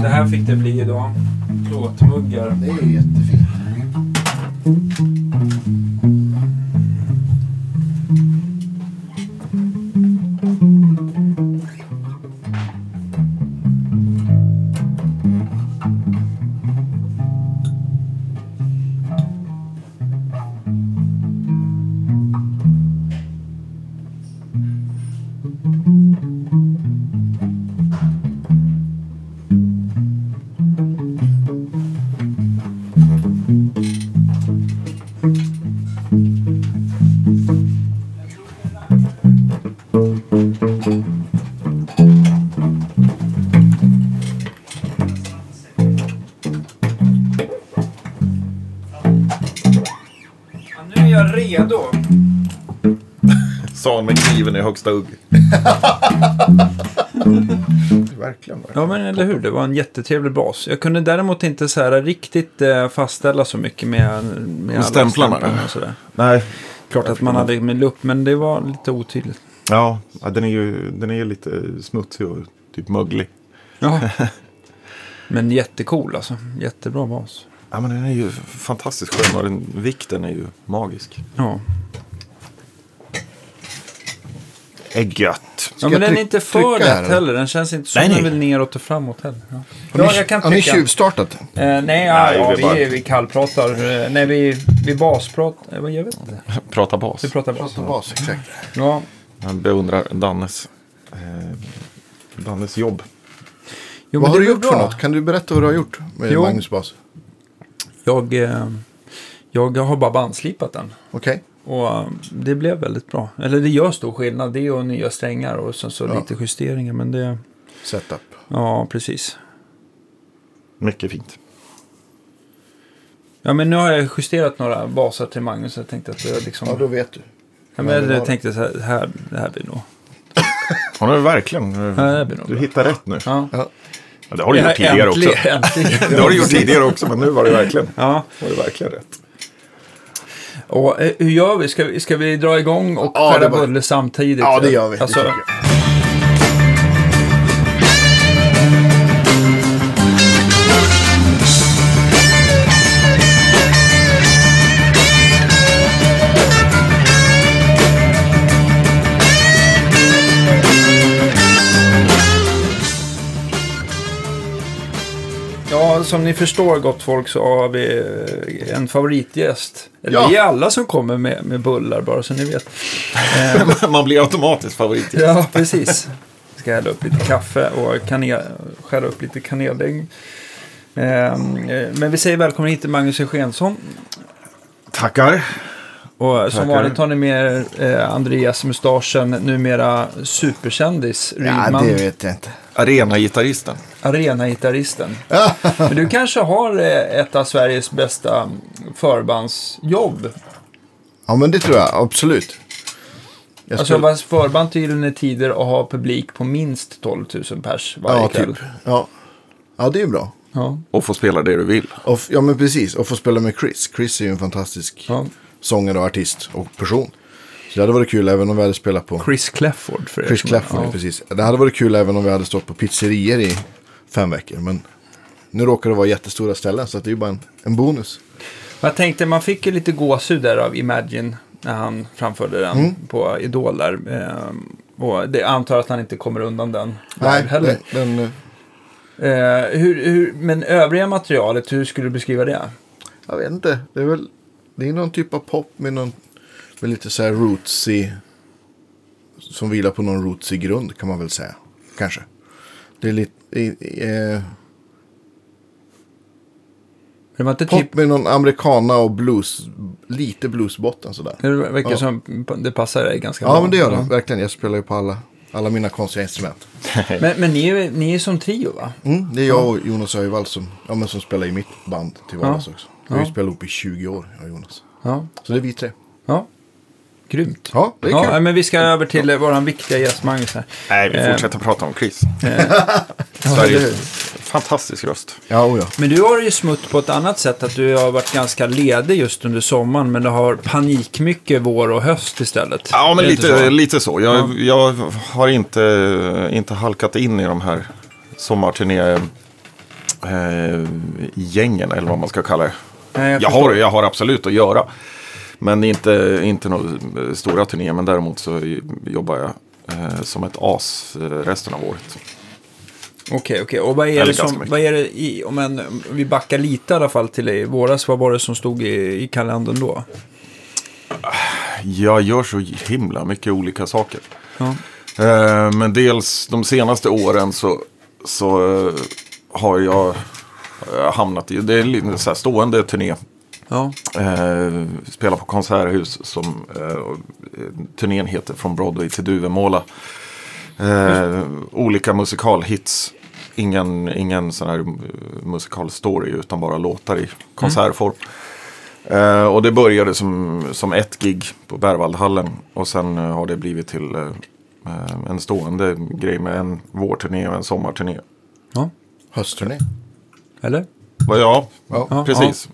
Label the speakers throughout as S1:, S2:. S1: Så här fick det bli idag. Plåtmuggar.
S2: Det är ju jättefint.
S1: Ja, nu är jag redo.
S3: Sa han med kniven i högsta hugg.
S2: Verkligen. verkligen.
S1: Ja men eller hur, det var en jättetrevlig bas. Jag kunde däremot inte så här riktigt eh, fastställa så mycket med, med alla
S3: stämplarna?
S1: stämplarna och sådär.
S3: Nej.
S1: Klart att man hade med lupp, men det var lite otydligt.
S3: Ja, ja, den är ju den är lite smutsig och typ möglig.
S1: Ja. Men jättecool alltså, jättebra bas.
S3: Ja, men den är ju fantastiskt skön och den, vikten är ju magisk.
S1: Ja,
S3: Är gött.
S1: ja
S2: jag
S1: men den är
S2: tryck-
S1: inte för
S2: trycka här,
S1: lätt
S2: eller?
S1: heller. Den känns inte som
S3: Nej,
S1: den
S3: nej.
S1: vill neråt och framåt heller. Ja,
S2: Har
S1: ja
S2: ni-
S1: jag kan
S2: Har ni
S1: trycka.
S2: tjuvstartat?
S1: Eh, nej, ja,
S3: Nej,
S1: ja,
S3: vi
S1: vi,
S3: bara-
S1: är- vi kallpratar. Eh, nej, vi, vi baspratar. Eh, vad- jag vet inte.
S3: Prata bas.
S1: Vi pratar bas.
S2: På bas, exakt.
S1: Ja,
S3: Jag beundrar Dannes, eh, Dannes jobb.
S1: jo, men
S2: Vad har
S1: det
S2: du
S1: var
S2: gjort för
S1: bra.
S2: något? Kan du berätta vad du har gjort med
S1: Jo.
S2: Magnus bas?
S1: Jag, eh, jag har bara bandslipat den.
S2: Okej.
S1: Och eh, det blev väldigt bra. Eller det gör stor skillnad. Det och nya strängar och sen så
S2: Ja.
S1: lite justeringar. Men det,
S2: Setup.
S1: ja precis.
S3: Mycket fint.
S1: Ja men nu har jag justerat några basar till Magnus. Jag tänkte att jag liksom...
S2: Ja, då vet du.
S1: ja, men
S2: det var-
S1: jag tänkte så här, det här, det här blir nog...
S3: Ja, nu är det verkligen.
S1: Det här blir nog
S3: Du
S1: bra.
S3: hittar rätt nu.
S1: Ja.
S3: Ja, det har du gjort tidigare också.
S1: Äntligen, äntligen.
S3: Det har du gjort tidigare också, men nu var det verkligen,
S1: Ja,
S3: var det verkligen rätt.
S1: och eh, hur gör vi? Ska, vi- ska vi dra igång och
S2: Ja,
S1: skära
S2: det var-
S1: bulle samtidigt?
S2: Ja, det gör vi. Det
S1: Alltså,
S2: tycker jag.
S1: Ja, som ni förstår gott folk så har vi eh, en favoritgäst. Eller
S2: Ja.
S1: vi är alla som kommer med, med bullar bara så ni vet. Eh,
S3: Man blir automatiskt favorit.
S1: ja, precis. Vi ska hälla upp lite kaffe och kanel, skära upp lite kaneldäng. Eh, eh, Men vi säger välkommen hit till Magnus Eugensson.
S3: Tackar.
S1: Och som
S3: Tackar.
S1: vanligt har ni med er eh, Andreas Mustaschen, numera superkändis,
S2: Ja,
S1: Rydman,
S2: det vet jag inte.
S3: Arenagitarristen.
S1: arenagitarristen. Men du kanske har eh, ett av Sveriges bästa förbandsjobb
S2: Ja, men det tror jag. Absolut. Jag
S1: Alltså
S2: skulle-
S1: vara förband till Gyllene Tider och ha publik på minst 12 000 pers varje
S2: ja,
S1: kväll.
S2: typ. Ja. ja, det är ju bra.
S1: Ja,
S3: Och få spela det du vill.
S2: Och, f- ja, men precis. Och få spela med Chris. Chris är ju en fantastisk
S1: ja.
S2: sångare och artist och person. Så det hade varit kul även om vi hade spelat på
S1: Chris Clefford för er
S2: Chris
S1: som-
S2: Clafford.
S1: ja.
S2: Precis. Det hade varit kul även om vi hade stått på pizzerier i fem veckor. Men nu råkar det vara jättestora ställen så att det är ju bara en, en bonus.
S1: Jag tänkte, man fick ju lite gåshud där av Imagine när han framförde den
S2: Mm.
S1: på Idol där. Ehm, Och det, jag antar att han inte kommer undan den live heller.
S2: den, den, eh,
S1: Eh, hur, hur, men övriga materialet, hur skulle du beskriva det?
S2: jag vet inte. Det är väl det är någon typ av pop med, någon, med lite så här rootsy. Som vilar på någon rootsy grund kan man väl säga. Kanske. Det är lite... i- i- Eh,
S1: Det var inte typ...
S2: pop med någon americana och blues. Lite bluesbotten sådär.
S1: Det verkar
S2: Ja.
S1: som det passar dig ganska bra.
S2: Ja men det gör det. Verkligen. Jag spelar ju på alla, alla mina konstiga instrument.
S1: Men, men ni, är, ni är som trio va?
S2: Mm, det är jag och Jonas Öjvall som, ja, men som spelar i mitt band till vardags också. Vi har ju
S1: Ja.
S2: spelat ihop i 20 år, jag och Jonas.
S1: Ja.
S2: Så det är vi tre.
S1: ja. Grymt.
S2: Ja, det är
S1: ja,
S2: kul.
S1: men vi ska över till eh, våran viktiga gäst Magnus här.
S3: Nej, vi
S1: Eh.
S3: fortsätter prata om Chris.
S2: eller hur?
S3: Sveriges fantastisk röst.
S2: Ja, oh ja.
S1: Men du har ju smutt på ett annat sätt, att du har varit ganska ledig just under sommaren, men du har panikmycket vår och höst istället.
S3: Ja,
S1: Är
S3: men
S1: det inte
S3: lite,
S1: så?
S3: lite så. Jag, jag har inte, eh, inte halkat in i de här sommarturné-gängen, eller vad man ska kalla det.
S1: Nej, jag
S3: jag,
S1: förstår.
S3: har, jag har absolut att göra. Men inte, inte några eh, stora turnéer, men däremot så jobbar jag eh, som ett as eh, resten av året.
S1: Okej, okej. Och vad är
S3: Eller
S1: det som,
S3: ganska mycket.
S1: vad är det i, om, en, om vi backar lite i alla fall till i våras, vad var det som stod i, i kalendern då?
S3: Jag gör så himla mycket olika saker.
S1: Ja.
S3: Eh, Men dels de senaste åren så, så eh, har jag eh, hamnat i, det är en liten så här stående turné.
S1: Ja.
S3: Eh, spelar på konserthus som eh, och, eh, turnén heter Från Broadway till Duvemåla. Eh, olika musikalhits. Ingen, ingen sån här eh, musikalstory utan bara låtar i konsertform. Eh, och det började som, som ett gig på Berwaldhallen och sen eh, har det blivit till eh, eh, en stående grej med en vårturné och en sommarturné.
S1: ja.
S2: Höstturné.
S1: Eller?
S3: Va, Ja,
S2: Ja.
S3: precis.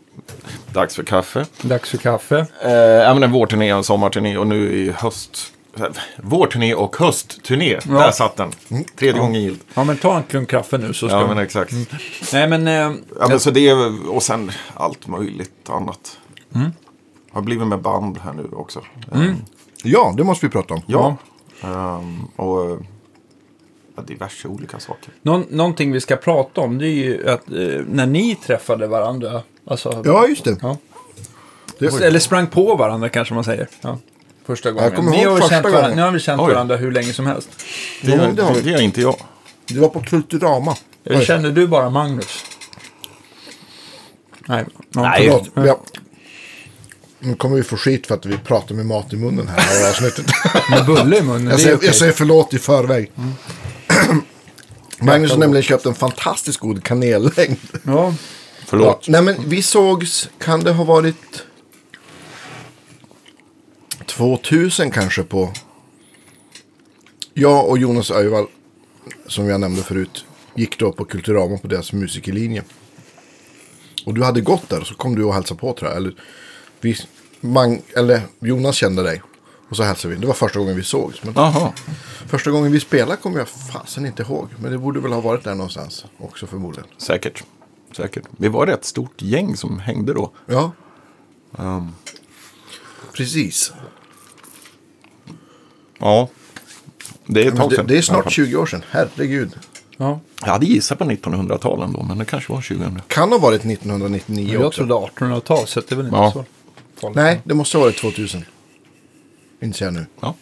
S3: Dags för kaffe.
S1: Dags för kaffe.
S3: Eh, ja, men en vårturné och en sommarturné och nu i höst. Eh, Vårturné och höstturné. Där satt den. Tredje gången gilt.
S1: Ja, men ta en klunk kaffe nu så ska
S3: Ja,
S1: vi...
S3: men exakt.
S2: Mm.
S1: Nej, men... Eh,
S3: Ja, men så det är, och sen allt möjligt annat.
S2: Mm.
S3: Har blivit med band här nu också. Eh,
S2: Ja, det måste vi prata om.
S3: Ja. Ehm, och eh, ja, diverse olika saker.
S1: Någon, någonting vi ska prata om det är ju att eh, när ni träffade varandra. Alltså,
S2: Ja, just det.
S1: Ja.
S2: det var...
S1: Eller sprang på varandra kanske man säger. Ja. Första gången.
S2: kommer
S1: ni
S2: ihåg
S1: har ju
S2: första
S1: känt varandra,
S2: gången.
S1: ni har väl känt
S3: Oj.
S1: varandra hur länge som helst.
S3: Det,
S2: Jo, det har vi.
S3: det är inte jag.
S2: det var på Kulturama.
S1: Eller känner du bara Magnus? Nej. ja,
S3: Nej.
S1: förlåt.
S2: Förlåt. Ja. Nu kommer vi få skit för att vi pratar med mat i munnen här i det här avsnittet.
S1: Med bulle i munnen,
S2: jag,
S1: det är
S2: säger,
S1: okej.
S2: jag säger förlåt i förväg. Magnus har nämligen köpt en fantastiskt god kanellängd.
S1: Ja.
S3: Förlåt.
S2: Ja, nej men vi sågs, kan det ha varit 2000 kanske på... Jag och Jonas Öjvall, som jag nämnde förut, gick då på Kulturama på deras musikerlinje. Och du hade gått där och så kom du och hälsade på tror jag. Eller, vi, Mang, eller Jonas kände dig. Och så hälsade vi. Det var första gången vi sågs. Men
S3: Jaha.
S2: Första gången vi spelade kommer jag fasen inte ihåg. Men det borde väl ha varit där någonstans också förmodligen.
S3: Säkert. Säkert. Vi var ett rätt stort gäng som hängde då.
S2: Ja. Ehm, Precis.
S3: Ja. Det är ett
S2: Men
S3: tag
S2: det,
S3: sedan.
S2: det är
S3: i alla fall.
S2: snart 20 år sedan. Herregud.
S1: ja.
S3: Jag hade gissat på 1900-talen då, men det kanske var 2000.
S2: Kan ha varit 1999
S1: Jag
S2: också.
S1: trodde 1800-tal så det är väl inte
S3: Ja.
S1: så farligt.
S2: Nej, det måste ha varit 2000. Inser jag nu.
S3: Ja,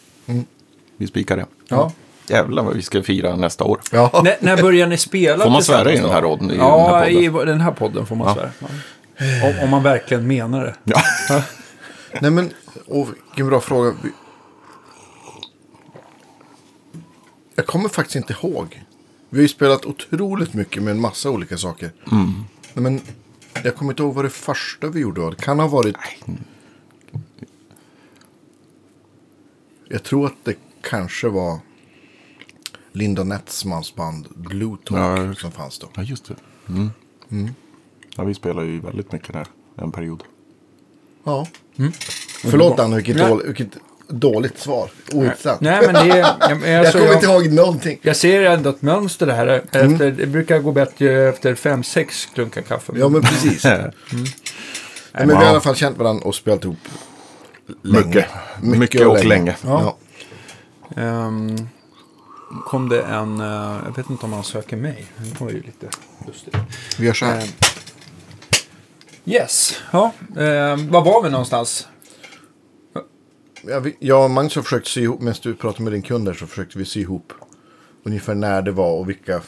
S3: vi spikar det.
S1: Ja.
S3: Jävlar vad vi ska fira nästa år.
S2: Ja.
S1: När, när börjar ni spela
S3: Får man
S1: tillsammans
S3: svära i
S1: då?
S3: den här podden? I
S1: ja,
S3: den här podden?
S1: i den här podden får man svära. Ja. Om, om man verkligen menar det.
S3: Ja.
S2: Nej men, åh, vilken bra fråga. Vi- Jag kommer faktiskt inte ihåg. Vi har ju spelat otroligt mycket med en massa olika saker. Nej, men jag kommer inte ihåg vad det första vi gjorde var. Det kan ha varit... Jag tror att det kanske var Linda Netsmans band Blue Talk
S3: Ja.
S2: som fanns då.
S3: ja, just det. Mm. Ja, vi spelar ju väldigt mycket där en period.
S2: Ja. Förlåt Anna, vilket,
S1: Mm. Nej.
S2: dål, vilket dåligt svar. Ointressant.
S1: Nej, men det är... Jag, alltså, jag,
S2: Jag kommer inte ihåg någonting.
S1: Jag ser ändå ett mönster det här. Eh, Efter, det brukar gå bättre efter fem sex klunkar kaffe.
S2: Ja, men precis.
S3: Mm.
S2: Nej, men vi har i alla fall känt varandra och spelat ihop. Länge.
S3: Mycket. Mycket och länge.
S2: Ja.
S1: Ehm, kom det en... eh, jag vet inte om han söker mig. Det var ju lite lustigt.
S2: vi gör så här.
S1: Ehm, yes. Ja, ehm, var var vi någonstans?
S2: Jag, vi- jag och Magnus har försökt sy ihop, medan du pratade med din kund där så försökte vi sy ihop ungefär när det var och vilka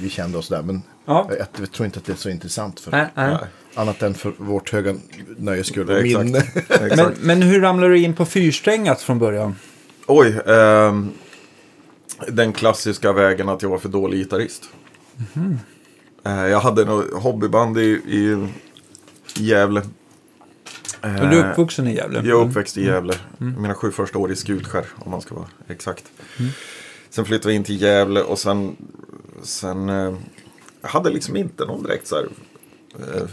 S2: vi kände oss där. Men
S1: Ja.
S2: jag, jag tror inte att det är så intressant för
S1: Nej, nej.
S2: annat än för vårt höga nöjes skull.
S3: Det är exakt.
S2: Minne.
S3: Exakt.
S1: Men, men hur ramlade du in på fyrsträngat från början?
S3: Oj, ehm, den klassiska vägen att jag var för dålig gitarrist. Eh, jag hade något hobbyband i, i Gävle.
S1: Men du är uppvuxen i Gävle? Mm.
S3: Jag är uppväxt i Gävle. Mina sju första år i Skutskär om man ska vara exakt. Sen flyttade vi in till Gävle och sen, sen eh, jag hade liksom inte någon direkt så här, eh,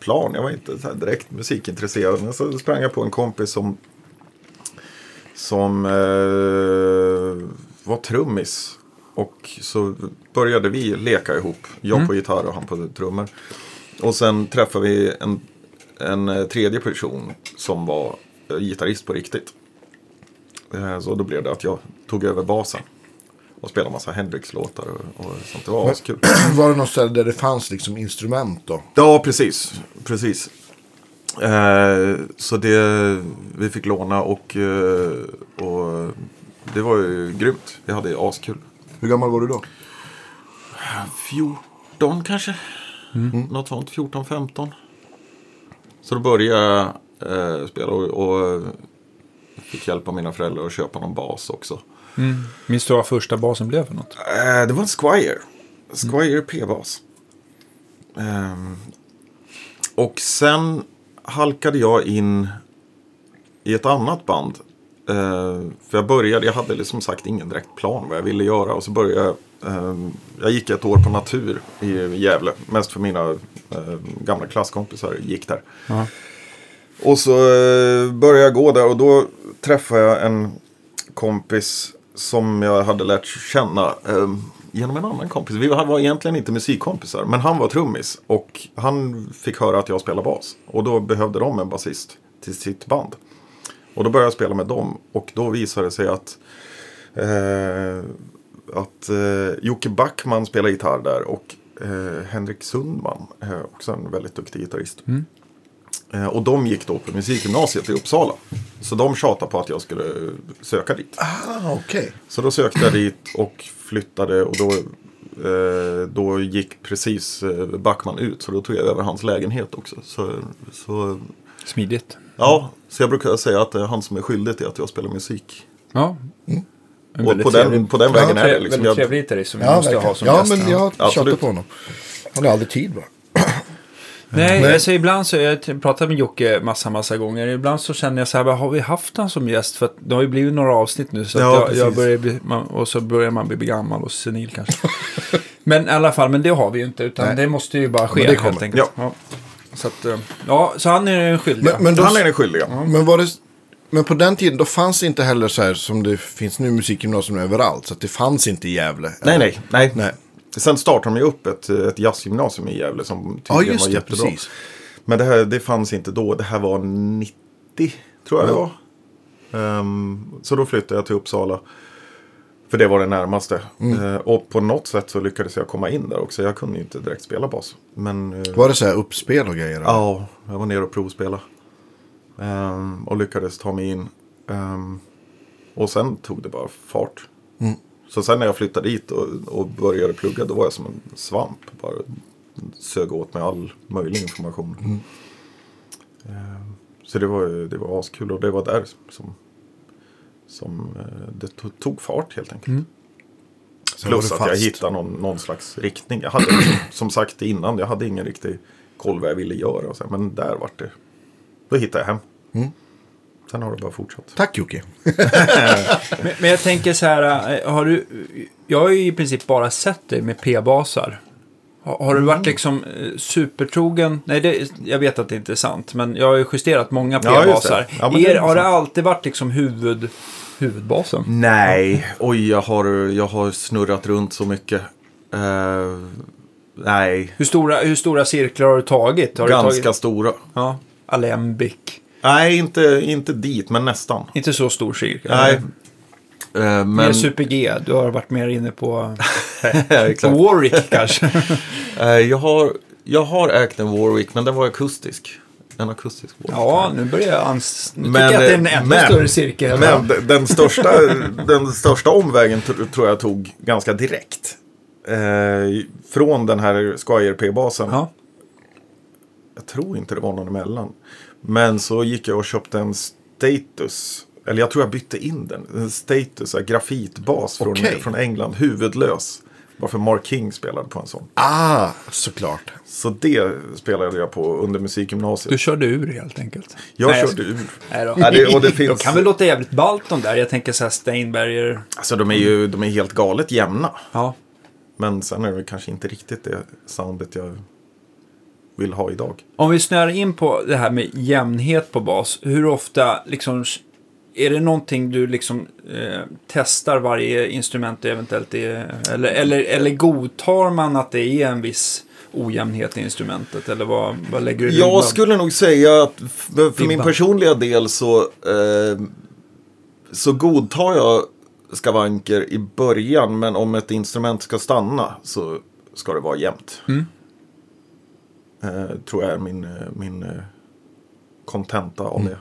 S3: plan. Jag var inte så här direkt musikintresserad. Men så sprang jag på en kompis som, som eh, var trummis. Och så började vi leka ihop. Jag på gitarr och han på trummor. Och sen träffade vi en, en eh, tredje person som var eh, gitarrist på riktigt. Eh, Så då blev det att jag tog över basen. Och spelade massa Hendrix-låtar och, och sånt. Det var askul.
S2: Var det något ställe där det fanns liksom instrument då?
S3: Ja, precis. precis. Eh, så det vi fick låna och, eh, och det var ju grymt. Vi hade ju askul.
S2: Hur gammal var du då?
S3: 14 kanske? Mm, Något sånt, 14-15. Så då började jag eh, spela och, och fick hjälp av mina föräldrar att köpa någon bas också.
S1: Mm. Minns du vad första basen blev för något?
S3: Eh, det var en Squire. Squire P-bas. Ehm, och sen halkade jag in i ett annat band. Eh, för jag började, jag hade liksom sagt ingen direkt plan vad jag ville göra. Och så började jag, ehm, jag gick ett år på natur i Gävle. Mest för mina eh, gamla klasskompisar gick där.
S1: Ja.
S3: Och så eh, började jag gå där och då träffade jag en kompis som jag hade lärt känna eh, genom en annan kompis. Vi var var egentligen inte musikkompisar, men han var trummis och han fick höra att jag spelar bas. Och då behövde de en basist till sitt band. Och då började jag spela med dem och då visade det sig att eh, att eh, Jocke Backman spelar gitarr där och eh, Henrik Sundman, eh, också en väldigt duktig gitarrist. Eh, Och de gick då på musikgymnasiet i Uppsala. Så de tjatade på att jag skulle eh, söka dit.
S2: Ah, okej.
S3: Så då sökte jag dit och flyttade och då, eh, då gick precis eh, Backman ut. Så då tog jag över hans lägenhet också. Så, så,
S1: Smidigt.
S3: ja, så jag brukar säga att det är han som är skyldig till att jag spelar musik.
S1: Ja. En
S3: Och på den, på den vägen är det.
S1: trevlig,
S3: Liksom,
S1: väldigt
S3: jag,
S1: trevlig gitarrist som vi
S2: Ja,
S1: måste
S2: verkligen.
S1: ha som
S2: ja
S1: gäst.
S2: men jag tjatade
S3: Absolut.
S2: på honom. Han har aldrig tid bara.
S1: Nej, jag säger ibland så, jag har pratat med Jocke massa, massa gånger. Ibland så känner jag så här, "Vad har vi haft han som gäst? För att det har ju blivit några avsnitt nu. Så att
S3: Ja,
S1: jag, jag
S3: precis.
S1: börjar bli, man, och så börjar man bli gammal och senil kanske. men i alla fall, men det har vi ju inte. Utan
S2: Nej.
S1: det måste ju bara ske
S2: Men det kommer.
S1: helt enkelt. Ja. Så, att, eh, ja, så han är den skyldiga.
S2: Men, men, då,
S3: han är den skyldiga.
S2: men, var det, men på den tiden då fanns det inte heller så här som det finns nu musikgymnasium överallt. Så att det fanns inte i Gävle.
S3: Nej, nej, nej.
S2: Nej.
S3: Sen startade de ju upp ett, ett jazzgymnasium i Gävle som tydligen
S2: Ja, just
S3: var
S2: det.
S3: jättebra.
S2: Precis.
S3: Men det här det fanns inte då. Det här var 90, tror jag det var. Ehm, så då flyttade jag till Uppsala. För det var det närmaste. Eh, och på något sätt så lyckades jag komma in där också. Jag kunde ju inte direkt spela bas. Men eh,
S2: Var det så här uppspel och grejer?
S3: ja, jag var nere och provspela. Ehm, och lyckades ta mig in. Ehm, och sen tog det bara fart. Så sen när jag flyttade dit och, och började plugga då var jag som en svamp. Bara sög åt mig all möjlig information. Ehm, Så det var, det var askul och det var där som, som eh, det to- tog fart helt enkelt.
S2: Sen Alltså, var
S3: Plus
S2: det
S3: att jag
S2: fast.
S3: hittade någon, någon slags riktning. Jag hade som sagt innan, jag hade ingen riktig koll vad jag ville göra. Och så, här, men där vart det. Då hittade jag hem. Sen har det bara fortsatt.
S2: Tack Jocke.
S1: Men, men jag tänker så här, eh, har du, jag har ju i princip bara sett dig med p-basar. Har, har du
S3: Mm.
S1: varit liksom eh, supertrogen? Nej, det, jag vet att det inte är sant, men jag har ju justerat många
S3: Ja, just det.
S1: p-basar.
S3: Ja, men det
S1: er,
S3: är
S1: har det
S3: sant. Mm.
S1: alltid varit liksom huvud, huvudbasen?
S3: Nej, oj jag har, jag har snurrat runt så mycket. Eh, nej,
S1: Hur stora, hur stora cirklar har du tagit? Har du
S3: ganska
S1: tagit,
S3: stora.
S1: ja, alembic.
S3: Nej, inte, inte dit, men nästan.
S1: Inte så stor cirkel.
S3: Nej. Eh,
S1: Mer
S3: men,
S1: super-G, du har varit mer inne på
S3: exakt.
S1: Warwick kanske.
S3: Eh, jag, har, jag har ägt en Warwick, men den var akustisk. En akustisk Warwick.
S1: Ja, nu börjar jag ans... Nu tycker
S3: Men, eh,
S1: jag att det är en ännu
S3: men-
S1: större cirkel.
S3: Men d- den största, den största omvägen tr- tror jag tog ganska direkt. Eh, från den här Squire P-basen.
S1: Ja.
S3: Jag tror inte det var någon emellan. Men så gick jag och köpte en Status. Eller jag tror jag bytte in den. En Status, en grafitbas från,
S2: Okej.
S3: från England. Huvudlös. Varför Mark King spelade på en sån.
S2: Ah, såklart.
S3: Så det spelade jag på under musikgymnasiet.
S1: Du körde ur helt enkelt.
S3: jag
S1: Nej,
S3: körde ur.
S1: Nej då.
S3: Ja, det, och det
S1: De
S3: finns,
S1: kan väl låta jävligt ballt de där. Jag tänker så här Steinberger.
S3: alltså, de är ju de är helt galet jämna.
S1: Ja.
S3: Men sen är det kanske inte riktigt det soundet jag vill ha idag.
S1: Om vi snöar in på det här med jämnhet på bas. Hur ofta liksom. Är det någonting du liksom eh, testar varje instrument det eventuellt är? Eller, eller, eller godtar man att det är en viss ojämnhet i instrumentet? Eller vad, vad lägger du i ribban?
S3: Jag skulle nog säga att f- för min
S1: Ribban.
S3: personliga del så, eh, så godtar jag skavanker i början. Men om ett instrument ska stanna så ska det vara jämnt.
S1: Mm.
S3: Eh, tror jag är min, eh, min eh, kontenta av
S1: Mm.
S3: det.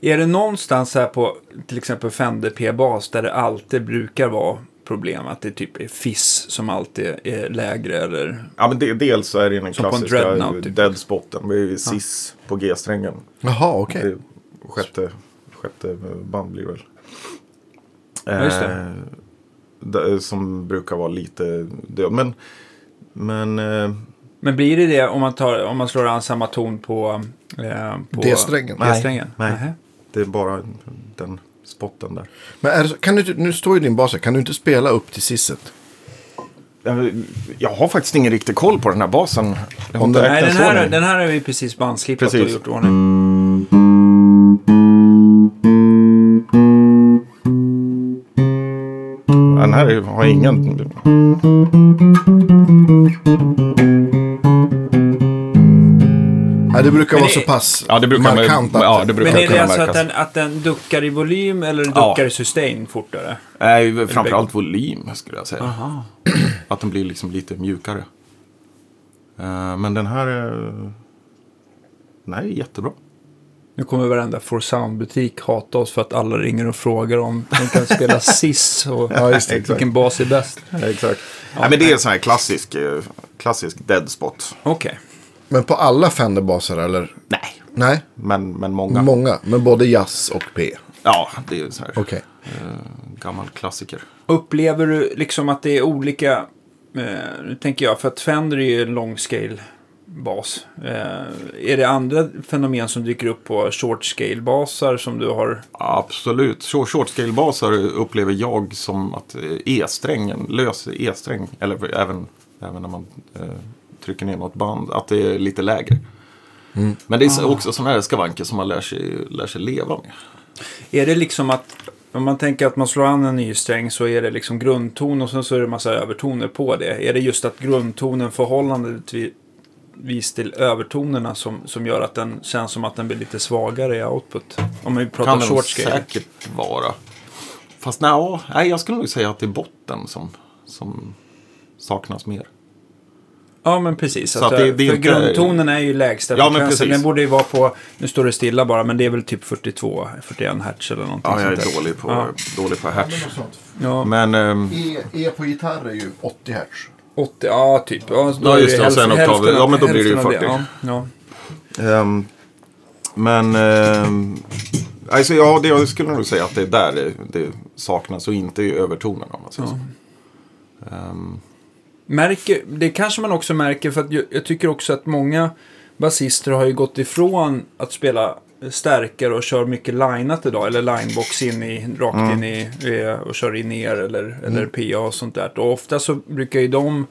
S1: Är det någonstans här på till exempel Fender P-bas där det alltid brukar vara problem? Att det typ är fiss som alltid är lägre eller?
S3: Ja, men det, dels så är det ju den
S1: Som på en
S3: klassiska
S1: Dreadnought, typ.
S3: deadspoten. Det är ju sis på G-strängen.
S2: Jaha, okej.
S1: Eh,
S3: Det är sjätte, sjätte band blir det väl.
S1: Ja, just det.
S3: Eh, det- som brukar vara lite död. Men, men eh,
S1: Men blir det det om man, tar, om man slår an samma ton på... Eh, på
S2: D-strängen?
S3: Nej,
S1: D-strängen?
S3: nej.
S1: Nähä.
S3: det är bara den spotten där.
S2: Men är, kan du, inte- nu står ju din bas här. Kan du inte spela upp till sisset?
S3: Jag, jag har faktiskt ingen riktig koll på den här basen. Jag har inte ägt
S1: Nej, den
S3: så
S1: här,
S3: länge.
S1: den här har vi precis bandslippat och
S3: Precis.
S1: gjort i ordning.
S3: Den här
S1: Mm.
S3: har ingen...
S2: Nej, det brukar vara
S1: det-
S2: så pass
S3: Ja, det brukar
S2: markant.
S3: man,
S2: att-
S3: ja, det brukar
S1: Men är det
S3: kunna
S1: alltså
S3: märkas.
S1: att den, att den duckar i volym eller
S3: Ja.
S1: duckar i sustain fortare?
S3: Nej, framförallt volym skulle jag säga.
S1: Aha.
S3: Att den blir liksom lite mjukare. Eh, men den här... eh, den här är jättebra.
S1: Nu kommer varenda For Sound-butik hata oss för att alla ringer och frågar om de kan spela SIS och
S2: Ja, just det, exakt.
S1: vilken bas är bäst.
S3: Exakt. Nej, men det är en sån här klassisk, eh, klassisk dead spot.
S1: Okej.
S2: Men på alla Fender-baser eller?
S3: Nej.
S2: Nej,
S3: Men, men många.
S2: många. Men både jazz och P.
S3: ja, det är en sån här eh,
S2: Okej.
S3: gammal klassiker.
S1: Upplever du liksom att det är olika, eh, nu tänker jag, för att Fender är ju en long scale bas. Eh, är det andra fenomen som dyker upp på short scale basar som du har?
S3: Absolut. Short, short scale basar upplever jag som att eh, E-strängen, lös E-sträng, eller även, även när man eh, trycker ner något band, att det är lite lägre. Men det är så- också sådana här skavanker som man lär sig, lär sig leva med.
S1: Är det liksom att, om man tänker att man slår an en ny sträng så är det liksom grundton och sen så är det massa övertoner på det. Är det just att grundtonen förhållandevis till övertonerna som, som gör att den känns som att den blir lite svagare i output? Om vi pratar
S3: kan det nog
S1: short scale.
S3: säkert vara. Fast nej, ja, nej, jag skulle nog säga att det är botten som, som saknas mer.
S1: Ja, men precis.
S3: Så
S1: att
S3: att det- det är
S1: för
S3: inte-
S1: grundtonen är ju lägsta
S3: Ja, men
S1: frekvensen.
S3: precis.
S1: Den borde ju vara på, nu står det stilla bara, men det är väl typ 42, 41 hertz eller någonting
S3: Ja, jag
S1: sånt
S3: är
S1: där.
S3: dålig på,
S1: Ja.
S3: dålig på hertz.
S2: alltså-
S1: Ja,
S3: Men ehm,
S2: E, e på gitarr är ju 80 hertz.
S1: 80, ja typ. Ja, då
S3: Ja,
S1: är
S3: just det, och
S1: hälften-
S3: sen oktaver.
S1: hälften av-
S3: Ja, men då blir det ju
S1: hälften av
S3: 40.
S1: Ja, ja.
S3: Ehm, men ehm, alltså, ja, det, jag skulle nog säga att det är där det, det saknas och inte i övertonen. Om man säger så.
S1: Märker, det kanske man också märker för att jag, jag tycker också att många basister har ju gått ifrån att spela stärkare och kör mycket lineat idag. Eller linebox in i, rakt in i eh, och kör in ner eller,
S3: Mm.
S1: eller PA och sånt där. Och ofta så brukar ju de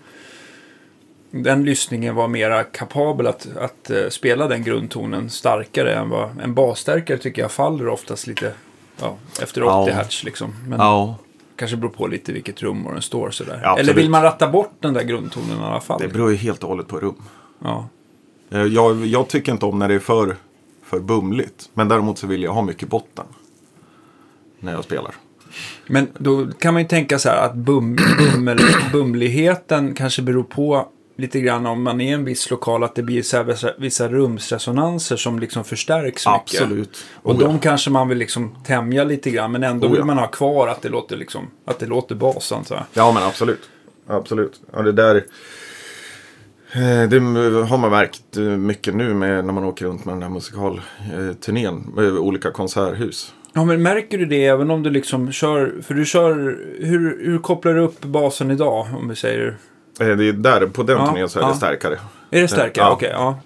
S1: den lyssningen vara mera kapabel att, att eh, spela den grundtonen starkare än vad en basstärkare tycker jag faller oftast lite ja, efter 80
S3: Ja.
S1: hertz liksom. Men-
S3: Ja,
S1: Kanske beror på lite vilket rum och den står sådär.
S3: Ja, absolut.
S1: Eller vill man ratta bort den där grundtonen i alla fall?
S3: det beror ju helt och hållet på rum.
S1: Ja.
S3: Eh, Jag, jag tycker inte om när det är för, för bumligt. Men däremot så vill jag ha mycket botten. När jag spelar.
S1: Men då kan man ju tänka så här att bum, bummel, bumligheten kanske beror på lite grann om man är i en viss lokal att det blir så här vissa, vissa rumsresonanser som liksom förstärks mycket.
S3: Absolut.
S1: Och
S3: Oh,
S1: de
S3: ja.
S1: kanske man vill liksom tämja lite grann men ändå
S3: Oh,
S1: vill
S3: ja.
S1: man ha kvar att det låter, liksom, att det låter bas antar jag.
S3: Ja, men absolut. Absolut. Ja, det där eh, det har man märkt eh, mycket nu med, när man åker runt med den här musikalturnén. Med olika konserthus.
S1: Ja, men märker du det även om du liksom kör, för du kör, hur, hur kopplar du upp basen idag? Om vi säger
S3: Eh, Det är där, på den
S1: Ja,
S3: turnén så är
S1: ja.
S3: det starkare.
S1: Är det stärkare?
S3: Ja.
S1: Okej, ja.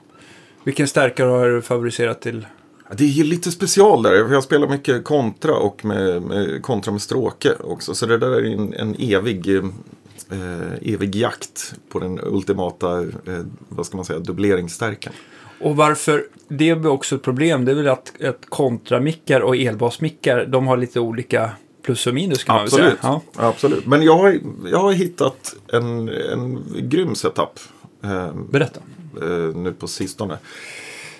S1: Vilken stärkare har du favoriserat till?
S3: Ja, Det är ju lite special där. för Jag spelar mycket kontra och med, med, kontra med stråke också. Så det där är en, en evig, eh, eh, evig jakt på den ultimata, eh, vad ska man säga, dubbleringsstärkan.
S1: Och varför, det är väl också ett problem, det är väl att, att kontramickar och elbasmickar, de har lite olika plus och minus kan man väl
S3: Absolut.
S1: säga. Ja.
S3: Absolut. Men jag har, jag har hittat en, en grym setup. Eh,
S1: Berätta.
S3: eh, nu på sistone.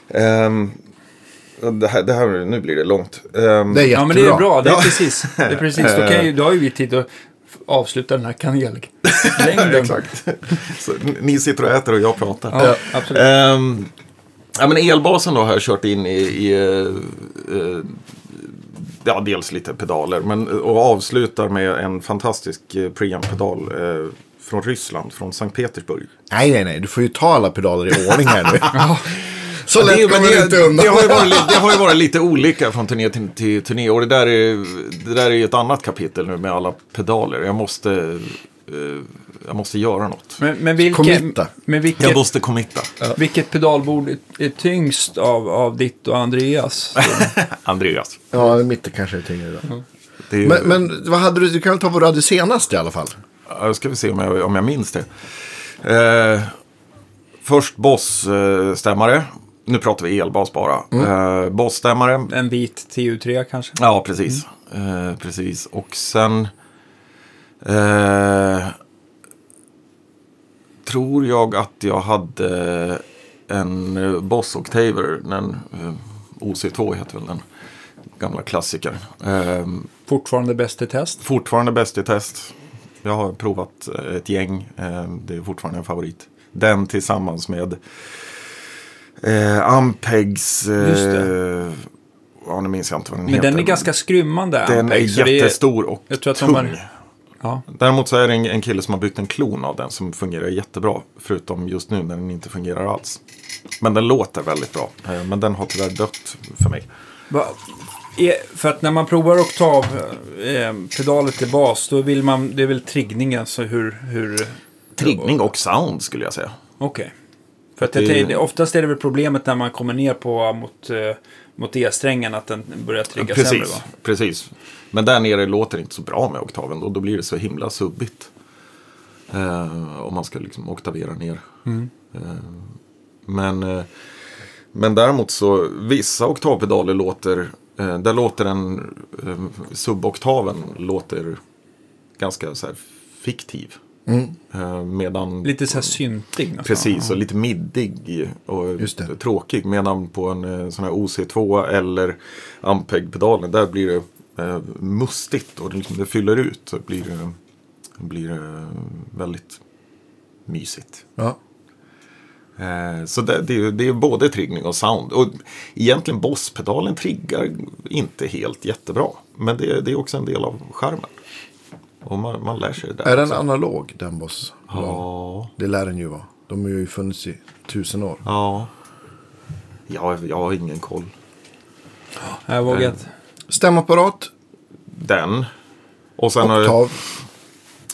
S3: Ehm, det här, det här, nu blir det långt. Ehm,
S2: Det är jättebra.
S1: Ja, men det är bra, det är
S3: Ja.
S1: precis. Det är precis. Då, kan ju, då har ju vi tid att f- avsluta den här kanellängden.
S3: Exakt. Så, n- ni sitter och äter och jag pratar.
S1: Ja, absolut.
S3: Ehm, ja, men elbasen då har jag kört in i, i eh, eh, ja, dels lite pedaler men, eh, och avslutar med en fantastisk eh, preamp-pedal eh, från Ryssland, från Sankt Petersburg.
S2: Nej, nej, nej. Du får ju ta alla pedaler i ordning här nu. Så
S3: Ja,
S2: lätt
S3: det, men
S2: kommer
S3: det,
S2: du inte undan.
S3: Det har, ju varit, li- det har ju varit lite olika från turné till, till turné. Och det där, är, det där är ju ett annat kapitel nu med alla pedaler. Jag måste, eh, jag måste göra något.
S1: Men, men, vilken,
S2: Committa.
S1: men vilket,
S3: Jag måste committa.
S1: vilket pedalbord är- är tyngst av, av ditt och Andreas?
S3: Andreas.
S2: Ja, mitten kanske är tyngre då.
S3: Mm. Det är ju,
S2: Men, men vad hade du? Du kan väl ta vad du hade senast i alla fall?
S3: Ja, ska vi se om jag, om jag minns det. Eh, först Boss-stämmare. Nu pratar vi elbas bara.
S2: Mm.
S3: Eh, Boss-stämmare.
S1: En vit TU3 kanske?
S3: Ja, precis. Eh, precis. Och sen eh, tror jag att jag hade en eh, Boss Octaver, den eh, OC2 heter väl den gamla klassikern. Eh,
S1: Fortfarande bäst i test?
S3: fortfarande bäst i test. Jag har provat eh, ett gäng, eh, det är fortfarande en favorit. Den tillsammans med eh, Ampegs,
S1: Just
S3: eh, ja nu minns jag inte vad den
S1: Men
S3: heter.
S1: den är ganska skrymmande.
S3: Den
S1: Ampeg, så
S3: är
S1: det
S3: jättestor och
S1: jag tror att de
S3: tung.
S1: har- Ja.
S3: Däremot så är det en, en kille som har byggt en klon av den som fungerar jättebra. Förutom just nu när den inte fungerar alls. Men den låter väldigt bra. Eh, Men den har tyvärr dött för mig.
S1: Va- är- För att när man provar oktavpedaler till bas, då vill man, det är väl triggningen, alltså hur... hur
S3: Triggning och sound skulle jag säga.
S1: Okej. För att jag
S3: Det-
S1: tänker, oftast är det väl problemet när man kommer ner på mot, eh, mot E-strängen att den börjar trigga sämre va?
S3: Precis, precis. Men där nere låter det inte så bra med oktaven. Då, då blir det så himla subbigt. Eh, om man ska liksom oktavera ner.
S1: Mm.
S3: Eh, men, eh, men däremot så vissa oktavpedaler låter. Eh, där låter den eh, suboktaven låter ganska så här fiktiv. Eh, medan
S1: Mm. Lite så här syntig nästan.
S3: Precis, och lite middig och
S2: Mm. Just det.
S3: tråkig. Medan på en eh, sån här OC2 eller Ampeg-pedalen, där blir det eh, mustigt och det, liksom, det fyller ut. Så blir det blir det väldigt mysigt.
S2: Ja.
S3: Eh, Så det, det, är- det är både triggning och sound. Och egentligen Boss-pedalen triggar inte helt jättebra. Men det, det är också en del av charmen. Och man, man lär sig det där.
S2: Är den analog, den boss?
S3: Ja.
S2: Det lär den ju vara. De har ju funnits i tusen år.
S3: Ja. Jag, jag har ingen koll.
S1: Jag vågar inte.
S2: Stämapparat,
S3: Den. Och sen, har jag-
S2: oktav.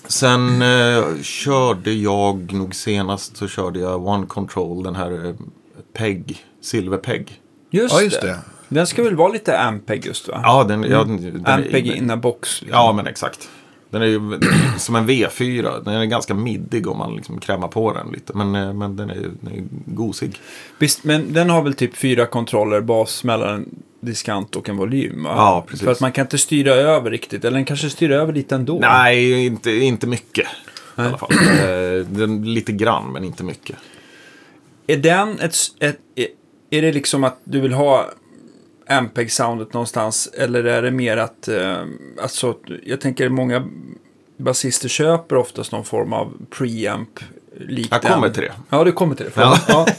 S3: sen eh, körde jag nog senast så körde jag One Control, den här eh, PEG, Silver PEG.
S1: Just,
S2: Ja, just
S1: det.
S2: det.
S1: Den ska väl vara lite Ampeg just va?
S3: Ja, den, Mm. ja, den, den
S1: Ampeg in a box.
S3: Ja, men exakt. Den är ju som en V4. Den är ganska middig om man liksom krämar på den lite. Men, eh, men den, är, ju- den är ju gosig.
S1: Visst, men den har väl typ fyra kontroller, bas, mellan diskant och en volym va?
S3: Ja, precis.
S1: För att man kan inte styra över riktigt, eller den kanske styr över lite ändå.
S3: Nej, inte, inte mycket. I alla fall. Eh, Den, lite grann, men inte mycket.
S1: Är den ett, s- ett, är- är det liksom att du vill ha Ampeg-soundet någonstans eller är det mer att, eh, alltså, att- jag tänker många basister köper oftast någon form av preamp likt
S3: Jag kommer till det.
S1: Ja, du kommer till det. Ja. Ja.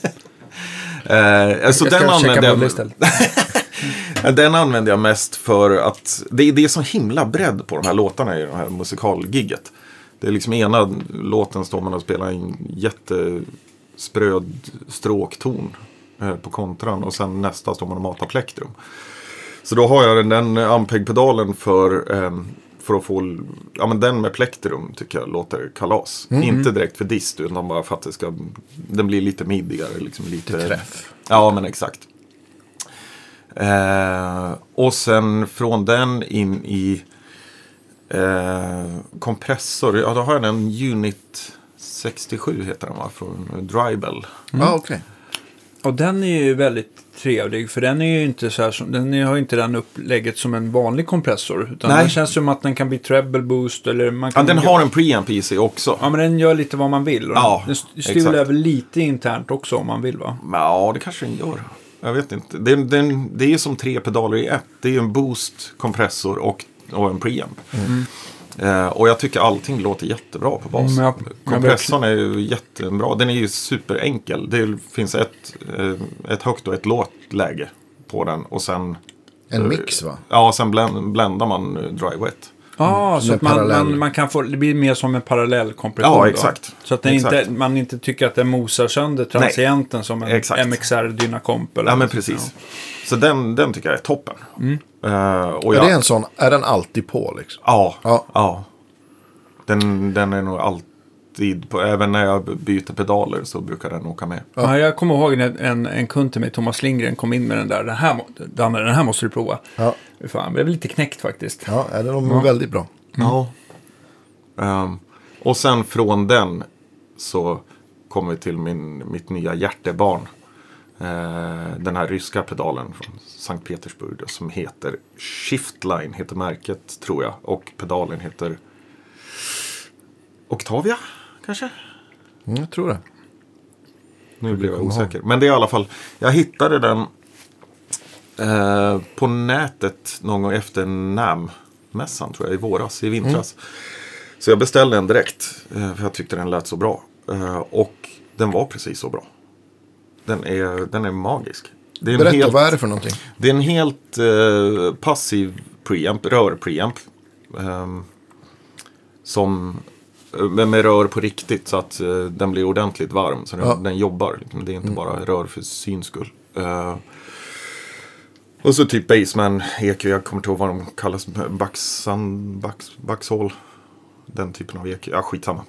S3: Eh, så
S1: Jag ska
S3: den
S1: checka
S3: använder,
S1: Bolle
S3: jag,
S1: istället.
S3: den använder jag mest för att det, är- det är så himla bredd på de här låtarna i det här musikalgigget. Det är liksom ena låten står man och spelar en jättespröd stråkton eh, på kontran och sen nästa står man och matar plektrum. Så då har jag den, den Ampeg-pedalen för, eh, för att få, ja men den med plektrum tycker jag låter kalas. Inte direkt för dist utan bara för att det ska, den blir lite middigare. Liksom lite
S2: träff.
S3: Ja men exakt. Eh, och sen från den in i eh, kompressor, ja då har jag en Unit 67 heter den va, från Drybell.
S2: ah, okej.
S1: Och den är ju väldigt trevlig för den är ju inte så här som, den är- har ju inte den upplägget som en vanlig kompressor. Utan
S3: Nej.
S1: den känns som att den kan bli treble boost eller man
S3: Ja,
S1: kan...
S3: den har en preamp i sig också.
S1: Ja men den gör lite vad man vill. Och
S3: Ja,
S1: den den styr
S3: exakt.
S1: över lite internt också om man vill va?
S3: Ja, det kanske den gör. Jag vet inte. Det, det, det är ju som tre pedaler i ett. Det är ju en boost, kompressor och, och en preamp. Eh, och jag tycker allting låter jättebra på bas.
S1: Mm, jag- jag
S3: Kompressorn är ju jättebra. Den är ju superenkel. Det finns ett, eh, ett högt och ett lågt läge på den. Och sen, eh,
S2: En mix va?
S3: ja, sen blän- bländar man eh, dry wet.
S1: Ja, Ah, så
S2: en
S1: att man,
S2: parallell.
S1: man, man kan få, det blir mer som en parallell kompression.
S3: Ja,
S1: då.
S3: exakt.
S1: Så att det
S3: Exakt.
S1: Inte, man inte tycker att den mosar sönder transienten som en
S3: Exakt.
S1: MXR Dynakomp. Eller
S3: Ja, men
S1: något
S3: precis.
S1: sånt,
S3: Så den, den tycker jag är toppen.
S1: Mm.
S3: Eh, och
S2: Är
S3: jag,
S2: det en sån, är den alltid på liksom?
S3: Ja.
S2: Ja.
S3: Den, den är nog alltid på. Även när jag byter pedaler så brukar den åka med.
S1: ja. Ja, jag kommer ihåg när en, en kund till mig, Thomas Lindgren, kom in med den där. Den här, må- Danne, den här måste du prova.
S2: Ja.
S1: Fan, jag blev lite knäckt faktiskt.
S2: Ja, är den är väldigt bra.
S3: Ja. Ehm, och sen från den så kommer vi till min, mitt nya hjärtebarn. Eh, den här ryska pedalen från Sankt Petersburg då, som heter Shiftline, heter märket tror jag. Och pedalen heter Octavia kanske?
S2: Mm, jag tror det.
S3: Nu blev jag osäker. Men det är i alla fall, jag hittade den eh, på nätet någon gång efter NAM-mässan tror jag, i våras, i vintras.
S2: Mm.
S3: Så jag beställde den direkt, eh, för jag tyckte den lät så bra. Eh, och den var precis så bra. Den är, den är magisk. Det är en
S2: Berätta,
S3: helt-
S2: vad är det för någonting?
S3: det är en helt eh, passiv preamp, rör-preamp. ehm, som eh, men med rör på riktigt så att eh, den blir ordentligt varm. Så den,
S2: Ja.
S3: den jobbar. Liksom. Det är inte bara rör för syns skull. Eh, och så typ Baseman, EQ, jag kommer inte ihåg vad de kallas. Baxan, bax, Baxhall. Den typen av EQ. Ja, skitsamma.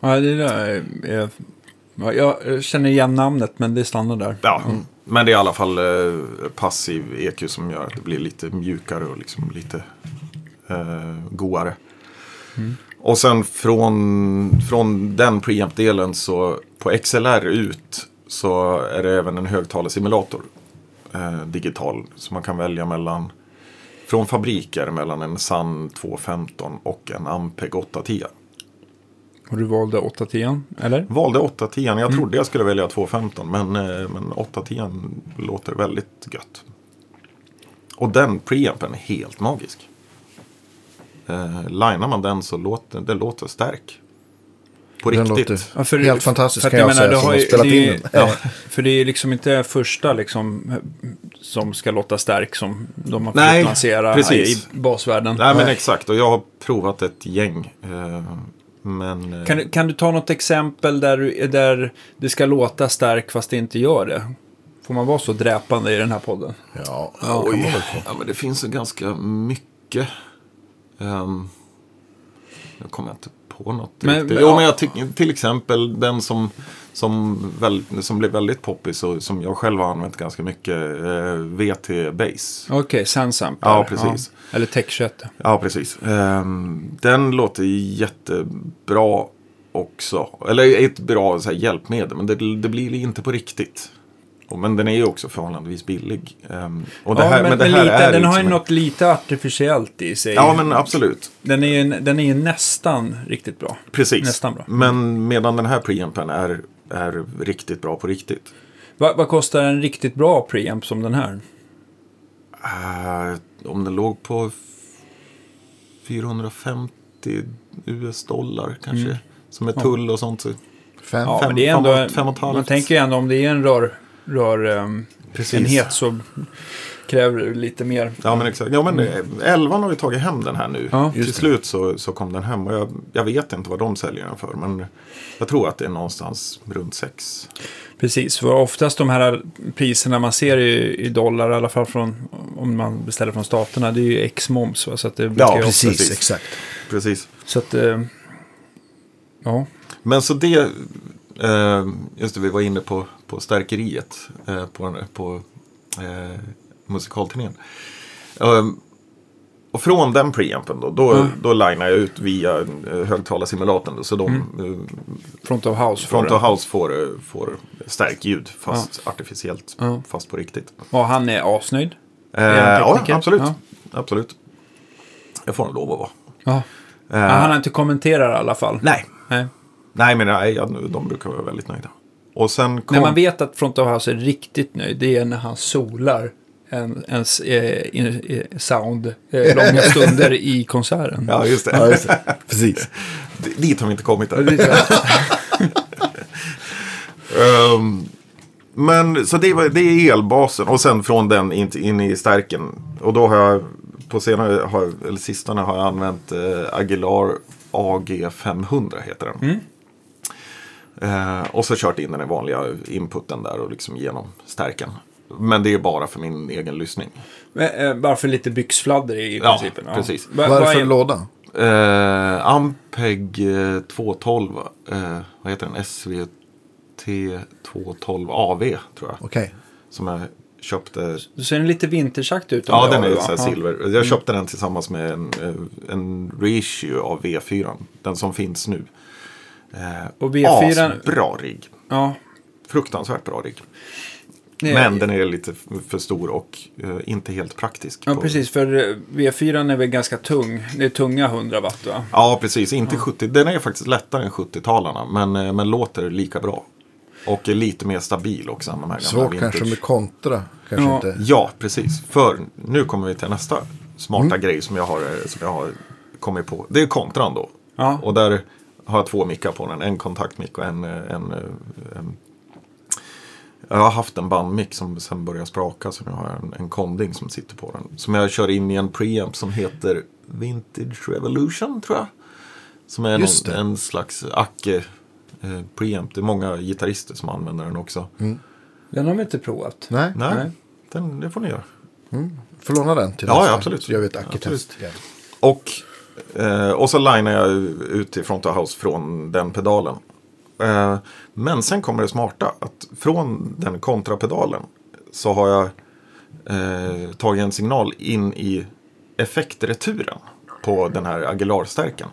S1: Ja, det där är, ja, jag känner igen namnet, men det stannar där.
S3: Ja, men det är i alla fall eh, passiv EQ som gör att det blir lite mjukare och liksom lite eh, goare. Och sen från, från den preamp-delen så på XLR ut så är det även en högtalarsimulator. Eh, digital. Så man kan välja mellan från fabriker mellan en SAN 215 och en Ampeg 810.
S1: Och du valde 810, eller?
S3: Valde 810. Jag trodde jag skulle välja 215 men, eh, men 810 låter väldigt gött. Och den preampen är helt magisk. Eh, linar man den så låter den låter stark. På
S2: Den
S3: riktigt.
S2: låter
S1: Ja, för-
S2: helt fantastisk
S1: för att
S2: kan jag, säga
S1: det
S2: som
S1: har
S2: har
S1: ju-
S2: spelat
S1: det,
S2: in den.
S1: Ja, för det är liksom inte första liksom, som ska låta stark som de har
S3: Nej,
S1: försökt lansera
S3: precis.
S1: i basvärlden.
S3: Nej men exakt och jag har provat ett gäng. Eh, men eh,
S1: Kan, du- kan du ta något exempel där, du- där det ska låta stark fast det inte gör det? Får man vara så dräpande i den här podden?
S2: Ja,
S3: Oj. Ja, men det finns ju ganska mycket. Ehm, nu kommer jag inte på något
S1: Men-
S3: riktigt.
S1: men-
S3: jo,
S1: ja.
S3: men jag tycker till exempel den som, som, väl, som blev väldigt poppis och som jag själv har använt ganska mycket. Eh, VT Base.
S1: Okej, okay, Sansamp.
S3: Ja, precis.
S1: Eller Tech21.
S3: Ja, precis. Ehm, den låter jättebra också. Eller är ett bra så här, hjälpmedel, men det, det blir inte på riktigt. Och- Men den är ju också förhållandevis billig. Ehm, och det
S1: Ja,
S3: här,
S1: men,
S3: men, det
S1: men
S3: här
S1: lite,
S3: är
S1: den
S3: ju
S1: har ju
S3: liksom en-
S1: något lite artificiellt i sig.
S3: Ja, men absolut.
S1: Den är ju den är ju nästan riktigt bra.
S3: Precis.
S1: Nästan bra.
S3: Men medan den här preampen är, är riktigt bra på riktigt.
S1: Vad, vad kostar en riktigt bra preamp som den här?
S3: Eh, om den låg på f- 450 US-dollar kanske.
S1: Mm.
S3: Som är tull och sånt. Så.
S2: Fem.
S1: Ja,
S3: Fem-
S1: men det är
S3: fem
S1: ändå,
S3: och- fem och ett halvt.
S1: man tänker ju ändå om det är en rör, rör ehm,
S3: Precis.
S1: enhet så kräver lite mer.
S3: Ja men exakt. Ja, men eh, 11 har vi tagit hem den här nu.
S1: Mm. Ja,
S3: Till slut så, så kom den hem och jag, jag vet inte vad de säljer den för. Men jag tror att det är någonstans runt 6.
S1: Precis, för oftast de här priserna man ser i, i dollar, i alla fall från, om man beställer från staterna, det är ju ex moms. va, Så att det brukar ju-
S3: precis.
S2: Precis, exakt.
S3: Precis.
S1: Så att, eh, ja.
S3: Men så det, eh, just det vi var inne på, på stärkeriet eh, på, på eh, musikalturnén. Ehm, och från den preampen då, då,
S1: Mm.
S3: då linar jag ut via eh, högtalarsimulatorn. då, Så de,
S1: Mm.
S3: eh,
S1: Front of house. får
S3: Front
S1: det.
S3: of House får, eh, får stärkt ljud fast artificiellt,
S1: Ja.
S3: fast på riktigt.
S1: Och han är asnöjd.
S3: Eh,
S1: han
S3: ja,
S1: tekniker?
S3: absolut.
S1: Ja.
S3: absolut. Jag får nog lov att vara.
S1: Ja.
S3: Eh,
S1: han har inte kommenterat i alla fall.
S3: Nej,
S1: Nej.
S3: nej men nej, ja, de brukar vara väldigt nöjda. Och sen kom...
S1: När man vet att Front of House är riktigt nöjd, det är när han solar en, ens eh, in, eh, sound eh, långa stunder i konserten.
S3: Ja, just det.
S2: Ja, just det. Precis.
S3: D- Dit har vi inte kommit än. Ehm, men så det, var, det är elbasen och sen från den in, in i stärken. Och då har jag på senare, har, eller sistone har jag använt eh, Aguilar AG500 heter den.
S2: Mm.
S3: Eh, och så kört in den i vanliga inputen där och liksom genom stärken. Men det är bara för min egen lyssning.
S1: Men, eh, bara för lite byxfladder i
S3: Ja,
S1: principen.
S3: precis.
S1: Va-
S2: Vad är det
S1: vad
S2: för
S1: är-
S2: låda?
S3: Eh, Ampeg eh, 212, eh, vad heter den? SVT 212 AV tror jag.
S2: Okej.
S3: Som jag köpte.
S1: Då ser den lite vintersakt ut. om
S3: Ja,
S1: det
S3: den är
S1: va?
S3: så här
S1: Ja. Mm.
S3: silver. Jag köpte den tillsammans med en, eh, en reissue av V4. Den som finns nu. Eh,
S1: Och V4,
S3: Asbra rigg.
S1: ja.
S3: Fruktansvärt bra rigg.
S1: Nej,
S3: Men den är lite f- för stor och eh, inte helt praktisk.
S1: Ja,
S3: på-
S1: precis. För eh, V4 är väl ganska tung. Det är tunga 100 watt, va?
S3: Ja, precis. Inte 70. Den är faktiskt lättare än 70-talarna, men, eh, men låter lika bra. Och är lite mer stabil också än de här gamla
S2: Svårt
S3: vintage.
S2: kanske med kontra. Kanske
S1: Ja.
S2: inte.
S3: Ja, precis. För nu kommer vi till nästa smarta grej som jag, har, eh, som jag har kommit på. Det är kontran då.
S1: Ja.
S3: Och där har jag två mickar på den. En kontaktmick och en... eh, en, eh, en jag har haft en bandmick som sen börjar spraka så nu har jag en, en konding som sitter på den. Som jag kör in i en preamp som heter Vintage Revolution tror jag. Som är
S2: Just
S3: någon,
S2: det.
S3: en slags Acke eh, preamp. Det är många gitarrister som använder den också.
S1: Den har vi inte provat.
S2: Nej,
S3: Nej,
S1: Nej.
S3: Den, det får ni göra.
S2: får låna den till
S3: Ja,
S2: nästa,
S3: ja, absolut.
S2: Så gör vi ett akitest. igen.
S3: Och, eh, och så linar jag ut i front of house från den pedalen. Eh, men sen kommer det smarta att från den kontrapedalen så har jag eh, tagit en signal in i effektreturen på den här Aguilar-stärken.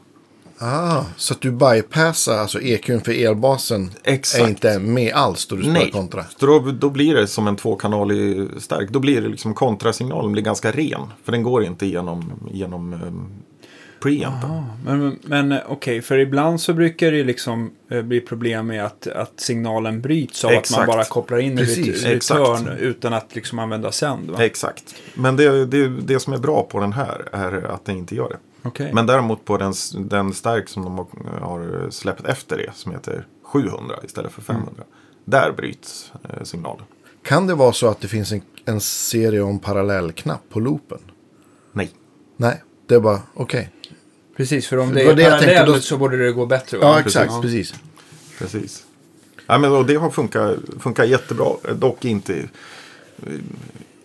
S2: Ah, så att du bypassar alltså EQn för elbasen.
S3: Exakt.
S2: Är inte med alls då du spelar
S3: Nej,
S2: kontra.
S3: så då, då blir det som en tvåkanalig stärk. Då blir det liksom kontrasignalen blir ganska ren. För den går inte genom, genom eh, preampen.
S1: Ja, Men, men eh, okej, för ibland så brukar det ju liksom eh, bli problem med att, att signalen bryts av att man
S3: Exakt.
S1: bara kopplar in en
S2: Precis,
S1: ret-
S3: exakt.
S1: return utan att liksom använda sänd. Va?
S3: Exakt. Men det, det, det som är bra på den här är att den inte gör det.
S1: Okej.
S3: Men däremot på den, s- den stärk som de har- har släppt efter det som heter 700 istället för 500.
S1: Mm.
S3: Där bryts eh, signalen.
S2: Kan det vara så att det finns en, en serie om parallellknapp på loopen?
S3: Nej.
S2: Nej, det är bara okej.
S1: Precis, för om det
S2: Det var
S1: är
S2: det jag tänkte,
S1: parallellt
S2: då-
S1: så borde det gå bättre. va?
S2: Ja, exakt. Precis.
S3: Precis. Ja, men, och det har funkat, funkat jättebra. Dock inte... eh,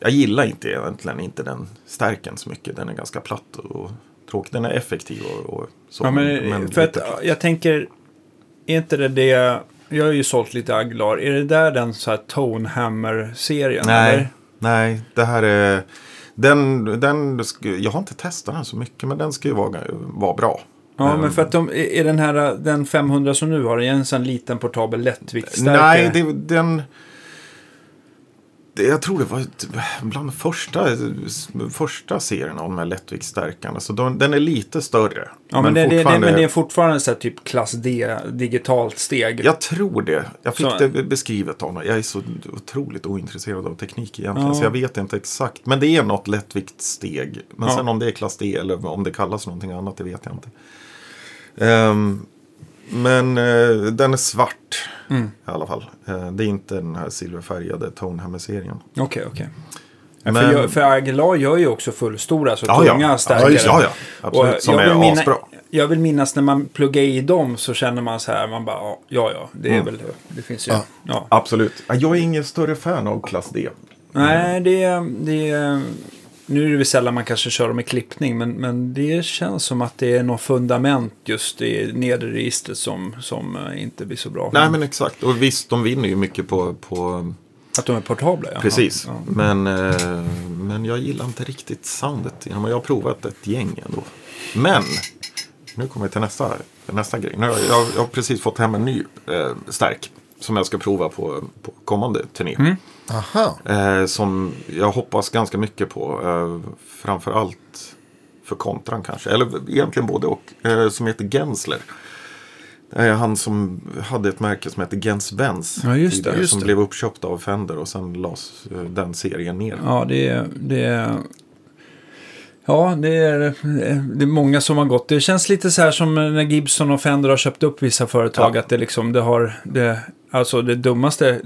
S3: Jag gillar inte egentligen inte den stärken så mycket. Den är ganska platt och tråkig. Den är effektiv och, och så.
S1: Ja, men, för att,
S3: lite platt.
S1: jag tänker, är inte det det, jag har ju sålt lite Aglar, är det där den så här Tonehammer-serien?
S3: Nej,
S1: eller?
S3: nej, det här är... Den, den, sk- jag har inte testat den så mycket, men den ska ju vara, vara bra.
S1: Ja, men för att de, är är den här, den 500 som nu har, är en sån liten portabel lättviktsstärkare?
S3: Nej, det, den... det- Jag tror det var ett- bland de första, första serien av de här lättviktsstärkarna. Så de, den är lite större.
S1: Ja, men, det, det, det,
S3: fortfarande-
S1: men det är fortfarande så här typ klass D, digitalt steg.
S3: Jag tror det. Jag fick
S1: Så-
S3: det beskrivet av någon. Jag är så otroligt ointresserad av teknik egentligen.
S1: Ja.
S3: Så jag vet inte exakt. Men det är något lättviktssteg. Men
S1: Ja.
S3: sen om det är klass D eller om det kallas någonting annat, det vet jag inte. Ehm, men eh, den är svart
S1: Mm.
S3: i alla fall. Eh, det är inte den här silverfärgade Tonehammer-serien.
S1: Okej, okej. Ja,
S3: Men-
S1: För, jag, för Aguilar gör ju också fullstora, så
S3: Ja, ja.
S1: tunga
S3: Ja,
S1: stärkare.
S3: just- ja, ja. Absolut,
S1: Och
S3: som
S1: jag
S3: är
S1: vill minna-
S3: asbra.
S1: Jag vill minnas när man pluggar i dem så känner man så här, man bara, ja, ja, det
S3: Mm.
S1: är väl det. Det finns ju. Ja.
S3: Absolut. Ja, Jag är ingen större fan av klass D.
S1: Nej, det är... Det är nu är det väl sällan man kanske kör dem i klippning, men, men det känns som att det är något fundament just i nedre registret som, som eh, inte blir så bra.
S3: Nej, men exakt. Och visst, de vinner ju mycket på... på
S1: Att de är portabla, ja.
S3: precis.
S1: Ja.
S3: Men, eh, men jag gillar inte riktigt soundet. Ja, men Jag har provat ett gäng ändå. Men, nu kommer jag till nästa, nästa grej. Nu har jag, jag, jag har precis fått hem en ny eh, stärk. Som jag ska prova på, på kommande turné.
S1: Mm.
S2: Aha.
S3: Eh, som jag hoppas ganska mycket på. Eh, framförallt för kontran kanske. Eller egentligen både och. Eh, som heter Gensler. Eh, han som hade ett märke som hette Gens Benz.
S1: Ja, just det,
S3: tidigare,
S2: just
S3: som
S2: det.
S3: blev uppköpt av Fender och sen lades eh, den serien ner.
S1: Ja, det är... Det är Ja, det är, det är många som har gått. Det känns lite så här som när Gibson och Fender har köpt upp vissa företag.
S3: Ja.
S1: Att det liksom, det har, det, alltså det dummaste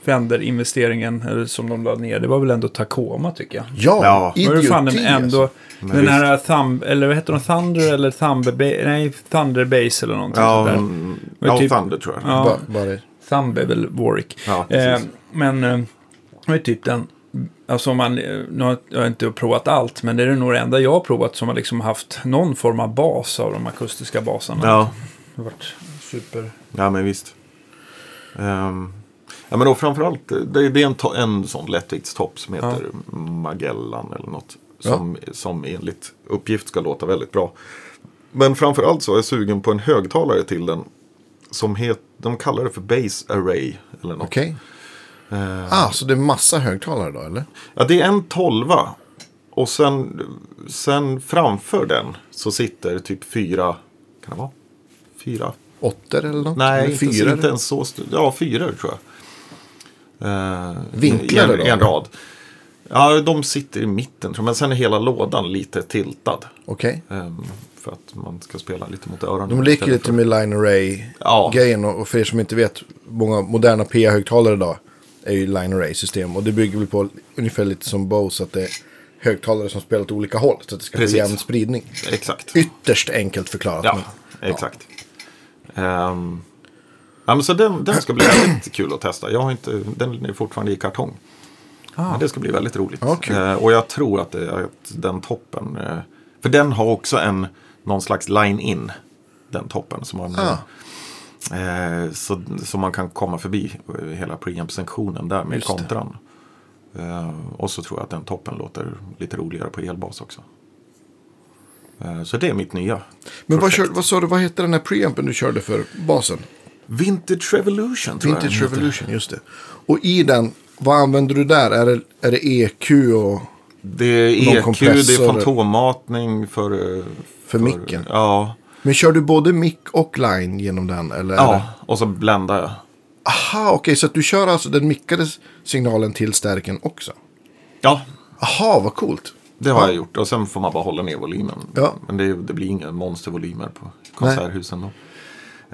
S1: Fender-investeringen eller som de la ner, det var väl ändå Tacoma tycker jag.
S2: Ja,
S3: Ja.
S1: Var det
S2: idioti. alltså.
S1: fan en, ändå,
S3: Men
S1: den här Thumb, eller vad heter de, Thunder eller Thumber, Ba- nej, Thunder Base eller någonting sånt där.
S3: mm,
S1: Men
S3: ja
S1: typ-
S3: Thunder tror jag.
S1: Ja.
S2: Bara, bara.
S1: Thumb är väl Warwick.
S3: Ja,
S1: eh,
S3: precis.
S1: men eh, det är typ den, alltså om man, eh, nu har jag har inte provat allt, men det är nog det enda jag har provat som har liksom haft någon form av bas av de akustiska baserna.
S3: Ja.
S1: Det har varit super.
S3: Ja, men visst. Ehm, ja, men då framförallt, det, det är en, to- en sån lättviktstopp som heter Magellan eller något. Som, som enligt uppgift ska låta väldigt bra. Men framförallt så är jag sugen på en högtalare till den. Som heter, de kallar det för Base Array eller något.
S2: Okej.
S3: Eh.
S2: Ah, så det är massa högtalare då, eller?
S3: Ja, det är en tolva. Och sen, sen framför den så sitter typ fyra, kan det vara? Fyra
S2: Åttor eller något?
S3: Nej,
S2: eller
S3: inte,
S2: fyra?
S3: inte ens så stor. Ja, fyra tror jag. Eh,
S2: Vinklar
S3: i en,
S2: då?
S3: i en rad. Ja, de sitter i mitten tror jag. Men sen är hela lådan lite tiltad.
S2: Okej.
S3: eh, för att man ska spela lite mot öronen.
S2: De leker
S3: istället
S2: lite
S3: för-
S2: med line
S3: Ja.
S2: array-grejen. Och för er som inte vet, många moderna PA-högtalare idag är ju line array-system. Och det bygger väl på ungefär lite som Bose, att det är högtalare som spelar åt olika håll. Så att det ska
S3: Precis.
S2: bli jämn spridning.
S3: Exakt.
S2: Ytterst enkelt förklarat.
S3: Ja,
S2: men-
S3: exakt. Ehm, ja, men så den, den ska bli väldigt kul att testa. Jag har inte, den är fortfarande i kartong. Men det ska bli väldigt roligt.
S2: Ah. Ja, kul.
S3: Eh, och jag tror att, det, att den toppen, eh, för den har också en, någon slags line-in. Den toppen som man,
S2: Ah.
S3: eh, så, så man kan komma förbi eh, hela preamp-sektionen där med
S2: Just det.
S3: kontran. Eh, och så tror jag att den toppen låter lite roligare på elbas också. Eh, så det är mitt nya
S2: Men vad,
S3: projekt.
S2: kör, vad sa du, vad hette den här preampen du körde för basen?
S3: Vintage Revolution tror jag
S2: Vintage
S3: den heter.
S2: Revolution, just det. Och i den, vad använder du där? Är det, är det EQ och
S3: Det är
S2: Någon
S3: EQ, det
S2: kompressor.
S3: är fantommatning för... eh,
S2: för micken?
S3: Ja.
S2: Men kör du både mick och line genom den? Eller? är
S3: ja,
S2: det-
S3: och så bländar jag.
S2: Aha, okej, så att du kör alltså den mickade s- signalen till stärken också?
S3: Ja,
S2: Aha, vad coolt.
S3: det har jag gjort. Och sen får man bara hålla ner volymen.
S2: Ja.
S3: Men det, det blir inga monstervolymer på konserthusen då.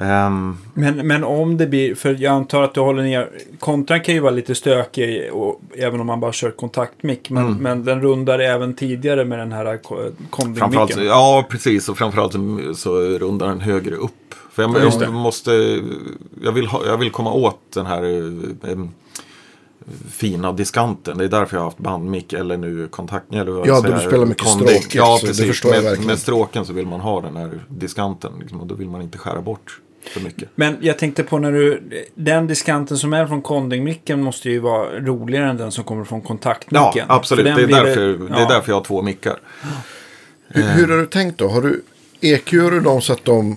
S3: Ehm,
S1: Men, men om det blir, för jag antar att du håller ner, kontran kan ju vara lite stökig och, även om man bara kör kontaktmick. Men, men den rundar även tidigare med den här ko-
S3: Mm. framförallt,
S1: kondingmicken.
S3: ja, precis. Och framförallt så- så rundar den högre upp. För jag,
S1: Ja, just
S3: jag
S1: det.
S3: måste... Jag vill, ha, jag vill komma åt den här... eh, eh, fina diskanten. Det är därför jag har haft bandmick eller nu kontakt. Eller vad jag
S2: Ja, då
S3: säger,
S2: du spelar mycket
S3: kondi-
S2: stråkigt,
S3: Ja,
S2: så det
S3: precis.
S2: förstår jag
S3: med,
S2: verkligen.
S3: med stråken så vill man ha den här diskanten. Liksom, och då vill man inte skära bort för mycket.
S1: Men jag tänkte på när du, den diskanten som är från kondingmicken måste ju vara roligare än den som kommer från
S3: Ja,
S1: kontaktmicken.
S3: absolut.
S1: För den
S3: Det är,
S1: blir
S3: därför, det, är
S1: ja.
S3: därför jag har två mickar.
S2: Hur,
S3: Eh.
S2: hur har du tänkt då? Har du EQ du dem så att de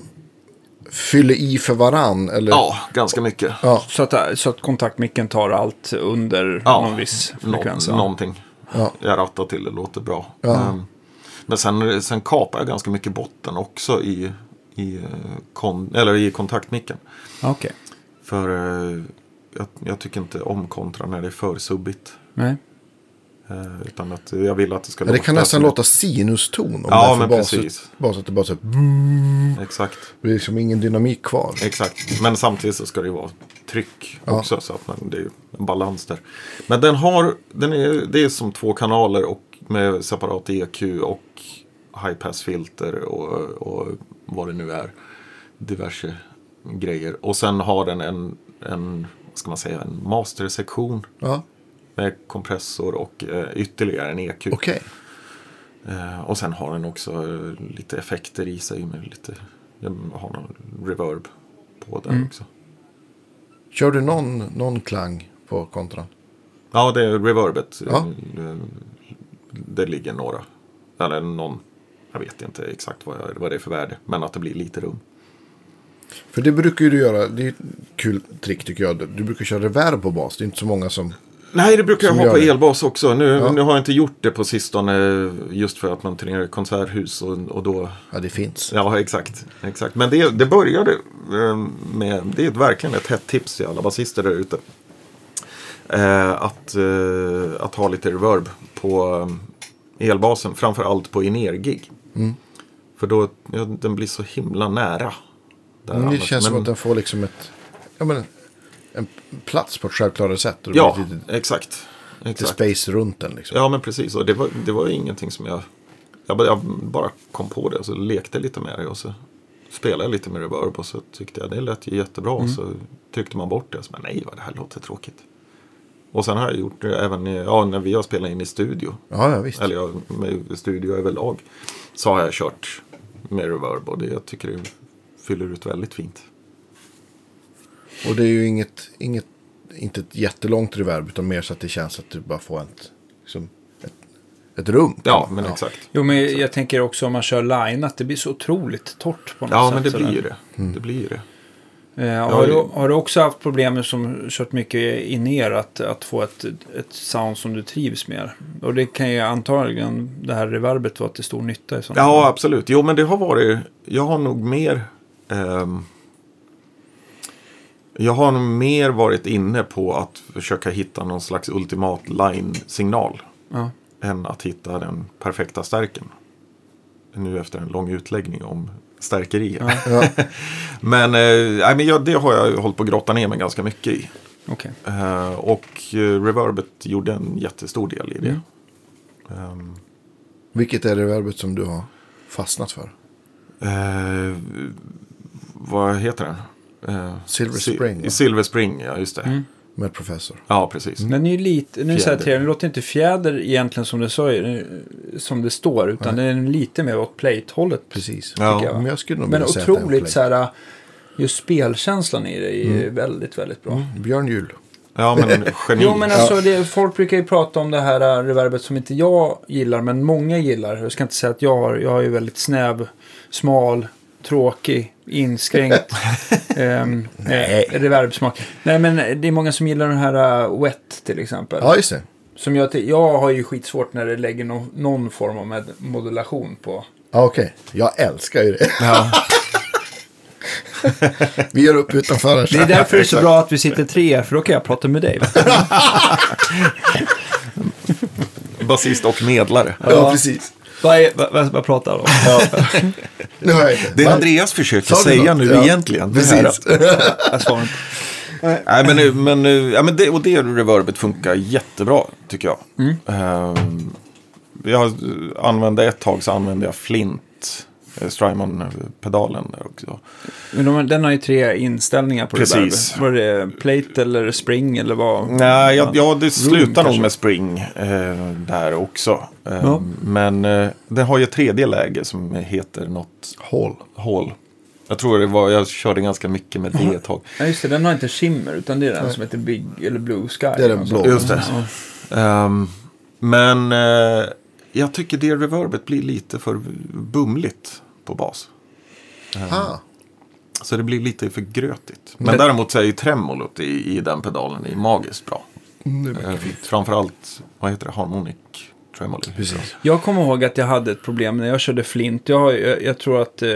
S2: fyller i för varann? Eller?
S3: Ja, ganska mycket.
S2: ja.
S1: Så att, så att kontaktmicken tar allt under
S3: Ja,
S1: någon viss
S3: nå-
S1: frekvens. ja.
S3: någonting.
S2: Ja.
S3: Jag rattar till det, låter bra. Ehm, Men sen, sen kapar jag ganska mycket botten också i, i, eh, kon, eller i kontaktmicken.
S1: Okej.
S3: För eh, jag, jag tycker inte om kontra när det är för subbigt.
S1: Nej.
S3: Eh, Eh, utan att jag vill att det ska
S2: Men det kan nästan
S3: som-
S2: låta sinuston om
S3: Ja,
S2: det är för
S3: men
S2: baset-
S3: precis.
S2: Baset är bara så här,
S3: Exakt,
S2: det är liksom ingen dynamik kvar.
S3: exakt. Men samtidigt så ska det ju vara tryck också. Så att man, det är ju en balans där. Men den har, den är, det är som två kanaler och med separat EQ och high pass filter och, och vad det nu är. Diverse grejer. Och sen har den en, en vad ska man säga, en mastersektion
S2: Ja,
S3: med kompressor och eh, ytterligare en EQ.
S2: okej.
S3: Eh, och sen har den också eh, lite effekter i sig med lite, den har någon reverb på den också.
S2: Kör du någon, någon klang på kontran?
S3: Ja, det är reverbet.
S2: Ja.
S3: Eh, Det ligger några, eller någon, jag vet inte exakt vad, jag, vad det är för värde, men att det blir lite rum.
S2: För det brukar ju du göra, det är ju ett kul trick tycker jag. Du brukar köra reverb på bas, det är inte så många som...
S3: Nej, det brukar jag
S2: Som
S3: ha på
S2: gör det.
S3: elbas också. Nu, nu har jag inte gjort det på sistone just för att man turnerar i konserthus och, och då
S2: Ja, det finns.
S3: Ja, exakt. exakt. Men det, det började eh, med, det är ett- verkligen ett hett tips till alla basister där ute. Eh, att, eh, att ha lite reverb på eh, elbasen, framför allt på in-ear-gig.
S2: Mm.
S3: För då, ja, den blir så himla nära. där
S2: Men Mm, det
S3: annars.
S2: känns som
S3: Men-
S2: att den får liksom ett... Ja, men en, en plats på ett självklarare sätt. Och det
S3: Ja,
S2: blir lite, lite
S3: exakt. exakt.
S2: space runt den liksom.
S3: Ja, men precis. Och det var, det var ju ingenting som jag... Jag bara, jag bara kom på det och så lekte lite med det och så spelade jag lite med reverb och så tyckte jag det lät ju jättebra. Och så tryckte man bort det och så bara, nej vad det här låter tråkigt. Och sen har jag gjort det även i, ja, när vi har spelat in i studio.
S2: Ja, ja visst.
S3: Eller ja, med studio överlag. Så har jag kört med reverb och det, jag tycker det fyller ut väldigt fint.
S2: Och det är ju inget, inget, inte ett jättelångt reverb utan mer så att det känns att du bara får ett, liksom, ett, ett rum.
S3: Ja, men exakt.
S1: Jo, men jag tänker också om man kör line att det blir så otroligt torrt på något
S3: Ja,
S1: sätt.
S3: men det
S1: sådär.
S3: blir ju det. Det blir ju det.
S1: Eh, har,
S3: det-
S1: du, har du också haft problem med som kört mycket in er att, att få ett, ett sound som du trivs med? Och det kan ju antagligen det här reverbet vara till stor nytta i sådana
S3: Ja, absolut. Jo, men det har varit... Jag har nog mer... ehm, jag har nog mer varit inne på att försöka hitta någon slags ultimat line-signal.
S1: Ja.
S3: Än att hitta den perfekta stärken. Nu efter en lång utläggning om stärkerier. men eh, nej, men jag, det har jag hållit på att grotta ner mig ganska mycket i.
S1: Okej.
S3: Eh, och eh, reverbet gjorde en jättestor del i det. Ehm,
S2: Vilket är reverbet som du har fastnat för?
S3: Eh, vad heter den? Eh,
S2: Silver
S3: Si-
S2: Spring, va?
S3: Silver Spring, ja just det.
S1: Mm.
S2: Med professor.
S3: Ja, precis.
S1: Den är ju lite, nu säger
S3: Fjäder.
S1: jag till er, den låter inte fjäder egentligen som det, sa, eh, som det står, utan den är lite mer åt plate-hållet.
S2: Precis.
S3: Ja.
S1: tycker jag.
S2: Men jag skulle nog
S1: Men
S2: vilja säga att det är en
S1: otroligt
S2: plate. Mm.
S1: så här, just spelkänslan i det är ju väldigt, väldigt bra.
S2: Björn Juhl.
S3: Ja, men
S2: Mm.
S3: geni.
S1: Jo, men alltså, det, folk brukar ju prata om det här eh, reverbet som inte jag gillar, men många gillar. Jag ska inte säga att jag har, jag är ju väldigt snäv, smal, tråkig, inskränkt ehm,
S2: Nej.
S1: eh, reverbsmak. Nej, men det är många som gillar den här eh, Wet till exempel.
S2: Ja, just det.
S1: Som jag, ty- jag har ju skitsvårt när det lägger no, någon form av med- modulation på.
S2: Ja, okej. Jag älskar ju det.
S3: Ja,
S2: Vi gör upp utanför här.
S1: Det är därför det är så bra att vi sitter tre här, för då kan jag prata med dig.
S3: basist och medlare.
S2: Ja, precis.
S1: Vad, är, vad, vad, vad pratar du om?
S2: Nu hör jag inte.
S3: Det
S2: Nej.
S3: Andreas försöker
S2: Sa du
S3: säga
S2: något?
S3: nu
S2: Ja,
S3: egentligen. det här.
S2: Precis.
S1: Jag svarar inte.
S3: Nej, men, nu- men, nu- ja, men det, och det reverbet funkar jättebra, tycker jag.
S1: Mm.
S3: Ehm, jag använde ett tag så använde jag flint, eh, Strymon-pedalen där också.
S1: Men de, den har ju tre inställningar på
S3: Precis.
S1: det där. Var det plate eller spring eller vad?
S3: Nej, ja, ja det slutar nog
S1: kanske.
S3: med spring eh, där också. Eh,
S1: Ja.
S3: Men eh, den har ju ett tredje läge som heter något
S2: Hål.
S3: hål. Jag tror det var, jag körde ganska mycket med det ett tag.
S1: Ja, just det. Den har inte shimmer utan det är den som heter Big eller Blue Sky. Alltså.
S2: Det är den blå.
S3: Just det. Ehm, men eh, jag tycker det reverbet blir lite för bumligt på bas.
S2: Ah.
S3: Så det blir lite för grötigt. Men däremot så är ju tremolot i, i den pedalen är magiskt bra. Eh, framförallt, vad heter det, harmonic tremolo.
S2: Precis.
S1: Jag kommer ihåg att jag hade ett problem när jag körde flint. Jag, har- jag, jag tror att eh,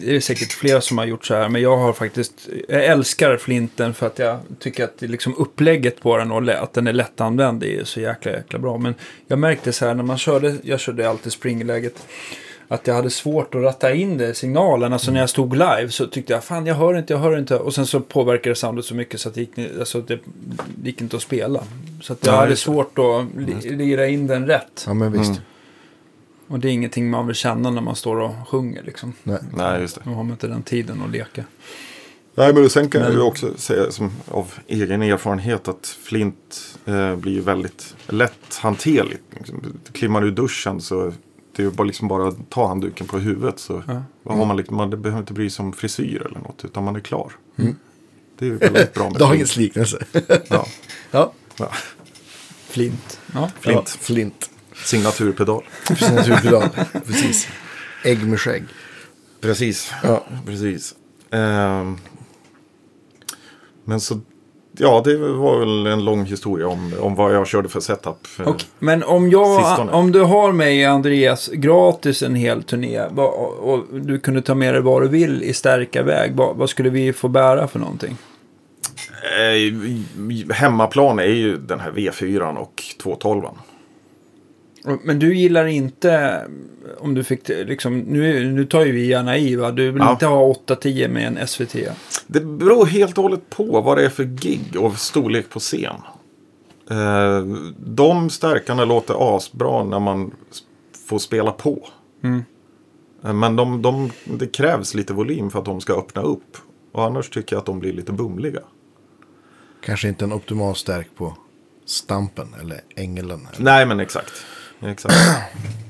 S1: det är säkert flera som har gjort så här, men jag har faktiskt, jag älskar flinten för att jag tycker att det är liksom upplägget på den och lä- att den är lättanvänd det är så jäkla, jäkla bra. Men jag märkte så här när man körde, jag körde alltid springläget, att jag hade svårt att ratta in det, signalen. Alltså när jag stod live så tyckte jag, fan jag hör inte, jag hör inte. Och sen så påverkade soundet så mycket så att det gick, alltså, det gick inte att spela. Så att jag
S3: Ja,
S1: hade
S3: just det.
S1: svårt att li- lira in den rätt.
S2: Ja, men visst.
S3: Mm.
S1: Och det är ingenting man vill känna när man står och sjunger liksom.
S2: Nej.
S3: Nej, just det.
S1: Nu har man inte den tiden att leka.
S3: Nej, men sen kan jag ju
S1: Men-
S3: också säga som, av egen erfarenhet att flint eh, blir ju väldigt lätt hanterligt. Liksom, klimmar du ur duschen så det är ju bara, liksom bara att ta handduken på huvudet så
S1: Ja. Mm.
S3: har man, liksom, man det behöver inte bli som frisyr eller något utan man är klar.
S1: Mm.
S3: Det är ju väldigt bra med
S2: Dagens liknelse.
S3: flint. Ja.
S2: ja.
S3: Ja.
S2: Flint.
S1: Ja.
S3: Flint.
S2: Ja, flint.
S3: Signaturpedal.
S2: Precis, naturpedal. Precis. Ägg med skägg.
S3: Precis.
S2: Ja.
S3: Precis. Ehm, men så, ja det var väl en lång historia om, om vad jag körde för setup. eh,
S1: Okej, Men om,
S3: Sistone.
S1: jag, om du har mig, Andreas, gratis en hel turné vad- och och du kunde ta med dig vad du vill i stärka väg, vad, vad skulle vi få bära för någonting?
S3: Eh, hemmaplan är ju den här V4 och 212.
S1: Och- Men du gillar inte, om du fick det, liksom, nu, nu tar ju vi gärna i va, du vill
S3: Ja.
S1: inte ha 8-10 med en SVT.
S3: Det beror helt och hållet på vad det är för gig och storlek på scen. Eh, de stärkarna låter asbra när man s- får spela på. Eh, Men de, de, det krävs lite volym för att de ska öppna upp. Och annars tycker jag att de blir lite bumliga.
S2: Kanske inte en optimal stärk på stampen eller ängelen. Eller.
S3: Nej men exakt. exakt.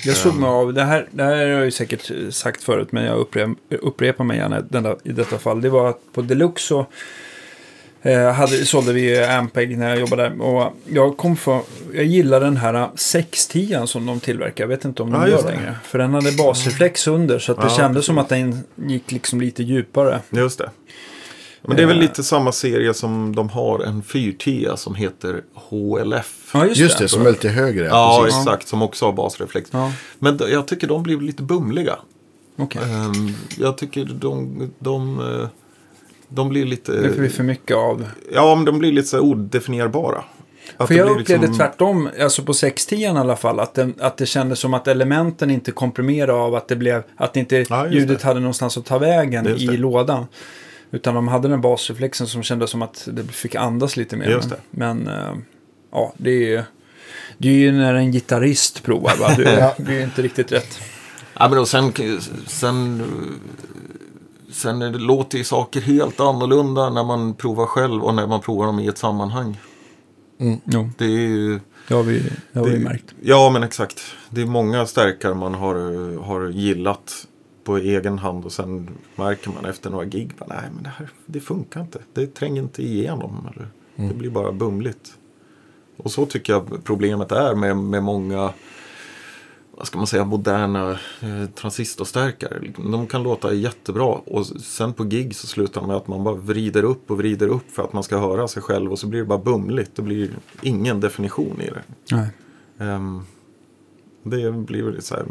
S1: Jag slog
S3: Ehm.
S1: mig av, det här, det här har jag ju säkert eh, sagt förut men jag upprepar, upprepar mig gärna i denna, i detta fall. Det var att på Deluxe så eh, hade, sålde vi ju Ampeg när jag jobbade där. Och jag, kom för, jag gillar den här eh, 610 som de tillverkar, jag vet inte om de
S3: Ja,
S1: gör
S3: just det.
S1: längre. För den hade basreflex under så att det
S3: Ja,
S1: kändes som att den gick liksom lite djupare.
S3: Just det. Men det är väl
S1: Eh.
S3: lite samma serie som de har en 410 som heter HLF.
S1: Ja, just,
S2: Just
S1: det.
S2: det, som är lite högre.
S3: Ja,
S2: precis.
S3: exakt. Som också har basreflex.
S1: Ja.
S3: Men d- jag tycker de blev lite bumliga.
S1: Okej.
S3: Ehm, jag tycker de, de, eh, de blir
S1: Det blir
S3: lite...
S1: för mycket av.
S3: Ja, men de blir lite så här odefinierbara. Att
S1: För
S3: det
S1: jag
S3: blir liksom-
S1: upplevde tvärtom, alltså på 610 i alla fall, att, den, att det kändes som att elementen inte komprimerade av att det blev, att inte
S3: Ja, just
S1: ljudet
S3: det.
S1: hade någonstans att ta vägen
S3: Just
S1: i
S3: det.
S1: lådan. Utan de hade den basreflexen som kändes som att det fick andas lite mer.
S3: Just
S1: Men, men, eh, ja, det är ju... Det är ju när en gitarrist provar, va? Du,
S2: Ja.
S1: det är ju inte riktigt rätt.
S3: Ja, men och sen, sen, sen är det- låter ju saker helt annorlunda när man provar själv och när man provar dem i ett sammanhang.
S1: Jo,
S3: Det är ju...
S1: det har vi, det har vi märkt.
S3: Ja, men exakt. Det är många stärkare man har, har gillat på egen hand och sen märker man efter några gig bara, nej men det här det funkar inte. Det tränger inte igenom. Eller, Det
S1: Mm.
S3: blir bara bumligt. Och så tycker jag problemet är med, med många vad ska man säga, moderna eh, transistorstärkare. De kan låta jättebra och sen på gig så slutar med att man bara vrider upp och vrider upp för att man ska höra sig själv och så blir det bara bumligt. Det blir ingen definition i det.
S1: Nej.
S3: Ehm, det blir väl så här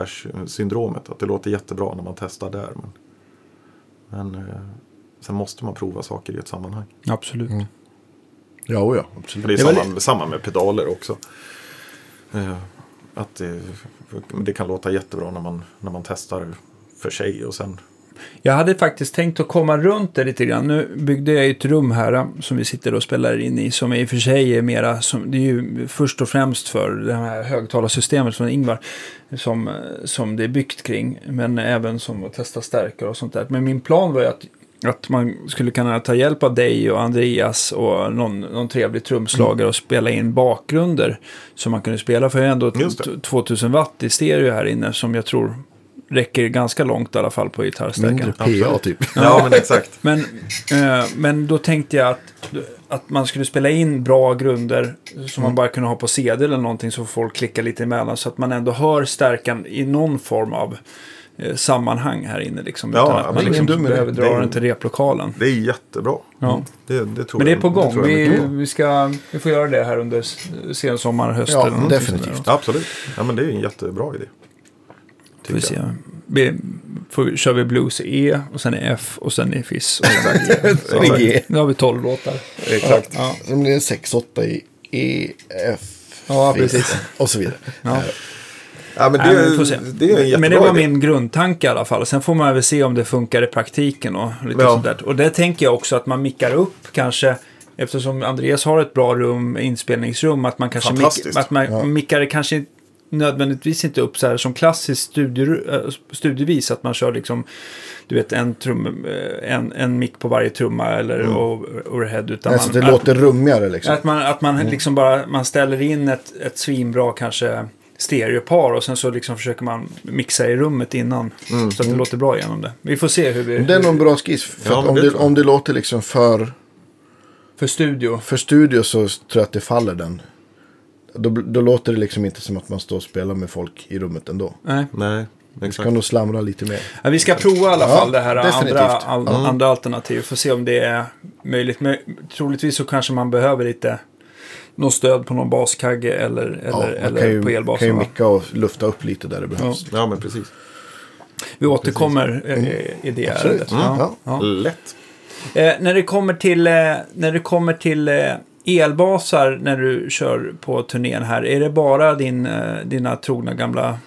S3: musikaffärssyndromet. Att det låter jättebra när man testar där. Men, men eh, sen måste man prova saker i ett sammanhang.
S1: Absolut.
S2: Ja, och ja,
S3: För det är
S2: absolut.
S1: var
S3: samma, samma med pedaler också. Eh, att det, det kan låta jättebra när man, när man testar för sig och sen
S1: Jag hade faktiskt tänkt att komma runt det lite grann. Nu byggde jag ju ett rum här eh, som vi sitter och spelar in i som i och för sig är mera, som, det är ju först och främst för det här högtalarsystemet från Ingvar som, eh, som det är byggt kring. Men även som att testa stärkare och sånt där. Men min plan var ju att att man skulle kunna ta hjälp av dig och Andreas och någon, någon trevlig trumslagare och spela in bakgrunder som man kunde spela. För jag har ändå
S3: Just det.
S1: t- 2000 watt i stereo här inne som jag tror räcker ganska långt i alla fall på gitarrstärkaren.
S2: Mindre PA typ.
S3: Ja men exakt.
S1: Men, eh, men då tänkte jag att, att man skulle spela in bra grunder som
S3: Mm.
S1: man bara kunde ha på CD eller någonting så folk klickar lite emellan så att man ändå hör stärkan i någon form av eh, sammanhang här inne. Liksom,
S3: Ja,
S1: utan att man
S3: men det är
S1: liksom
S3: en dum idé.
S1: behöver dra
S3: Det är en-
S1: den till replokalen.
S3: Det är jättebra. Mm.
S1: Ja.
S3: Det, det tror
S1: Men det är
S3: jag-
S1: på
S3: det
S1: gång.
S3: tror jag
S1: Vi,
S3: mycket på.
S1: vi, ska, vi får göra det här under s- sen sommar, höst.
S2: Ja,
S1: eller någonting
S2: definitivt.
S1: sånt där
S3: Absolut. Ja, men det är en jättebra idé.
S1: då. Får vi se vi, får, kör vi blues i E och sen i F och sen i Fiss. Och sen i E. Så,
S2: Sen i G.
S1: Nu har vi tolv låtar.
S2: Exakt. Ja. Sen blir det 6-8 i E, F,
S1: Ja,
S2: fis
S1: precis.
S2: och så vidare.
S1: Ja.
S3: Ja, men
S1: Nej,
S3: det,
S1: men vi får se.
S3: det är en jättebra
S1: men det var
S3: idé.
S1: min grundtanke i alla fall. Sen får man väl se om det funkar i praktiken och lite
S3: Ja.
S1: sånt där. Och det tänker jag också att man mickar upp kanske. Eftersom Andreas har ett bra rum, inspelningsrum, att man kanske
S3: Fantastiskt.
S1: mick, att man mickar det kanske nödvändigtvis inte upp så här som klassiskt studier, eh, studievis. Att man kör liksom, du vet, en, trum, eh, en, en mick på varje trumma eller
S3: Mm.
S1: o- overhead. Utan
S2: Alltså, det
S1: man, att-
S2: låter rummigare liksom.
S1: att man, att man liksom bara man ställer in ett, ett svinbra kanske stereopar och sen så liksom försöker man mixa i rummet innan.
S2: Mm.
S1: Så att det låter bra genom det. Vi får se hur vi...
S2: Det är någon bra skiss. För
S3: Ja,
S2: att
S3: men
S2: om,
S3: det
S2: det,
S3: tror jag.
S2: om det låter liksom för,
S1: För studio.
S2: för studio så tror jag att det faller den. Då, bl- då låter det liksom inte som att man står och spelar med folk i rummet ändå.
S1: Nej.
S3: Nej,
S2: Vi ska
S3: exakt.
S2: nog slamra lite mer.
S1: Ja, vi ska prova i alla
S2: Ja,
S1: fall det här
S2: definitivt. Mm.
S1: andra, all, andra alternativet. Får se om det är möjligt. Men troligtvis så kanske man behöver lite något stöd på någon baskagge eller,
S2: Ja,
S1: eller,
S2: man
S1: eller
S2: kan
S1: på
S2: ju, kan ju
S1: elbasen. va?
S2: micka och lufta upp lite där det behövs.
S3: Ja, men precis.
S1: Vi återkommer eh, i det ärendet.
S2: Mm, ja.
S1: Ja.
S3: Lätt.
S1: Eh, när det kommer till, eh, när det kommer till eh, elbasar när du kör på turnén här, är det bara din, eh, dina trogna gamla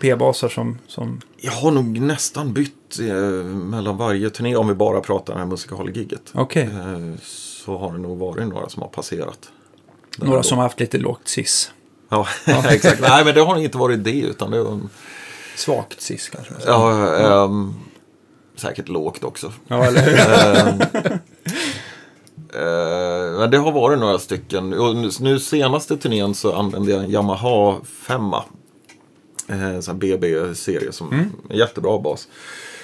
S1: P-basar som... som
S3: Jag har nog nästan bytt eh, mellan varje turné om vi bara pratar det här musikal-giget.
S1: Okej,
S3: Eh, så har det nog varit några som har passerat. Där
S1: några
S3: då.
S1: som har haft lite lågt sis.
S3: Ja, exakt. Nej, men det har inte varit det utan det var...
S1: Svagt sis kanske. man ska säga.
S3: Ja, ehm, säkert lågt också.
S1: Ja, eller hur?
S3: Ehm, eh, men det har varit några stycken. Och nu, nu senaste turnén så använde jag en Yamaha 5. Eh, en sån BB-serie som en jättebra bas.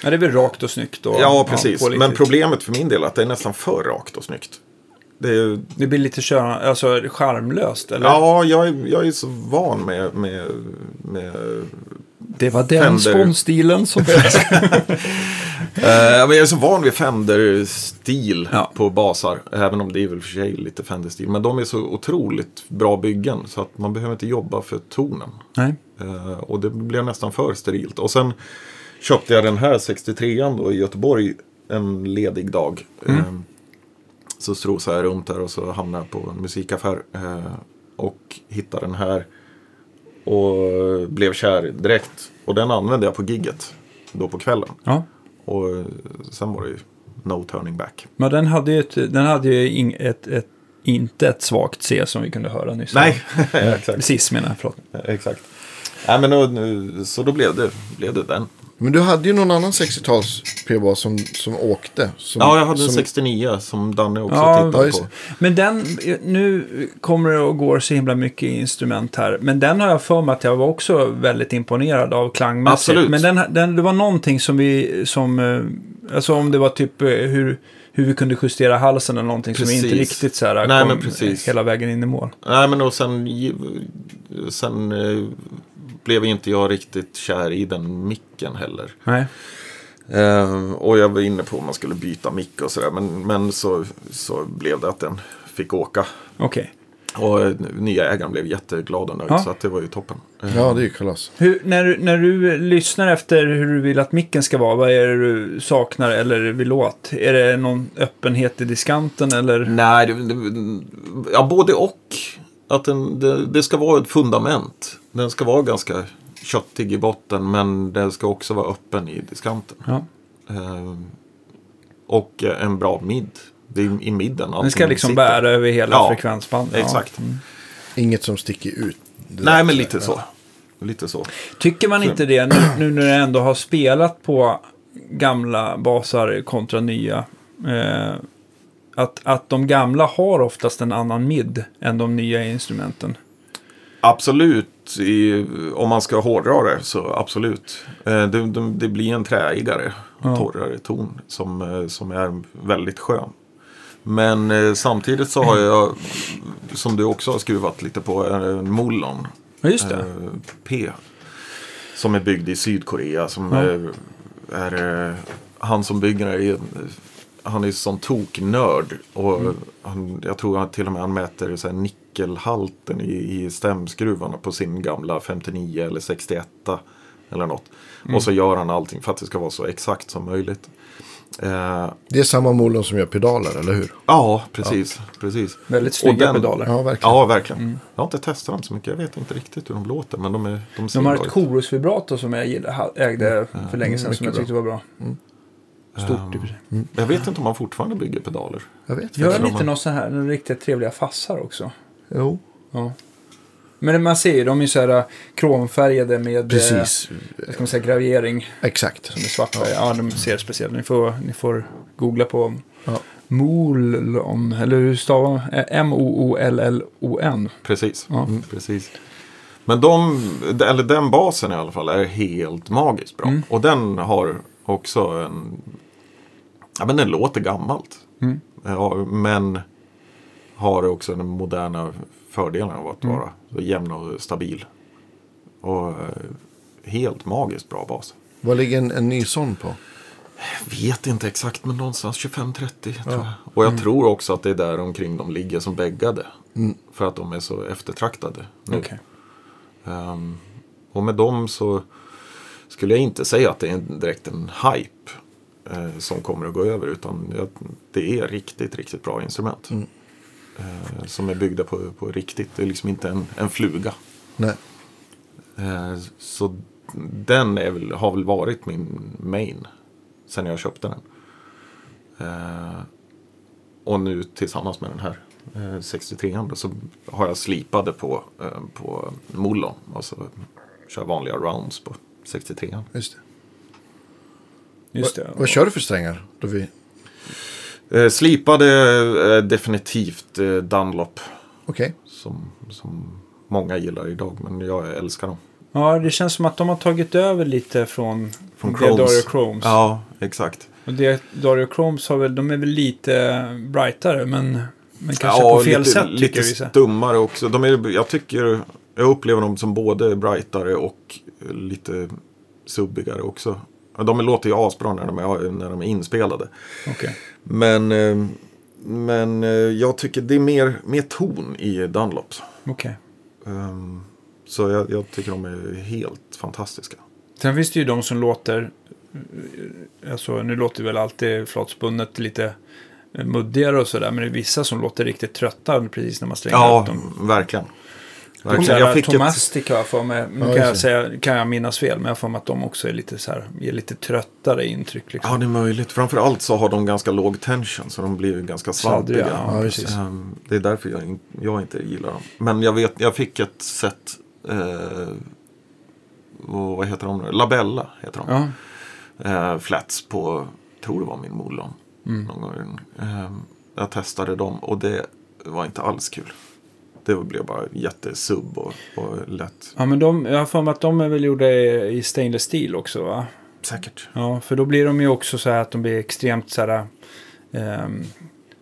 S1: ja, det är väl rakt och snyggt och
S3: Ja, precis.
S1: pålitligt.
S3: men problemet för min del är att det är nästan för rakt och snyggt. Det är, ju-
S1: Det blir lite kör, alltså, charmlöst, eller?
S3: ja, jag är, jag är så van med, med, med
S1: det var den
S3: Fender.
S1: sponstilen som...
S3: Eh, men jag är så van vid Fender-stil
S1: Ja.
S3: på basar. Även om det är väl för sig lite Fender-stil. Men de är så otroligt bra byggen. Så att man behöver inte jobba för tonen.
S1: Nej.
S3: Eh, och det blev nästan för sterilt. Och sen köpte jag den här 63an då i Göteborg en ledig dag. Eh, så strosade jag runt där och så hamnade jag på en musikaffär. Eh, och hittade den här. Och blev kär direkt. Och den använde jag på gigget. Då på kvällen.
S1: Ja.
S3: Och eh, sen var det ju no turning back.
S1: Men den hade ju, ett, den hade ju ing, ett, ett, inte ett svagt C som vi kunde höra nyss.
S3: exakt.
S1: Sis menar jag, förlåt.
S3: Eh, exakt. Nej, men, och, nu- så då blev det, blev det den.
S2: Men du hade ju någon annan 60-tals P-bas som, som åkte. Som,
S3: Ja, jag hade en
S2: som,
S3: 69 som Danne också
S1: Ja,
S2: ja,
S3: tittade
S2: just
S3: på.
S1: Men den, nu kommer det och går så himla mycket instrument här. Men den har jag för mig att jag var också väldigt imponerad av klangmässigt.
S3: Absolut.
S1: Men den, den, det var någonting som vi, som, eh, alltså om det var typ eh, hur, hur vi kunde justera halsen eller någonting
S3: Precis.
S1: som inte riktigt så här
S3: Nej,
S1: kom
S3: men precis.
S1: hela vägen in i mål.
S3: Nej, men och sen, sen eh, blev inte jag riktigt kär i den micken heller.
S1: Nej.
S3: Eh, och jag var inne på om man skulle byta mick och sådär. Men, men så, så blev det att den fick åka.
S1: Okej.
S3: Och eh, nya ägaren blev jätteglad och nöjd.
S1: Ja.
S3: Så att det var ju toppen. Eh,
S2: Ja, det är ju kalas.
S1: Hur, när, du- när du lyssnar efter hur du vill att micken ska vara, vad är det du saknar eller vill åt? Är det någon öppenhet i diskanten eller?
S3: Nej, det, det, ja, både och. Att den, det, det ska vara ett fundament. Den ska vara ganska köttig i botten men den ska också vara öppen i diskanten.
S1: Ja.
S3: Ehm, och eh, en bra midd. Det är i midden
S1: Den ska
S3: allting
S1: liksom
S3: sitter.
S1: bära över hela
S3: Ja,
S1: frekvensbandet. Ja.
S3: Exakt.
S2: Inget som sticker ut. Det
S3: Nej,
S2: där.
S3: men lite så. Lite så.
S1: Tycker man inte det nu, nu när du ändå har spelat på gamla basar kontra nya? Eh, att, att de gamla har oftast en annan mid än de nya instrumenten.
S3: Absolut, i, om man ska hårdra det så absolut. Eh, det, det, det blir en träigare,
S1: Ja.
S3: torrare ton som, eh, som är väldigt skön. Men eh, samtidigt så har jag, som du också har skruvat lite på, eh, en Molon
S1: Ja, just det.
S3: eh, P. Som är byggd i Sydkorea. Som
S1: Ja.
S3: eh, är, eh, han som bygger den är, han är sån toknörd. Och
S1: Mm.
S3: han, jag tror att till och med han mäter så här nickelhalten i, i stämskruvarna på sin gamla 59 eller 61. eller något.
S1: Mm.
S3: Och så gör han allting för att det ska vara så exakt som möjligt. Eh,
S2: Det är samma Molon som gör pedaler, eller hur?
S3: ja, precis. precis.
S1: Väldigt
S3: Och
S1: snygga
S3: den-
S1: pedaler.
S2: Ja, verkligen.
S3: Ja, verkligen.
S1: Mm.
S3: Jag har inte testat dem så mycket. Jag vet inte riktigt hur de låter. Men de, är, de ser
S1: De har
S3: bra
S1: ett
S3: ut.
S1: chorusvibrato som jag gillade, ha- ägde för länge sedan som jag tyckte var Mm, bra. Mm. Stort i och för sig.
S3: Jag vet inte om man fortfarande bygger pedaler.
S2: Jag vet
S1: Gör
S2: faktiskt.
S1: de inte någon sån här, några riktigt trevliga fassar också?
S2: Jo,
S1: Ja. Men man ser ju, de är ju så här äh, kromfärgade med eh,
S2: precis.
S1: vad ska man säga, gravering
S2: Exakt.
S1: med svartfärg. Ja. de ser speciella. Ni får, ni får googla på
S2: Ja.
S1: Molon, eller hur stavar man? Eh, M-O-O-L-L-O-N.
S3: Precis.
S1: Ja.
S3: Mm, precis. Men de, eller den basen i alla fall är helt magiskt bra. Och den har också en... Ja, men den låter gammalt. Ja, men har också den moderna fördelen av att vara så jämn och stabil. Och eh, helt magiskt bra bas.
S2: Vad ligger en, en ny sån på?
S3: vet inte exakt, men någonstans 25-30 tror jag. Och jag tror också att det är där omkring de ligger som bäggade. För att de är så eftertraktade nu.
S1: Okej.
S3: Ehm, och med dem så skulle jag inte säga att det är en, direkt en hype eh, som kommer att gå över. Utan jag, det är riktigt, riktigt bra instrument. Eh, som är byggda på, på riktigt. Det är liksom inte en, en fluga.
S2: Nej.
S3: Eh, Så den är väl, har väl varit min main sen jag köpte den. Eh, Och nu tillsammans med den här eh, 63an då, så har jag slipade på, eh, på Moulon. Och så kör vanliga rounds på 63an.
S2: Just det.
S1: Just det.
S2: Vad kör du för strängar? Då vi...
S3: Eh, Slipade eh, definitivt eh, Dunlop
S2: Okej.
S3: som, som många gillar idag men jag älskar dem.
S1: Ja, det känns som att de har tagit över lite från,
S3: Från
S1: det
S3: Chromes.
S1: Dario Chromes.
S3: Ja, exakt.
S1: Och det Dario Chromes har väl, de är väl lite brightare, men, men kanske på fel
S3: lite,
S1: sätt tycker
S3: lite
S1: vissa.
S3: stummare också. De är, jag, tycker, jag upplever dem som både brightare och lite subbigare också. Ja, De låter ju asbra när de är, när de är inspelade.
S1: Okej.
S3: Men, eh, men eh, jag tycker det är mer, mer ton i Dunlops.
S1: Okej.
S3: Ehm, Så jag, jag tycker de är helt fantastiska.
S1: Sen finns det ju de som låter, eh, alltså nu låter väl alltid flatspunnet lite eh, muddigare och sådär, men det är vissa som låter riktigt trötta precis när man slänger upp dem.
S3: verkligen.
S1: Och
S3: verkligen.
S1: sådär,
S3: Jag fick ett,
S1: Tomastic har jag för mig, nu
S2: Ja,
S1: kan,
S2: just
S1: jag
S2: det.
S1: säga, kan jag minnas fel, men jag får för mig att de också är lite, så här, ger lite tröttare intryck. Liksom.
S3: ja, det är möjligt. Framförallt så har de ganska låg tension så de blir ju ganska svampiga.
S1: Sladdriga, ja.
S2: Ja, precis.
S3: Ehm, det är därför jag, in, jag inte gillar dem. Men jag, vet, jag fick ett set, eh, och vad heter de nu? Labella heter de.
S1: Ja.
S3: Eh, flats på, tror det var min Molon.
S2: Mm.
S3: Någon gång. Ehm, jag testade dem och det var inte alls kul. Det blev bara jättesubb och, och lätt.
S1: Ja, men de, jag har för mig att de är väl gjorda i i stainless steel också, va?
S3: Säkert.
S1: Ja, för då blir de ju också så här att de blir extremt så här, ehm,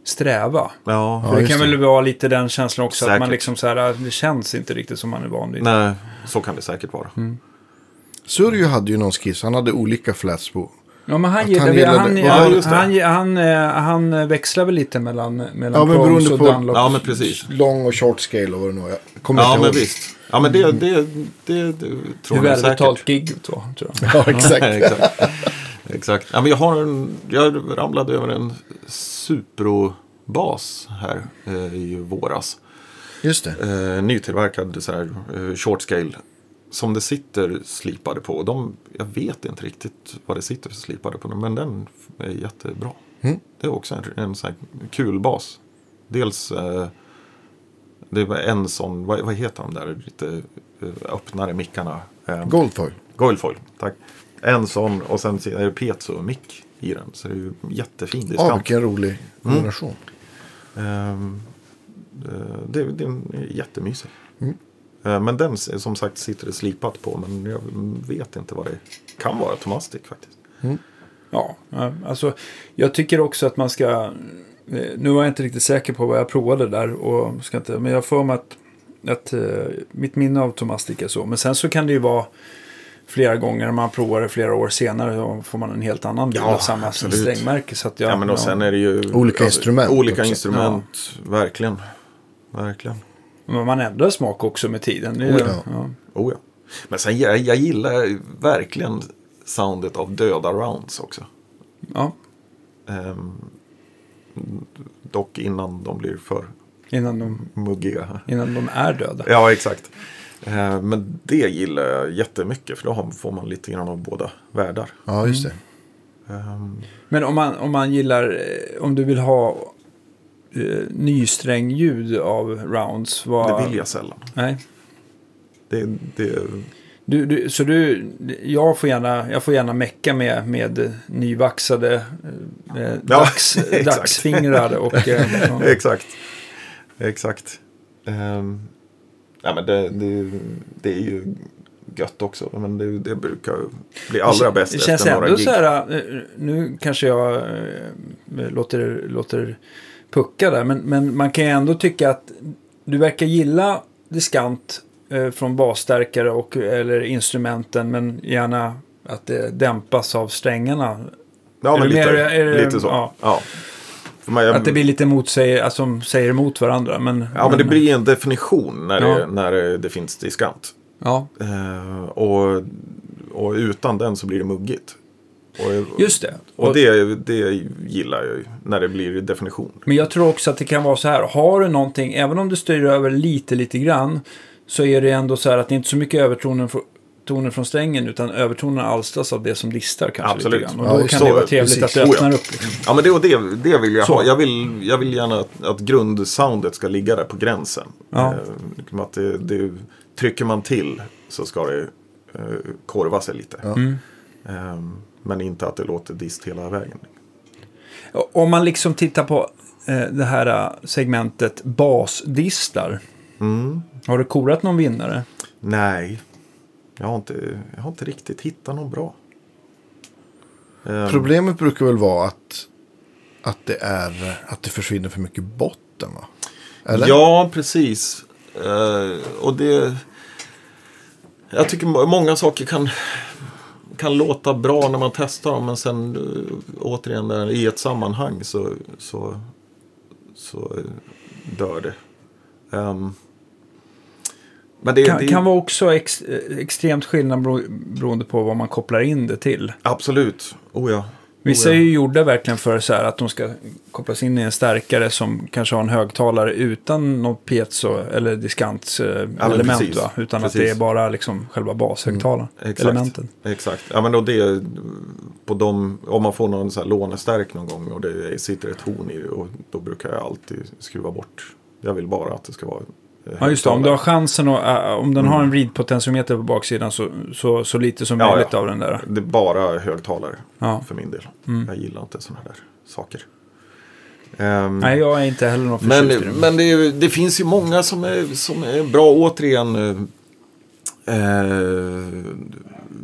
S1: sträva.
S3: Ja,
S2: Ja,
S1: För det
S2: just
S1: kan
S2: det.
S1: väl vara lite den känslan också, att man
S3: Säkert.
S1: liksom så här, det känns inte riktigt som man är van vid.
S3: nej, så kan det säkert vara.
S2: Mm. Surjo hade ju någon skiss. Han hade olika flats på.
S1: Ja, men han,
S2: Att
S1: gillar,
S2: han
S1: han,
S2: gillade-
S1: han,
S3: Ja,
S1: han,
S3: just det.
S1: han, eh, han växlar väl lite mellan, mellan
S2: Ja, men
S1: Chromes
S2: beroende
S1: och
S2: på-
S1: Dunlop.
S3: Ja, men precis.
S2: Lång och short scale och vad det nu var. Jag kommer
S3: Ja,
S2: inte
S3: men
S2: ihåg.
S3: visst. Ja, men det, det, det, det tror
S1: Hur
S3: jag säkert.
S1: välbetalt gig då, tror jag.
S2: Ja, exakt.
S3: Exakt. Exakt. Ja, men jag, har en, jag ramlade över en Supro-bas här eh, i våras.
S2: Just det.
S3: Eh, nytillverkad så här, eh, short scale. Som det sitter slipade på. De, jag vet inte riktigt vad det sitter för slipade på den. Men den är jättebra. Det är också en, en sån här kul bas. Dels eh, det var en sån, vad, vad heter de där lite eh, öppnare mickarna? Eh,
S2: Goldfoil.
S3: Goilfoil, tack. En sån och sen är det piezo-mick i den. Så det är ju jättefin
S2: Ja,
S3: diskant.
S2: vilken rolig
S3: Mm.
S2: kombination.
S3: Ehm, eh, det, det är jättemysig.
S2: Mm.
S3: Eh, Men den s- som sagt sitter det slipat på. Men jag vet inte vad det kan vara. Tomastic faktiskt.
S1: Ja, ja, alltså jag tycker också att man ska... eh, Nu var jag inte riktigt säker på vad jag provade där, och ska inte, men jag får mig att, att eh, mitt minne av Tomastic är så. Men sen så kan det ju vara flera gånger, när man provar det flera år senare, då får man en helt annan bild
S3: Ja,
S1: av samma
S3: absolut.
S1: strängmärke. Så att jag,
S3: Ja, men och sen är det ju alltså,
S2: Olika instrument
S3: Olika
S2: också.
S3: instrument, verkligen. Verkligen.
S1: men man ändrar smak också med tiden. Det är-
S2: Oh ja.
S1: ja.
S3: Oh ja. Men sen, jag, jag gillar verkligen soundet av döda rounds också.
S1: Ja,
S3: Ehm, dock innan de blir för
S1: innan de,
S3: muggiga.
S1: innan de är döda.
S3: Ja, exakt. Eh, Men det gillar jag jättemycket för då har- får man lite grann av båda världar.
S2: Ja, just det.
S3: Mm. Ehm,
S1: Men om man, om man gillar, eh, om du vill ha eh, nysträngljud av rounds. Vad,
S3: Det vill jag sällan.
S1: Nej.
S3: Det, det,
S1: Du, du, så du, jag får gärna, jag får gärna mecka med, med nyvaxade eh, eh, dags,
S3: exakt.
S1: dagsfingrar. Och, eh, ja.
S3: Exakt. Exakt. Ehm, nej, men det, det, det är ju gött också. Men det, det brukar bli allra bäst
S1: Det känns
S3: efter några
S1: ändå
S3: gig.
S1: så här, eh, nu kanske jag eh, låter, låter pucka där, men, men man kan ju ändå tycka att du verkar gilla diskant eh, från basstärkare och, eller instrumenten, men gärna att det dämpas av strängarna.
S3: ja,
S1: är
S3: men
S1: det
S3: lite,
S1: mer- är det-
S3: lite så.
S1: ja.
S3: Ja. För man- jag-
S1: Att det blir lite motsäger, alltså som säger emot varandra. Men,
S3: Ja, men det blir en definition när,
S1: Ja.
S3: det, när det, det finns diskant.
S1: Ja,
S3: Eh, och, och utan den så blir det muggigt. Och,
S1: just det.
S3: och det, det gillar jag ju, när det blir definition.
S1: Men jag tror också att det kan vara så här, har du någonting, även om du styr över lite, lite grann, så är det ändå så här att det är inte så mycket övertoner från, toner från strängen, utan övertonerna alstras av det som distar kanske
S3: Absolut.
S1: lite grann. Och
S3: Ja,
S1: då
S3: just
S1: kan
S3: så,
S1: det vara trevligt
S3: precis.
S1: att det
S3: Oh ja.
S1: öppnar upp. Liksom.
S3: Ja, men det, och det, det vill jag
S1: Så.
S3: ha. Jag vill, jag vill gärna att, att grundsoundet ska ligga där på gränsen.
S1: Ja.
S3: Eh, liksom att det, det, trycker man till så ska det eh, korva sig lite. Eh, men inte att det låter dist hela vägen.
S1: Om man liksom tittar på eh, det här eh, segmentet basdistar.
S3: Mm.
S1: Har du korat någon vinnare?
S3: Nej, jag har inte, jag har inte riktigt hittat någon bra. Eh,
S2: Problemet brukar väl vara att, att, det är, att det försvinner för mycket botten, va? Eller?
S3: Ja, precis. Eh, och det... Jag tycker må- många saker kan, kan låta bra när man testar dem men sen eh, återigen eh, i ett sammanhang så, så, så eh, dör det. Ehm, men det,
S1: Kan,
S3: det
S1: kan vara också ex, eh, extremt skillnad bero, beroende på vad man kopplar in det till.
S3: Absolut. Oh ja.
S1: Vissa
S3: Oh
S1: är
S3: ja.
S1: ju gjorda verkligen för så här att de ska kopplas in i en stärkare som kanske har en högtalare utan något piezo eller diskants eh,
S3: men
S1: element
S3: precis.
S1: va? Utan att det
S3: Precis. Mm,
S1: är bara liksom själva bashögtalaren,
S3: Exakt.
S1: elementen.
S3: Exakt. Ja, men då det, på dem, om man får någon så här lånestärk någon gång och det sitter ett horn i det, och då brukar jag alltid skruva bort. Jag vill bara att det ska vara eh,
S1: Ja just det, om du
S3: högtalare. Mm.
S1: har chansen och eh, om den har en vridpotentiometer på baksidan så, så, så lite som
S3: Ja,
S1: möjligt
S3: ja.
S1: av den där.
S3: Det är bara högtalare
S1: Ja. Mm.
S3: för min del. Jag gillar inte sådana här där saker. Ehm,
S1: Nej, jag är inte heller någon
S3: Men,
S1: förtjust i det.
S3: men det, är ju- det finns ju många som är, som är bra. Återigen eh, eh,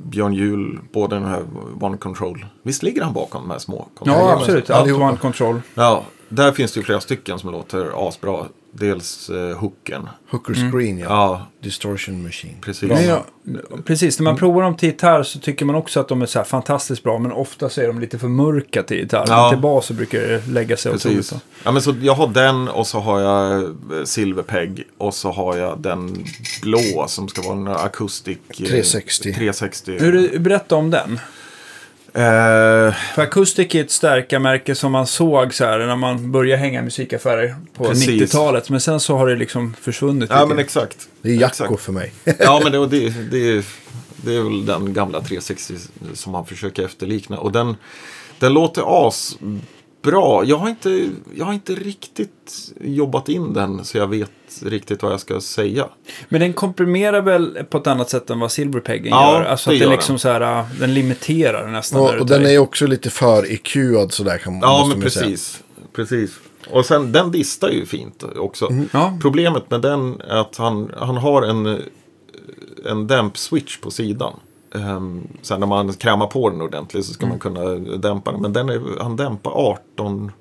S3: Björn Juhl på den här One Control. Visst ligger han bakom de här små kontrollerna?
S1: Ja, absolut. Allt
S2: Allihopa.
S1: one control.
S3: Ja, där finns det ju flera stycken som låter asbra. Dels eh, hooken.
S2: Hooker screen, ja.
S3: Mm. Ja,
S2: Distortion machine.
S3: precis.
S1: Men jag, precis,
S3: Mm.
S1: när man provar dem till gitarr så tycker man också att de är så här fantastiskt bra, men ofta så är de lite för mörka till gitarr.
S3: Ja.
S1: Men till bas så brukar det lägga sig otroligt.
S3: precis.
S1: då.
S3: Ja, men så jag har den och så har jag eh, Silverpeg och så har jag den blå som ska vara en akustik... eh,
S2: 360.
S3: 360.
S1: Hur, berätta om den.
S3: Eh,
S1: För Acoustic är ett stärkarmärke som man såg så här när man började hänga i musikaffärer på
S3: Precis.
S1: 90-talet. Men sen så har det liksom försvunnit
S3: ja,
S1: lite.
S3: men exakt.
S2: Det är Jacko
S3: Exakt.
S2: för mig.
S3: Ja, men det, det, det, det är väl den gamla 360 som man försöker efterlikna. Och den, den låter asbra. Jag har, inte, jag har inte riktigt jobbat in den så jag vet riktigt vad jag ska säga.
S1: Men den komprimerar väl på ett annat sätt än vad Silverpeggen
S3: Ja,
S1: gör. Alltså
S3: det
S1: att den
S3: gör den.
S1: liksom så här, äh, den limiterar nästan. när
S2: och,
S1: du
S2: och
S1: tar
S2: den
S1: i.
S2: är ju också lite för EQad sådär kan man
S3: Ja,
S2: måste
S3: men
S2: man ju säga.
S3: precis. precis. Och sen den distar ju fint också.
S2: Mm,
S1: Ja.
S3: Problemet med den är att han, han har en, eh, en dämpswitch på sidan. Ehm, sen när man kramar på den ordentligt så ska
S2: Mm.
S3: man kunna dämpa den. Men den är, han dämpar 18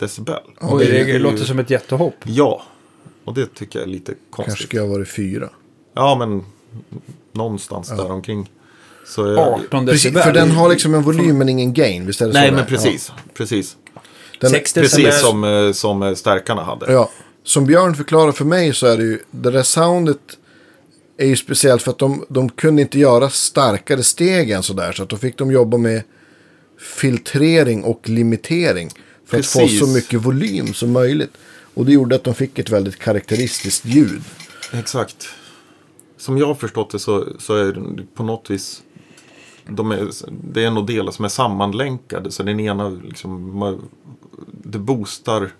S3: decibel.
S1: Oj, det,
S3: är ju-
S1: låter som ett jättehopp.
S3: Ja, och det tycker jag är lite
S2: Kanske
S3: konstigt.
S2: ska jag vara i fyra.
S3: Ja, men någonstans där omkring. Så jag-
S1: 18
S2: Precis,
S1: decibel.
S2: för den har liksom en volym men ingen gain, visst är det så?
S3: Nej,
S2: där?
S3: men precis. Precis,
S2: Ja, den,
S1: 60 decibel.
S3: precis som, eh, som eh, stärkarna hade.
S2: ja. Som Björn förklarar för mig så är det ju, det där soundet är ju speciellt för att de, de kunde inte göra starkare steg än sådär. Så att då fick de jobba med filtrering och limitering. För att
S3: Precis.
S2: få så mycket volym som möjligt. Och det gjorde att de fick ett väldigt karaktäristiskt ljud.
S3: Exakt. Som jag har förstått det så, så är det på något vis de är, det är nog delar som är sammanlänkade. Så den ena liksom, man- det boostar,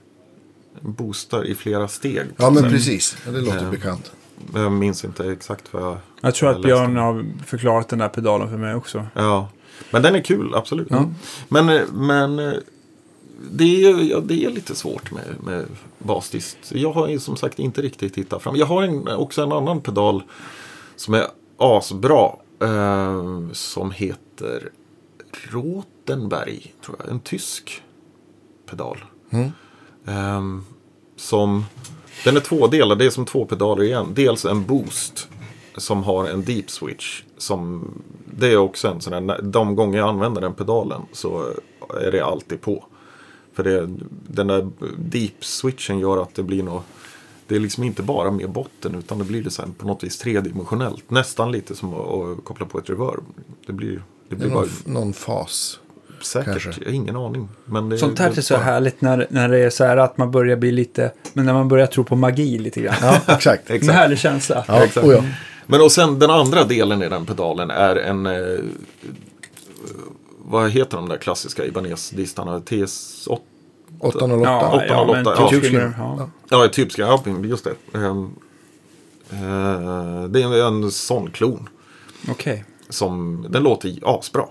S3: boostar i flera steg.
S2: Ja men precis, Mm. ja, det låter
S3: Ja.
S2: bekant.
S3: Men Jag minns inte exakt vad jag...
S1: Jag tror att
S3: läste.
S1: Björn har förklarat den där pedalen för mig också.
S3: Ja. Men den är kul, absolut.
S1: Ja.
S3: Men, eh, men eh, det är, ju- ja, det är lite svårt med, med basdist. Jag har ju som sagt inte riktigt hittat fram. Jag har en, också en annan pedal som är asbra. Eh, som heter Rotenberg, tror jag. En tysk pedal.
S1: Mm.
S3: Ehm, som, den är tvådelad, det är som två pedaler igen. Dels en boost som har en deep switch. Som, det är också en sån där, när- de gånger jag använder den pedalen så är det alltid på. För det, den där deep switchen gör att det blir något det är liksom inte bara med botten utan det blir det sen på något vis tredimensionellt. Nästan lite som att, att koppla på ett reverb. Det blir, det
S2: Det är
S3: blir bara
S2: någon, någon fas.
S3: säkert,
S2: kanske.
S3: jag har ingen aning. Men det,
S1: Sånt här
S3: det-
S1: är så härligt när, när det är så här att man börjar bli lite, men när man börjar tro på magi lite grann.
S2: Ja, exakt.
S1: En härlig känsla.
S2: Ja,
S3: Exakt.
S2: och ja.
S3: Men och sen den andra delen i den pedalen är en eh, vad heter de där klassiska Ibanez-distarna? TS8?
S2: 808.
S1: Ja,
S3: Åtta
S1: ja,
S3: noll
S1: men
S3: åtta, ja.
S1: typ
S2: Tusen.
S1: skimmer, ja.
S2: Ja.
S3: Ja, typiska Alpin, just det. Ehm, eh, det är en sån klon.
S1: Okej.
S3: Som, den låter ju asbra.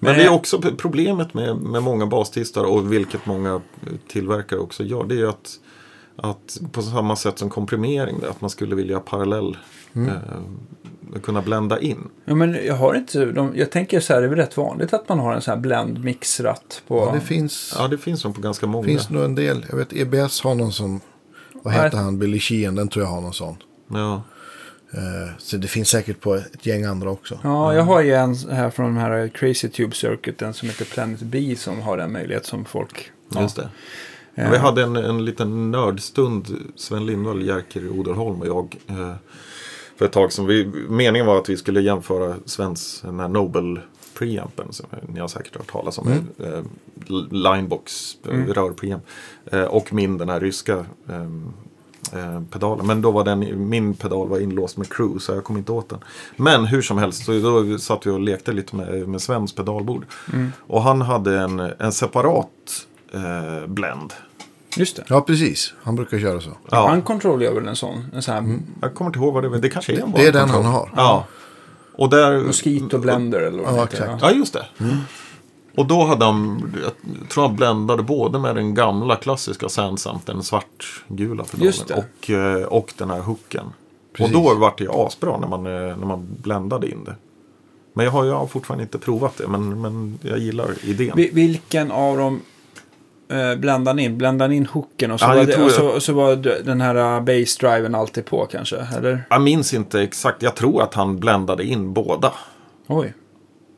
S3: Men
S1: Men-
S3: det är också p- problemet med, med många bastistar och vilket många eh, tillverkare också gör. Det är ju att, att på samma sätt som komprimering, att man skulle vilja parallell eh, kunna blända in.
S1: Ja, men jag har inte, de, jag tänker så här, det är väl rätt vanligt att man har en sån här blend mixratt på.
S2: Ja, det finns,
S3: Ja, det finns de på ganska många.
S2: finns nog en del. Jag vet EBS har någon som, vad
S1: Nej.
S2: heter han, Billy Sheehan, den tror jag har någon sån.
S3: Ja.
S2: Eh, Så det finns säkert på ett gäng andra också.
S1: Ja, jag har ju en här från den här Crazy Tube Circuit, den som heter Planet B som har den möjlighet som folk...
S3: Just det. Vi
S1: Eh.
S3: hade en, en liten nördstund, Sven Lindvall, Jerker Odelholm och jag. Eh, för ett tag sedan. Vi, meningen var att vi skulle jämföra Svens den här Nobel preampen som ni har säkert hört talas om. Eh, L- Linebox eh, rörpreamp. Eh, och min den här ryska ehm, eh, pedalen. Men då var den, min pedal var inlåst med crew så jag kom inte åt den. Men hur som helst, så då satt vi och lekte lite med, med Svens pedalbord. Och han hade en, en separat eh, blend.
S1: Just det.
S2: Ja, precis. Han brukar köra så.
S3: Ja.
S1: Han kontroll gör väl en sån, en sån här
S3: Jag kommer inte ihåg vad det var. Det kanske är en
S2: Det är den
S3: vanlig
S2: han har.
S3: Ja. Och där...
S1: Mosquito-blender eller vad
S2: Ja,
S1: heter.
S2: exakt.
S3: Ja, just det.
S2: Mm.
S3: Och då hade han, jag tror han bländade både med den gamla klassiska Sansamt, den svartgula
S1: Just det.
S3: pedalen, och, eh, och den här hooken.
S2: Precis.
S3: Och då vart det ju asbra när man, eh, när man bländade in det. Men jag har, jag har fortfarande inte provat det, men, men jag gillar idén.
S1: Vi- Vilken av dem eh, bländar ni in? Bländar ni in hooken och så,
S3: Ja,
S1: var
S3: jag
S1: det,
S3: tror
S1: och
S3: jag-
S1: så, och så var d- den här eh, bass-driven alltid på kanske? Eller?
S3: Jag minns inte exakt, jag tror att han bländade in båda.
S1: Oj.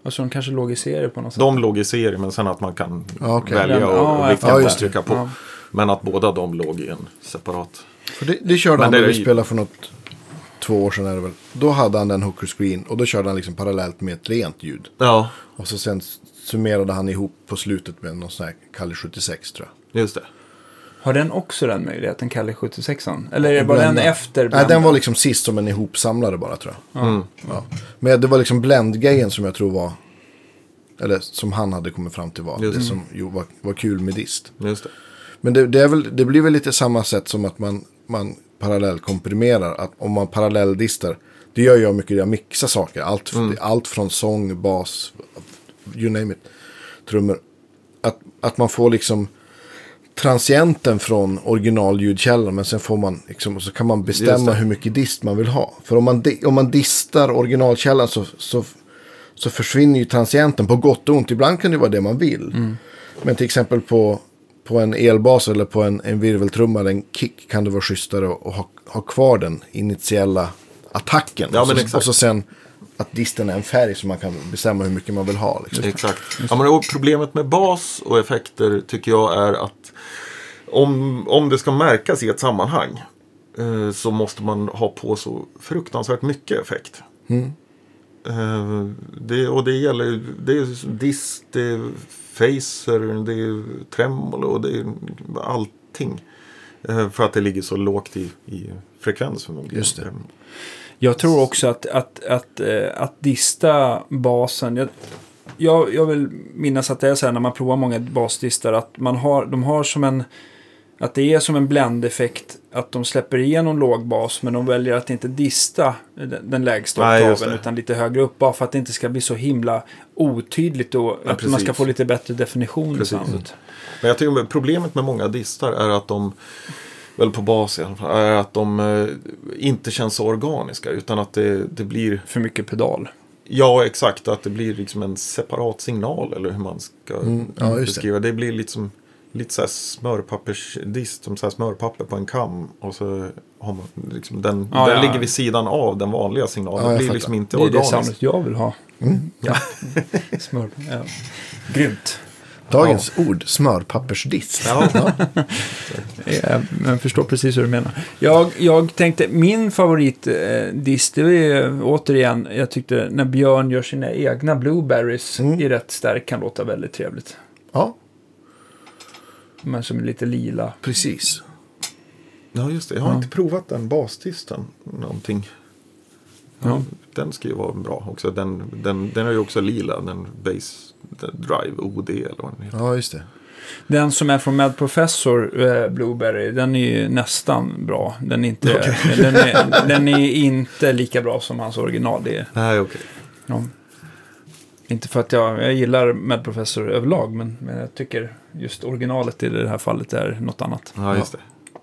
S1: Alltså de kanske låg i serie på något sätt.
S3: De låg i serie, men sen att man kan
S2: Ja, okej.
S3: välja
S1: Den-
S3: och,
S1: ja,
S3: och
S1: jag
S3: vilka
S2: fattar.
S3: man
S2: Ja,
S3: trycker på.
S1: ja.
S3: Men att båda de låg i en separat.
S2: För det, det körde
S3: Men
S2: han
S3: det
S2: när
S3: är
S2: vi
S3: ju-
S2: spelade för något, två år sedan är det väl. Då hade han den hooker screen och då körde han liksom parallellt med ett rent ljud.
S3: Ja,
S2: Och så sen summerade han ihop på slutet med någon sån här Kalle 76 tror jag.
S3: just det.
S1: Har den också den möjligheten, Kalle 76 Eller är det bara
S2: Blända.
S1: den efter?
S2: Nej, den
S1: blenden?
S2: var liksom sist som en ihopsamlare bara tror jag. Mm. Ja. Men det var liksom blendgrejen som jag tror var, eller som han hade kommit fram till var,
S3: Just
S2: det
S3: det.
S2: som jo, var, var kul med dist.
S3: Just det.
S2: Men det, det, är väl, det blir väl lite samma sätt som att man, man parallellkomprimerar. Att om man parallelldistar, det gör jag mycket, jag mixar saker. Allt, allt från sång, bas, you name it, trummor. Att, att man får liksom transienten från originalljudkällan men sen får man liksom, och så kan man
S3: Just
S2: bestämma
S3: det.
S2: hur mycket dist man vill ha. För om man, di- om man distar originalkällan så, så, så försvinner ju transienten på gott och ont. Ibland kan det vara det man vill.
S3: Mm.
S2: Men till exempel på, på en elbas eller på en, en virveltrumma eller en kick kan det vara schysstare att att ha, ha kvar den initiella attacken.
S3: Ja,
S2: och,
S3: men
S2: så,
S3: exakt.
S2: och så sen att disten är en färg som man kan bestämma hur mycket man vill ha. Liksom.
S3: Exakt. Ja, men och problemet med bas och effekter tycker jag är att om, om det ska märkas i ett sammanhang eh, eh, så måste man ha på så fruktansvärt mycket effekt.
S2: Mm.
S3: Eh, det, och det gäller ju- det är diss, det är facer, det är tremolo och det är allting. Eh, för att det ligger så lågt i, i frekvens förmodligen.
S2: Just det.
S1: Jag tror också att, att, att, eh, att dista basen. Jag, jag, jag vill minnas att det är så här när man provar många basdistar. Att man har, de har som en... Att det är som en bländeffekt. Att de släpper igenom låg bas. Men de väljer att inte dista den, den lägsta
S3: Nej, just
S1: oktaven.
S3: det.
S1: Utan lite högre upp. Bara för att det inte ska bli så himla otydligt. Och att man ska
S3: precis.
S1: få lite bättre definition
S3: Precis.
S1: i soundet.
S3: Men jag tycker problemet med många distar är att de, väl på bas i alla fall, är att de eh, inte känns så organiska. Utan att det, det blir,
S1: För mycket pedal.
S3: ja exakt, att det blir liksom en separat signal eller hur man ska
S2: Mm, ja, just det.
S3: beskriva. Det. blir liksom lite så här smörpappersdist, som så här smörpapper på en kam. Och så har man liksom den,
S1: Ja,
S3: den
S1: ja.
S3: ligger vid sidan av den vanliga signalen.
S2: Ja, jag
S3: det blir
S2: fattar.
S3: liksom inte
S1: Det är det
S3: organiskt. Mm.
S1: soundet jag vill ha. Ja. Smör. Ja. Grymt.
S2: Dagens ord, smörpappersdisk.
S3: Ja,
S1: Ja, men Eh, jag förstår precis hur du menar. Jag, jag tänkte, min favoritdist, det är ju återigen, jag tyckte när Björn gör sina egna blueberries i rätt stärk kan låta väldigt trevligt.
S2: Ja,
S1: Men som är lite lila.
S2: precis.
S3: ja, just det. Jag har inte provat den basdisten någonting.
S1: Ja.
S3: Den ska ju vara bra också. Den, den, den är ju också lila, den Base den Drive OD eller vad den heter.
S2: Ja, just det.
S1: Den som är från Mad Professor, eh, Blueberry, den är ju nästan bra. Den är, inte, den, är, den är inte lika bra som hans original. Det är,
S3: Nej, okej.
S1: ja. Inte för att jag, jag gillar Mad Professor överlag, men, men jag tycker just originalet i det här fallet är något annat.
S3: Ja, just det.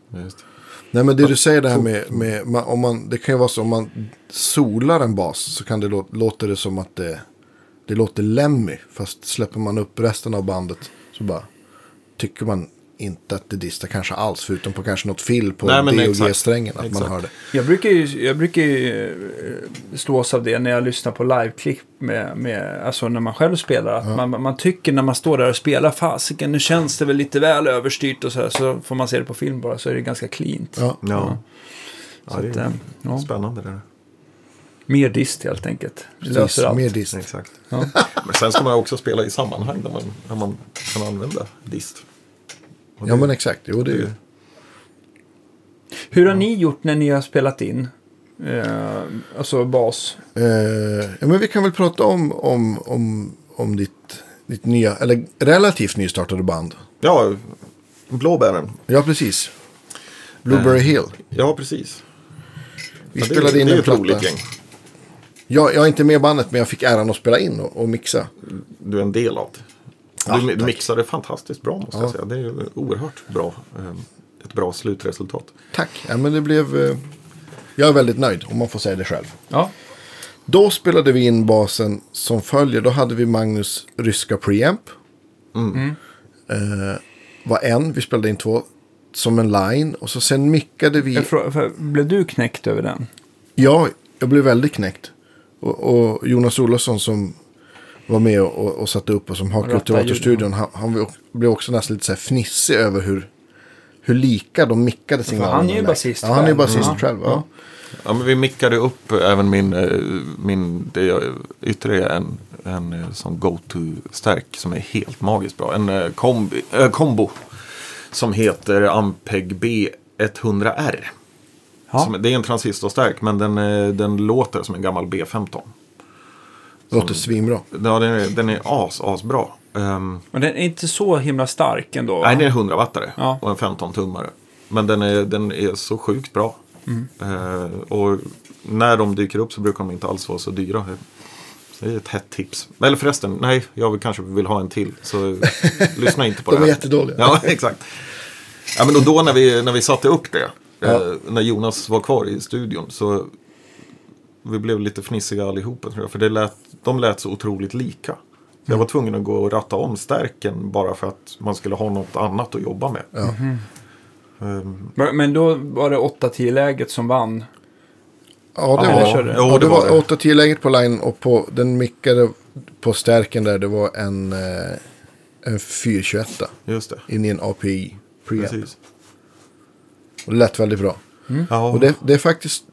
S3: Ja, just det.
S2: Nej, men det du säger det här med, med man, om man, det kan ju vara så om man solar en bas så kan det lå- låter det som att det, det låter lemmy. Fast släpper man upp resten av bandet så bara tycker man inte att det distar kanske alls. Förutom på kanske något fill på
S3: Nej, men
S2: D och
S3: exakt.
S2: G-strängen. Att man
S3: Exakt.
S2: hör det.
S1: Jag brukar ju, jag brukar ju eh, slås av det när jag lyssnar på liveklipp med, med, alltså när man själv spelar. Att man, man tycker när man står där och spelar, fasiken nu känns det väl lite väl överstyrt och sådär. Så får man se det på film bara så är det ganska cleant.
S2: Ja.
S1: Så
S3: Ja. Ja,
S1: att,
S3: det
S1: eh,
S3: är
S1: ja.
S3: spännande det där.
S1: Mer dist helt enkelt. Det
S2: Dis,
S1: löser allt.
S2: mer dist.
S3: Exakt.
S1: Ja.
S3: Men sen ska man också spela i sammanhang där man, där man kan använda dist. Och
S2: Ja,
S3: det-
S2: men exakt. Jo, det är ju.
S3: det-
S1: Hur har ni gjort när ni har spelat in? Eh, alltså bas.
S2: Eh, ja, men vi kan väl prata om, om, om, om ditt, ditt nya, eller relativt nystartade band.
S3: Ja, blåbären.
S2: Ja, precis. Blueberry Hill.
S3: Ja, precis.
S2: Vi
S3: Eh, ja, det är-
S2: spelade in
S3: det är
S2: en
S3: ett
S2: platta.
S3: roligt gäng.
S2: Jag, jag är inte med i bandet, men jag fick äran att spela in och, och mixa.
S3: du är en del av.
S2: Ja,
S3: du, du
S2: tack.
S3: mixade fantastiskt bra måste
S2: Ja.
S3: jag säga. Det är ju oerhört bra. eh, Ett bra slutresultat.
S2: Tack. Ja, men det blev... eh, jag är väldigt nöjd, om man får säga det själv.
S1: Ja.
S2: Då spelade vi in basen som följer. Då hade vi Magnus ryska preamp.
S3: Mm.
S2: Eh, var en, vi spelade in två. Som en line. Och så sen mickade vi...
S1: Jag frå- för- Blev du knäckt över den?
S2: Ja, jag blev väldigt knäckt. Och, och Jonas Olofsson som var med och, och, och satte upp och som hakade upp
S1: Rattade
S2: teaterstudion. Han, han blev- blev också nästan lite så här fnissig över hur, hur lika de mickade signalerna.
S1: han är ju
S2: lät.
S1: basist
S2: Ja, han är ju
S1: själv.
S2: basist
S1: Mm.
S2: själv. Ja.
S3: Ja, men vi mickade upp även min, eh, min det jag, ytterligare en, en eh, sån go-to-stärk som är helt magiskt bra. En eh, kombi, eh, kombo som heter Ampeg B100R.
S1: Ja.
S3: Som, det är en transistorstärk men den, eh, den låter som en gammal B15.
S2: Låter svinbra.
S3: Ja, den är, den är as, asbra. Ehm,
S1: Men den är inte så himla stark ändå. va?
S3: Nej, det är en 100 wattare
S1: Ja.
S3: och en 15 tummare. Men den är, den är så sjukt bra.
S1: Mm.
S3: Eh, och när de dyker upp så brukar de inte alls vara så dyra. Så det är ett hett tips. Eller förresten, nej, jag vill, kanske vill ha en till. Så lyssna inte på
S2: De
S3: det
S2: är
S3: här.
S2: jättedåliga.
S3: Ja, exakt. Ja, men och då när vi, när vi satte upp det, eh, när Jonas var kvar i studion, så vi blev lite fnissiga allihopa tror jag. För det lät, de lät så otroligt lika. Så
S2: Mm.
S3: jag var tvungen att gå och ratta om stärken bara för att man skulle ha något annat att jobba med. Mm-hmm. Ehm,
S1: Men då var det 8-10-läget som vann.
S2: Ja, det
S1: Ja,
S2: var
S1: jag körde.
S2: det.
S3: Jo,
S2: Ja, det
S3: det var
S2: var
S3: det.
S2: 8 10 läget på line och på den mickade på stärken där det var en, eh, en 421
S3: just det,
S2: Mm-hmm. in i en API preamp.
S3: precis.
S2: Och det lät väldigt bra.
S1: Mm.
S3: Ja.
S2: Mm-hmm. Och det, det är faktiskt...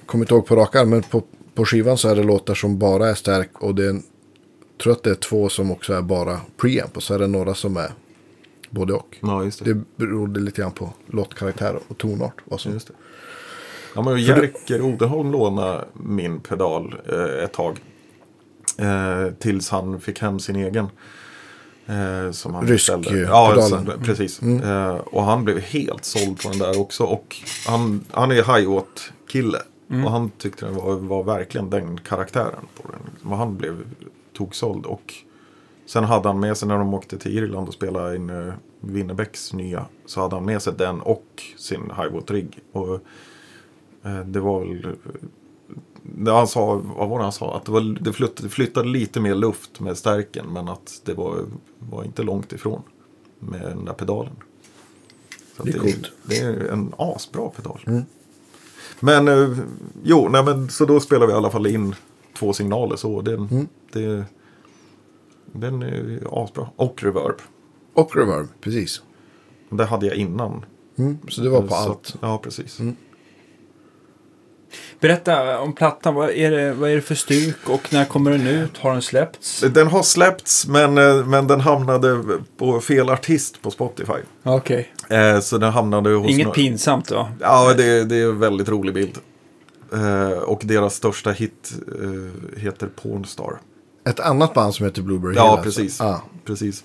S2: Jag kommer inte ihåg på rak arm, men på, på skivan så är det låtar som bara är stärk. Och det är, en- jag tror att det är två som också är bara preamp. Och så är det några som är både och.
S3: ja, just det.
S2: Det berodde lite grann på låtkaraktär och tonart. Vad som
S3: Just det. Ja, men Jerker Odenholm lånade min pedal eh, ett tag. Eh, tills han fick hem sin egen. Eh, som han
S2: Rysk,
S3: beställde.
S2: eh, Mm.
S3: ja,
S2: pedalen.
S3: sen- Precis. Eh, och han blev helt såld på den där också. Och han, han är hi-hat kille.
S2: Mm.
S3: Och han tyckte den var, var verkligen den karaktären på den. Och han blev toksåld. Och sen hade han med sig när de åkte till Irland och spelade in eh, Winnerbäcks nya. Så hade han med sig den och sin hi-hat rigg. Och eh, det var väl... eh, Det han sa, vad var det han sa? Att det, var, det, flytt, det flyttade lite mer luft med stärken men att det var, var inte långt ifrån med den där pedalen. Så att
S2: Det är coolt. Mm.
S3: Det är en asbra pedal. Men eh, jo, nej, men, så då spelar vi i alla fall in två signaler så. Den,
S2: Mm.
S3: det, den är asbra. Och reverb.
S2: Och reverb, precis.
S3: Det hade jag innan.
S2: Mm, så det var på
S3: Så-
S2: allt. Mm.
S3: Ja, precis.
S1: Berätta om plattan. Vad är, det, vad är det för stuk och när kommer den ut? Har den släppts?
S3: Den har släppts men, eh, men den hamnade på fel artist på Spotify.
S1: Okej.
S3: Eh, Så den hamnade hos...
S1: Inget
S3: några-
S1: pinsamt va?
S3: Ja, det, det är en väldigt rolig bild. Eh, Och deras största hit eh, heter Pornstar.
S2: Ett annat band som heter Blueberry Hill.
S3: Ja,
S2: alltså.
S3: precis.
S2: Ja.
S3: precis.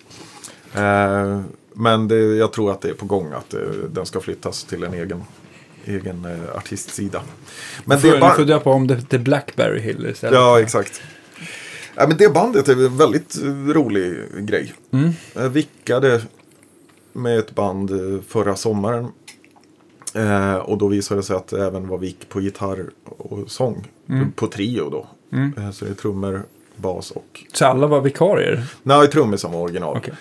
S3: Eh, Men det, jag tror att det är på gång att eh, den ska flyttas till en egen, egen eh, artistsida. Men
S1: Får,
S3: det är bara-
S1: Nu får du döpa om det till Blackberry Hill istället.
S3: Ja, exakt. Ja, men det bandet är en väldigt eh, rolig grej. Jag vickade med ett band eh, förra sommaren. Eh, och då visade det sig att det även var vick på gitarr och sång. På trio då. Eh, så det är trummor, bas och...
S1: Så alla var vikarier?
S3: Nej, trummor som var original.
S1: Okej.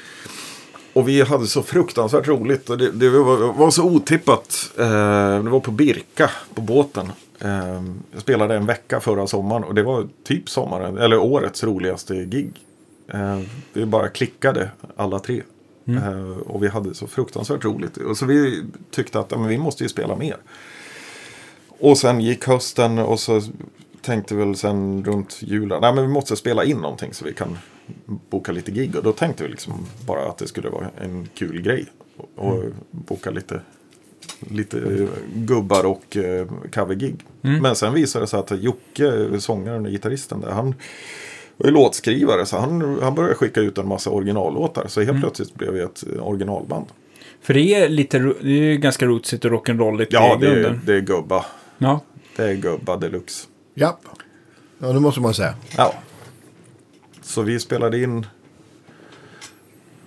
S3: Och vi hade så fruktansvärt roligt. Och det, det var, var så otippat. Eh, det var på Birka, på båten. Eh, jag spelade en vecka förra sommaren och det var typ sommaren, eller årets roligaste gig. Eh, vi bara klickade alla tre. Eh, och vi hade så fruktansvärt roligt. Och så vi tyckte att ja, men vi måste ju spela mer. Och sen gick hösten och så tänkte väl sen runt julen, nej men vi måste spela in någonting så vi kan boka lite gig. Och då tänkte vi liksom bara att det skulle vara en kul grej. Och och boka lite, lite eh, gubbar och eh, covergig. Men sen visade det sig att Jocke, sångaren och gitarristen där, han var ju låtskrivare så han, han började skicka ut en massa originallåtar. Så helt plötsligt blev vi ett eh, originalband.
S1: För det är, lite, ro- det är ju ganska rootsigt och rock'n'rolligt
S3: Ja,
S1: i
S3: det
S1: grunden.
S3: är, det är gubba.
S1: Ja.
S3: Det är gubba deluxe.
S2: Ja. ja, det måste man säga.
S3: Ja. Så vi spelade in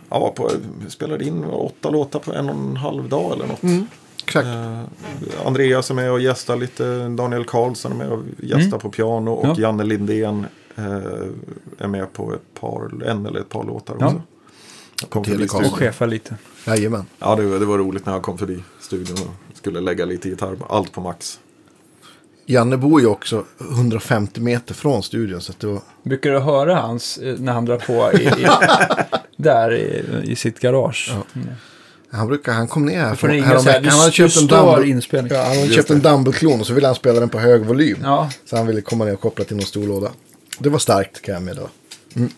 S3: ja, på, vi spelade in åtta låtar på en och en halv dag eller något.
S1: Mm.
S2: Exakt.
S3: Eh, Andreas är med och gästar lite. Daniel Karlsson är med och gästar på piano. Och
S1: Mm. Ja.
S3: Janne Lindén eh, är med på ett par, en eller ett par låtar
S1: Ja.
S3: också. Jag kom förbi
S2: Telekarlsson.
S1: Och
S3: studion.
S1: chefa lite.
S2: Jajamän.
S3: Ja, det, var- det var roligt när jag kom förbi studion och skulle lägga lite gitarr. Allt på max.
S2: Janne bor ju också 150 meter från studion. Så att det var...
S1: Brukar du höra hans eh, när han drar på i, i, där i, i sitt garage? Mm.
S2: han, brukar, han kom ner här
S1: Får ringa
S2: häromveckan.
S1: så här, du-
S2: Han hade
S1: du
S2: köpt en
S1: står
S2: dumble,
S1: inspelning.
S2: ja, han hade
S3: Just
S2: köpt en dumble-klon och så ville han spela den på hög volym.
S1: Ja.
S2: Så han ville komma ner och koppla till någon stor låda. Det var starkt kan jag meddela. Mm.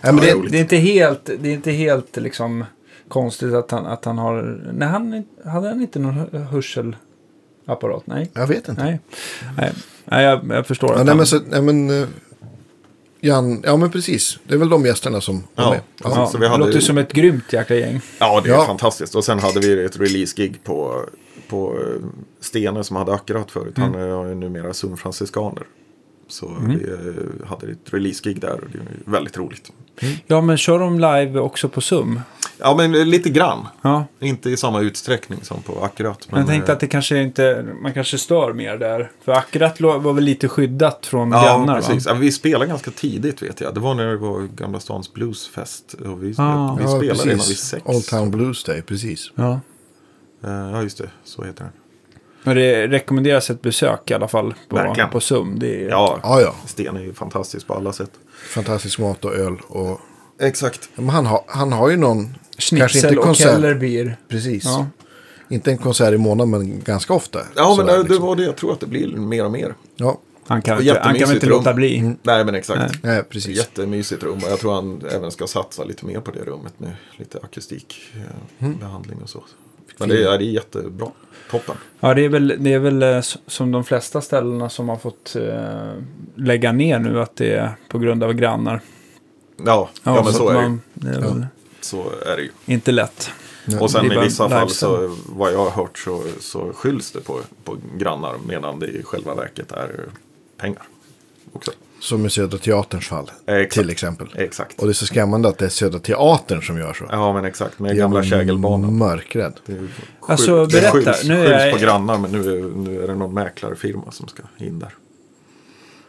S2: Ja, men
S3: Ja,
S2: det,
S3: roligt.
S1: Det är inte helt, det är inte helt liksom konstigt att han, att han har... Nej, han, hade han inte någon hö- hörselapparat? Nej.
S2: jag vet inte.
S1: Nej, nej. nej jag, jag förstår.
S2: Ja,
S1: att
S2: nej,
S1: han-
S2: men, så, nej, men, eh, Jan, ja men precis. Det är väl de gästerna som var
S3: Ja,
S2: med.
S3: precis.
S1: ja,
S3: så vi hade-
S1: Det låter som ett grymt jäkla gäng.
S3: Ja, det är
S2: Ja.
S3: fantastiskt. Och sen hade vi ett release-gig på, på eh, Stene som hade Akkurat förut. Han
S1: Mm.
S3: är ju numera sumfranciskaner. Så vi eh, hade ett release-gig där och det är väldigt roligt.
S1: Ja, men kör de live också på Zoom?
S3: Ja, men eh, lite grann.
S1: Ja.
S3: Inte i samma utsträckning som på Akkurat.
S1: Men jag tänkte
S3: eh,
S1: att det kanske inte, man kanske stör mer där. För Akkurat lå- var väl lite skyddat från grannar?
S3: Ja, precis.
S1: Va?
S3: Ja, vi spelade ganska tidigt vet jag. Det var när det var Gamla Stans Bluesfest. Och vi,
S1: Ah.
S3: vi spelade redan vid sex.
S2: Old Town Blues Day, precis.
S1: Ja.
S3: Eh, Ja, just det. Så heter den.
S1: Men det rekommenderas ett besök i alla fall på,
S3: Verkligen.
S1: på Zoom. Det är,
S3: Ja,
S2: Ja, ja.
S3: Sten är ju fantastisk på alla sätt.
S2: Fantastisk mat och öl. Och,
S3: Exakt.
S2: men han, har, han har ju någon...
S1: Schnitzel och
S2: konsert-
S1: Kellerbier.
S2: Precis.
S1: Ja.
S2: Inte en konsert i månaden, men ganska ofta.
S3: Ja, men
S2: Sådär,
S3: det, det
S2: liksom.
S3: var det jag tror att det blir mer och mer.
S2: Ja,
S1: Han kan,
S3: Och
S1: inte- han kan väl
S3: jättemysigt
S1: inte låta
S3: rum. Mm.
S1: bli.
S3: Nej, men exakt.
S1: Nej.
S2: nej,
S3: Det är
S2: precis.
S3: Jättemysigt rum och jag tror han även ska satsa lite mer på det rummet med lite akustikbehandling och så. Men det, är- det är jättebra. Toppen.
S1: Ja, det är väl, det är väl eh, s- som de flesta ställena som har fått eh, lägga ner nu, att det är på grund av grannar.
S3: Ja, ja, men så,
S1: att
S3: är det ju.
S1: man- det är väl
S3: så är det ju.
S1: inte lätt.
S2: Nej.
S3: Och
S1: Det
S3: sen
S1: är
S3: i
S1: bara
S3: vissa fall så,
S1: lifestyle.
S3: vad jag har hört så, så skylls det på, på grannar medan det i själva verket är pengar. Också. Eh,
S2: Som i Södra Teaterns fall,
S3: Exakt.
S2: till exempel.
S3: Exakt.
S2: Och det är så skrämmande att det är Södra Teatern som gör så.
S3: Ja, men exakt. Med gamla
S2: Jag är
S3: kägelbanan.
S2: Mörkrädd.
S3: Det är ju
S1: Alltså,
S3: sjukt. Det
S1: berätta.
S3: skylls,
S1: Nu
S3: skylls
S1: är-
S3: på grannar, men nu är, nu är det någon mäklarfirma som ska in där.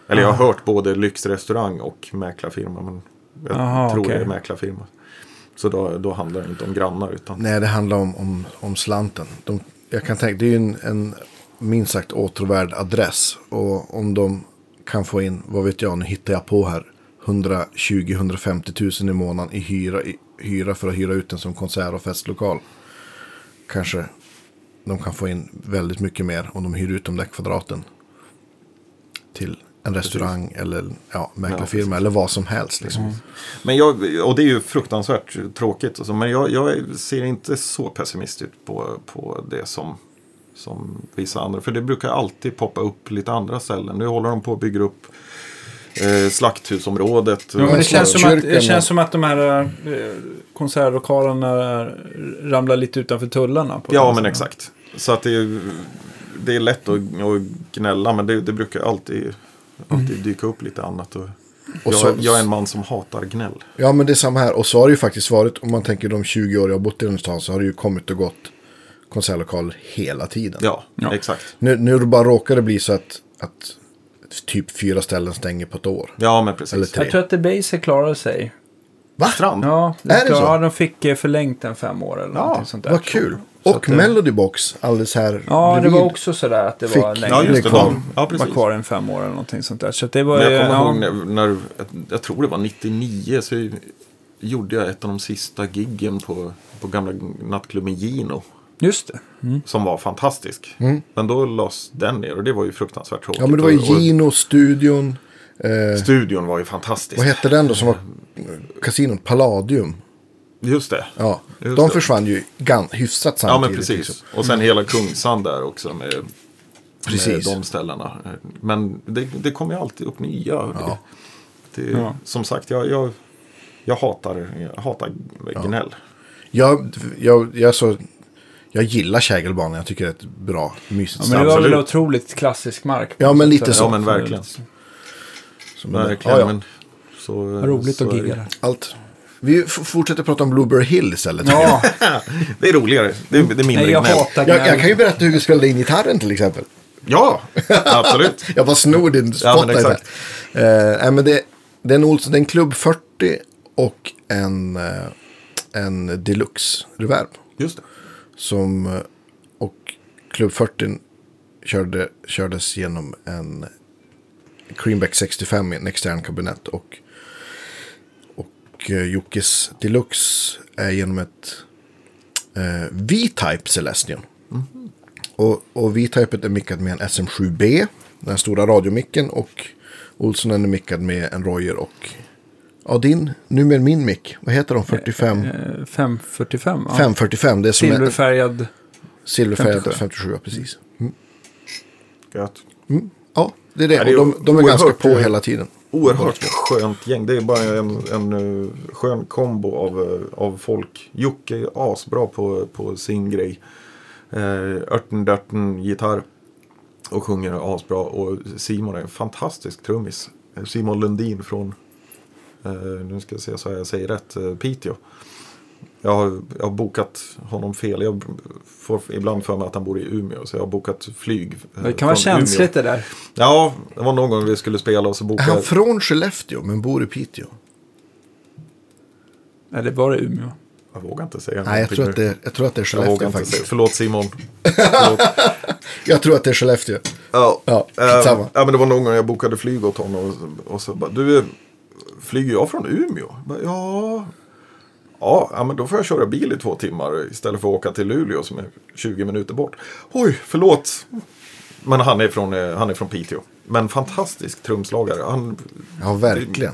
S3: Eller
S1: Ah.
S3: jag har hört både lyxrestaurang och mäklarfirma, men jag
S1: Aha,
S3: tror
S1: okej.
S3: det är mäklarfirma. Så då, då handlar det inte om grannar, utan
S2: Nej, det handlar om, om, om slanten. De, jag kan tänka, det är ju en, en minst sagt åtråvärd adress. Och om de kan få in, vad vet jag, nu hittar jag på här, 120-150 000 i månaden i hyra, i hyra för att hyra ut den som konsert och festlokal. Kanske de kan få in väldigt mycket mer om de hyr ut de där kvadraten. Till en restaurang eller ja, mäklarfirma eller vad som helst. Liksom.
S3: Men jag, och det är ju fruktansvärt tråkigt. och så, men jag, jag ser inte så pessimistiskt på, på det som, som vissa andra. För det brukar alltid poppa upp lite andra ställen. Nu håller de på och bygger upp eh, slakthusområdet.
S1: Jo, men det, känns som att, det
S2: Kyrkan-
S1: känns som att de här eh, konsertlokalerna ramlar lite utanför tullarna. På
S3: Ja,
S1: något
S3: men
S1: sätt.
S3: exakt. Så att det är, det är lätt att, att gnälla, men det, det brukar alltid, alltid dyka upp lite annat. Och, jag,
S2: Mm. så-
S3: jag är en man som hatar gnäll.
S2: Ja men det är samma här. Och så har det ju faktiskt varit. Om man tänker de 20 år jag har bott i den stan så har det ju kommit och gått konsertlokaler hela tiden.
S3: Ja,
S1: Ja.
S3: exakt.
S2: Nu, nu bara råkar det bli så att, att typ fyra ställen stänger på ett år.
S3: Ja, men precis.
S2: Eller tre.
S1: Jag tror att The Base klarade sig.
S2: Va?
S3: Strand.
S1: Ja,
S2: Är det så?
S1: ja de fick eh, förlängt den fem år eller någonting sånt där.
S2: Vad
S1: tror jag.
S2: kul.
S1: Så
S2: Och
S1: att, eh,
S2: Melody Box alldeles här
S1: Ja, det
S2: bredvid.
S1: var också sådär att det
S2: Fick-
S1: var längre.
S3: Ja, just det.
S2: Det är kvar.
S3: De, ja,
S1: var
S3: precis.
S1: kvar en fem år eller någonting sånt där. Så att det var
S3: Men
S1: ju-
S3: jag kommer
S1: ja.
S3: ihåg när, när, jag tror det var 99, så gjorde jag ett av de sista giggen på, på gamla nattklubben Gino.
S1: Just det.
S2: Mm.
S3: Som var fantastisk. Men då lades den ner och det var ju fruktansvärt tråkigt.
S2: Ja men det var ju
S3: Och- och
S2: Gino-studion. Eh,
S3: Studion var ju fantastisk.
S2: vad hette den då som var kasinon? Palladium.
S3: Just det.
S2: Ja.
S3: Just
S2: De
S3: det.
S2: försvann ju gan, hyfsat
S3: Ja,
S2: samtidigt.
S3: men precis.
S2: liksom.
S3: Och sen hela Kungsan där också med, med
S2: Precis.
S3: de ställena. Men det, det kommer ju alltid upp nya. Det, det,
S1: Ja.
S3: Som sagt, jag, jag, jag hatar, jag hatar gnäll.
S2: Jag, jag, jag, så, jag gillar Kägelbanan. Jag tycker det är ett bra, mysigt
S1: Ja,
S2: ställe.
S1: men det var väl
S3: Absolut.
S1: otroligt klassisk mark.
S2: Ja, men lite så.
S3: Ja, men verkligen.
S2: Som en-
S3: Verkligen.
S2: Ja, ja.
S3: Men så,
S1: Vad roligt
S3: så
S1: att
S3: är
S1: gigga
S3: det.
S1: där.
S2: Allt. Vi f- fortsätter prata om Blueberry Hill istället.
S1: Ja,
S3: Det är roligare. Det är, det är mindre
S1: Mm. nej, jag
S3: gnäll.
S1: hatar
S2: Jag, jag kan
S1: gnäll.
S2: ju berätta hur vi spelade in gitarren till exempel.
S3: Ja, absolut.
S2: Jag bara snor din spotlight.
S3: exakt.
S2: här. Eh, nej, men det, det är en Olsson, det är en Club 40 och en, eh, en Deluxe Reverb.
S3: Just det.
S2: Som, eh, och Club 40 körde, kördes genom en Creamback 65 i en extern kabinett. Och, och eh, Jockes Deluxe är genom ett eh, V-Type Celestion.
S1: Mm-hmm.
S2: Och, och V-Typet är mickat med en SM7B, den stora radiomicken. Och Olsson är nu mickad med en Royer och ja, din, numera min mick. Vad heter de? 45?
S1: Eh, 545, ja.
S2: 545, det är som en-
S1: Silverfärgad.
S2: Silverfärgad 57,
S1: 57.
S2: ja, precis.
S3: Gött.
S2: Ja, det är det.
S3: Ja, det är
S2: och de, de är
S3: oerhört,
S2: ganska på
S3: eh,
S2: hela tiden.
S3: Oerhört skönt gäng. Det är bara en, en eh, skön kombo av, eh, av folk. Jocke är asbra på, på sin grej. Eh, örten dörten gitarr. Och sjunger asbra. Och Simon är en fantastisk trummis. Eh, Simon Lundin från, eh, nu ska jag se så jag säger rätt, eh, Piteå. Jag har, jag har bokat honom fel. Jag får ibland för mig att han bor i Umeå. Så jag har bokat flyg. eh,
S1: Det kan vara
S3: från Umeå.
S1: känsligt det där.
S3: Ja, det var någon gång vi skulle spela och så
S2: Är
S3: bokade
S2: han från Skellefteå men bor i Piteå?
S1: Eller var det Umeå?
S3: Jag vågar inte säga
S2: Nej, jag
S3: någonting
S2: tror,
S3: nu.
S2: att det är, jag tror att det är
S3: Jag vågar
S2: Skellefteå
S3: inte säga.
S2: faktiskt.
S3: Förlåt Simon. Förlåt.
S2: Jag tror att det är Skellefteå.
S3: Ja,
S2: Ja,
S3: eh,
S2: samma.
S3: ja, men det var någon gång jag bokade flyg åt honom och, och så bara, du, flyger jag från Umeå? Jag bara, ja, Ja, ja, men då får jag köra bil i två timmar istället för att åka till Luleå som är 20 minuter bort. Oj, förlåt! Men han är från, eh, han är från Piteå. Men fantastisk trumslagare. Han,
S2: Ja, verkligen.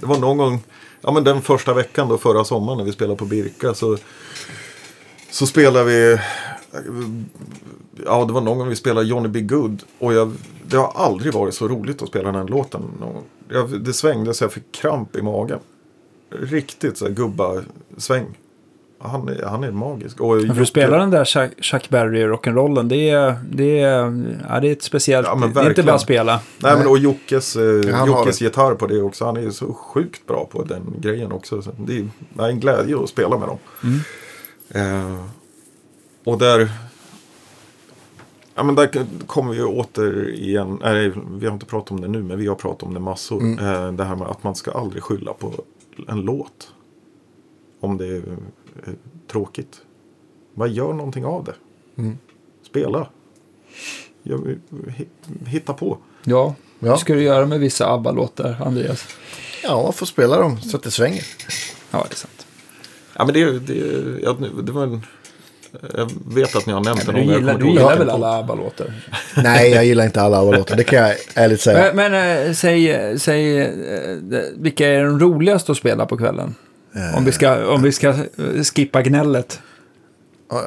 S3: det var någon gång, ja men den första veckan då förra sommaren när vi spelade på Birka så, så spelade vi, ja det var någon gång vi spelade Johnny B. Good och jag, det har aldrig varit så roligt att spela den låten. någon gång. Jag, det svängde så jag fick kramp i magen. Riktigt så här gubba-sväng. Han, är- han är magisk. Och
S1: Men för att spela den där Chuck, Chuck Berry rock'n'rollen, det är, det, är, ja, det är ett speciellt...
S3: Ja, men
S1: det är inte
S3: verkligen.
S1: bara att spela.
S3: Nej, men och Jockes, eh,
S2: han har
S3: Jockes
S2: det.
S3: gitarr på det också. Han är ju så sjukt bra på den grejen också. Så det är det är en glädje att spela med dem.
S2: Mm.
S3: Eh, och där... Ja, men där k- kommer vi återigen... Nej, vi har inte pratat om det nu, men vi har pratat om det massor.
S2: Mm.
S3: Eh, det här med att man ska aldrig skylla på en låt. Om det är eh, tråkigt. Vad gör någonting av det?
S2: Mm.
S3: Spela. Gör- hi- Hitta på.
S1: Ja,
S2: Ja. hur ska
S1: du göra med vissa ABBA-låtar, Andreas?
S2: Ja, får spela dem så att det svänger.
S1: Ja, det är sant.
S3: Ja, men det, det, ja, det var en, jag vet att ni har nämnt den.
S1: Men du
S3: någon gång, jag
S1: gillar,
S3: kommer
S1: du
S3: inte
S1: gillar
S3: ihåg vilken
S1: väl
S3: podd.
S1: alla ABBA-låtar?
S2: Nej, jag gillar inte alla ABBA-låtar. Det kan jag ärligt säga.
S1: Men, men eh, säg, eh, säg eh, de- vilka är de roligaste att spela på kvällen? Om vi ska, om vi ska eh, skippa gnället.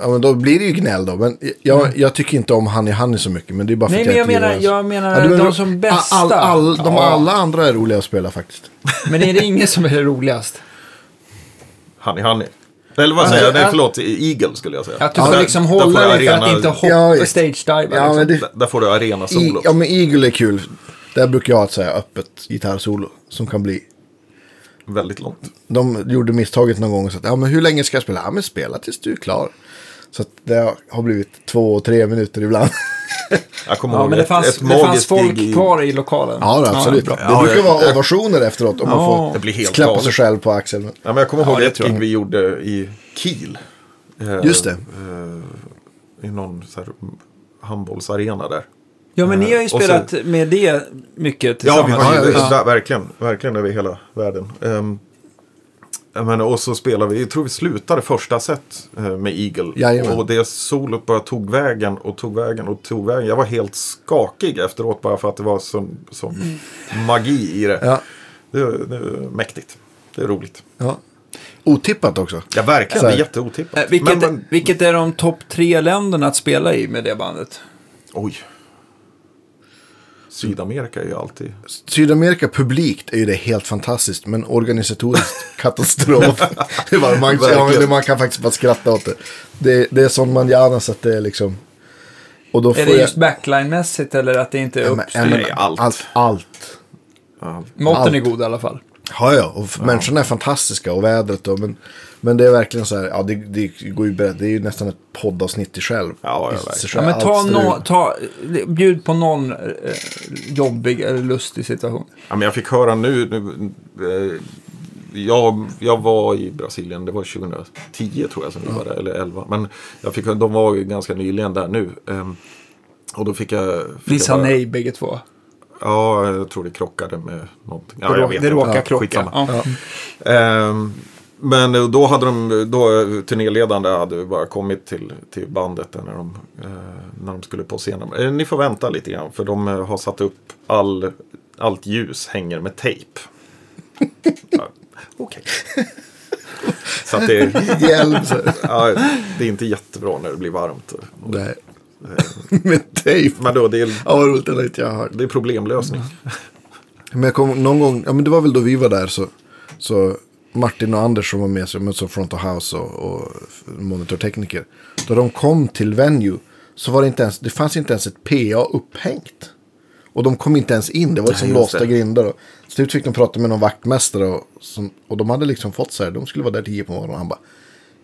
S2: Ja, men då blir det ju gnäll då. Men jag, jag tycker inte om Honey Honey så mycket. Men det är bara för
S1: Nej,
S2: att
S1: men jag
S2: inte
S1: menar,
S2: gillar den.
S1: jag menar
S2: Ja, du
S1: de
S2: menar-
S1: som bästa.
S2: All, all, de
S1: Ja,
S2: alla andra är roliga att spela faktiskt.
S1: Men är det ingen som är roligast?
S3: Honey, honey. Eller vad säger
S1: Alltså,
S3: jag? Nej,
S1: att-
S3: förlåt. Eagle skulle jag säga.
S1: Att du
S3: Där-
S1: får liksom
S3: där
S1: hålla
S3: jag
S1: dig för att
S3: arena-
S1: inte hoppa
S2: Ja,
S1: ja,
S2: visst.
S1: stage-diva.
S2: Ja,
S1: liksom.
S2: men det,
S3: Där- Där får du arena
S2: I,
S3: solo.
S2: ja, men Eagle är kul. Där brukar jag ha ett så här öppet gitarrsolo som kan bli.
S3: Väldigt långt.
S2: De gjorde misstaget någon gång och sa att ja, men hur länge ska jag spela? Ja, men spela tills du är klar. Så att det har blivit två, tre minuter ibland.
S3: Jag kommer
S1: Ja,
S3: ihåg
S1: men det
S3: ett-
S1: fanns,
S3: ett
S1: det fanns
S3: magiskt
S1: folk
S3: gig i-
S1: kvar i lokalen.
S2: Ja, då, absolut.
S1: bra.
S2: det
S3: Ja,
S2: brukar
S3: jag-
S2: vara ovationer efteråt om
S1: Ja.
S2: man får
S3: Det blir helt
S2: klappa
S3: galet.
S2: sig själv på axeln. Men-
S3: Ja, men jag kommer ihåg
S1: det
S3: ett
S1: tror jag.
S3: gig vi gjorde i Kiel. Eh,
S2: Just det.
S3: eh, I någon så här handbollsarena där.
S1: Ja, men ni har ju
S3: Och så-
S1: spelat med det mycket
S3: Ja,
S1: tillsammans.
S3: vi har
S2: Ja,
S3: ju,
S2: visst.
S3: ver- verkligen, verkligen över hela världen. Ehm, jag menar, och så spelade vi, jag tror vi slutade första set eh, med Eagle.
S2: Jajamän.
S3: Och det solot bara tog vägen och tog vägen och tog vägen. Jag var helt skakig efteråt bara för att det var sån, sån magi i det.
S2: Mm. Ja.
S3: Det, det är mäktigt. Det är roligt.
S2: Ja. Otippat också.
S3: Ja, verkligen.
S2: Så här.
S3: Det är jätteotippat.
S1: Eh, Vilket,
S3: Men, men,
S1: vilket är de topp tre länderna att spela i med det bandet?
S3: oj. Sydamerika är ju alltid...
S2: Sydamerika publikt är ju det helt fantastiskt. Men organisatoriskt katastrof. det var, man, ja, men det- man kan faktiskt bara skratta åt det. Det, det är sån manjana så att det är liksom. Och då
S1: Är
S2: får
S1: det
S2: jag-
S1: just backline-mässigt eller att det inte är
S2: Ja, men- ja,
S1: uppstyrt?
S2: men-
S3: Nej, allt.
S2: Allt. allt.
S1: Måtten
S2: allt.
S1: är god i alla fall.
S2: Ja, ja. Och f- människorna är fantastiska och vädret då. Men, men det är verkligen så här. Ja, det, det går ju ber- Det är ju nästan ett poddavsnitt i själv.
S3: Ja, ja,
S2: I sig
S3: verkligen.
S1: Ja, men
S2: själv.
S1: ta
S2: Allt strul.
S1: nå- ta, bjud på någon eh, jobbig eller lustig situation.
S3: Ja, men jag fick höra nu, nu eh, jag, jag var i Brasilien, det var 2010 tror jag som vi var där, eller 11. Men jag fick, de var ju ganska nyligen där nu. ehm, och då fick jag... Fick
S1: Vi
S3: jag
S1: sa
S3: höra-
S1: nej bägge två.
S3: Ja, jag tror det krockade med någonting. Ja,
S1: Det
S3: jag
S1: rå-
S3: vet
S1: det
S3: inte.
S1: råkar
S3: Ja,
S1: krocka.
S3: skitsamma.
S1: Ja.
S3: Ehm, men då hade de, då turnéledande hade ju bara kommit till, till bandet där när de, eh, när de skulle på scenen. Eh, ni får vänta lite grann för de eh, har satt upp all, allt ljus hänger med tejp. ja, Okej. Så att det,
S2: Hjälm. så-
S3: ja, det är inte jättebra när det blir varmt.
S2: Nej. Med tejp.
S3: Men då, det är,
S2: Ja, vad roligt. Det har inte jag hört.
S3: det är problemlösning.
S2: Men jag kom någon gång, ja men det var väl då vi var där så, så Martin och Anders som var med sig, men som front of house och, och monitortekniker. Då de kom till venue så var det inte ens, det fanns inte ens ett PA upphängt. Och de kom inte ens in, det var liksom
S3: Nej, just
S2: låsta
S3: det.
S2: grindar. Och, så till slut fick de prata med någon vaktmästare och, som, och de hade liksom fått så här, de skulle vara där 10 på morgonen och han bara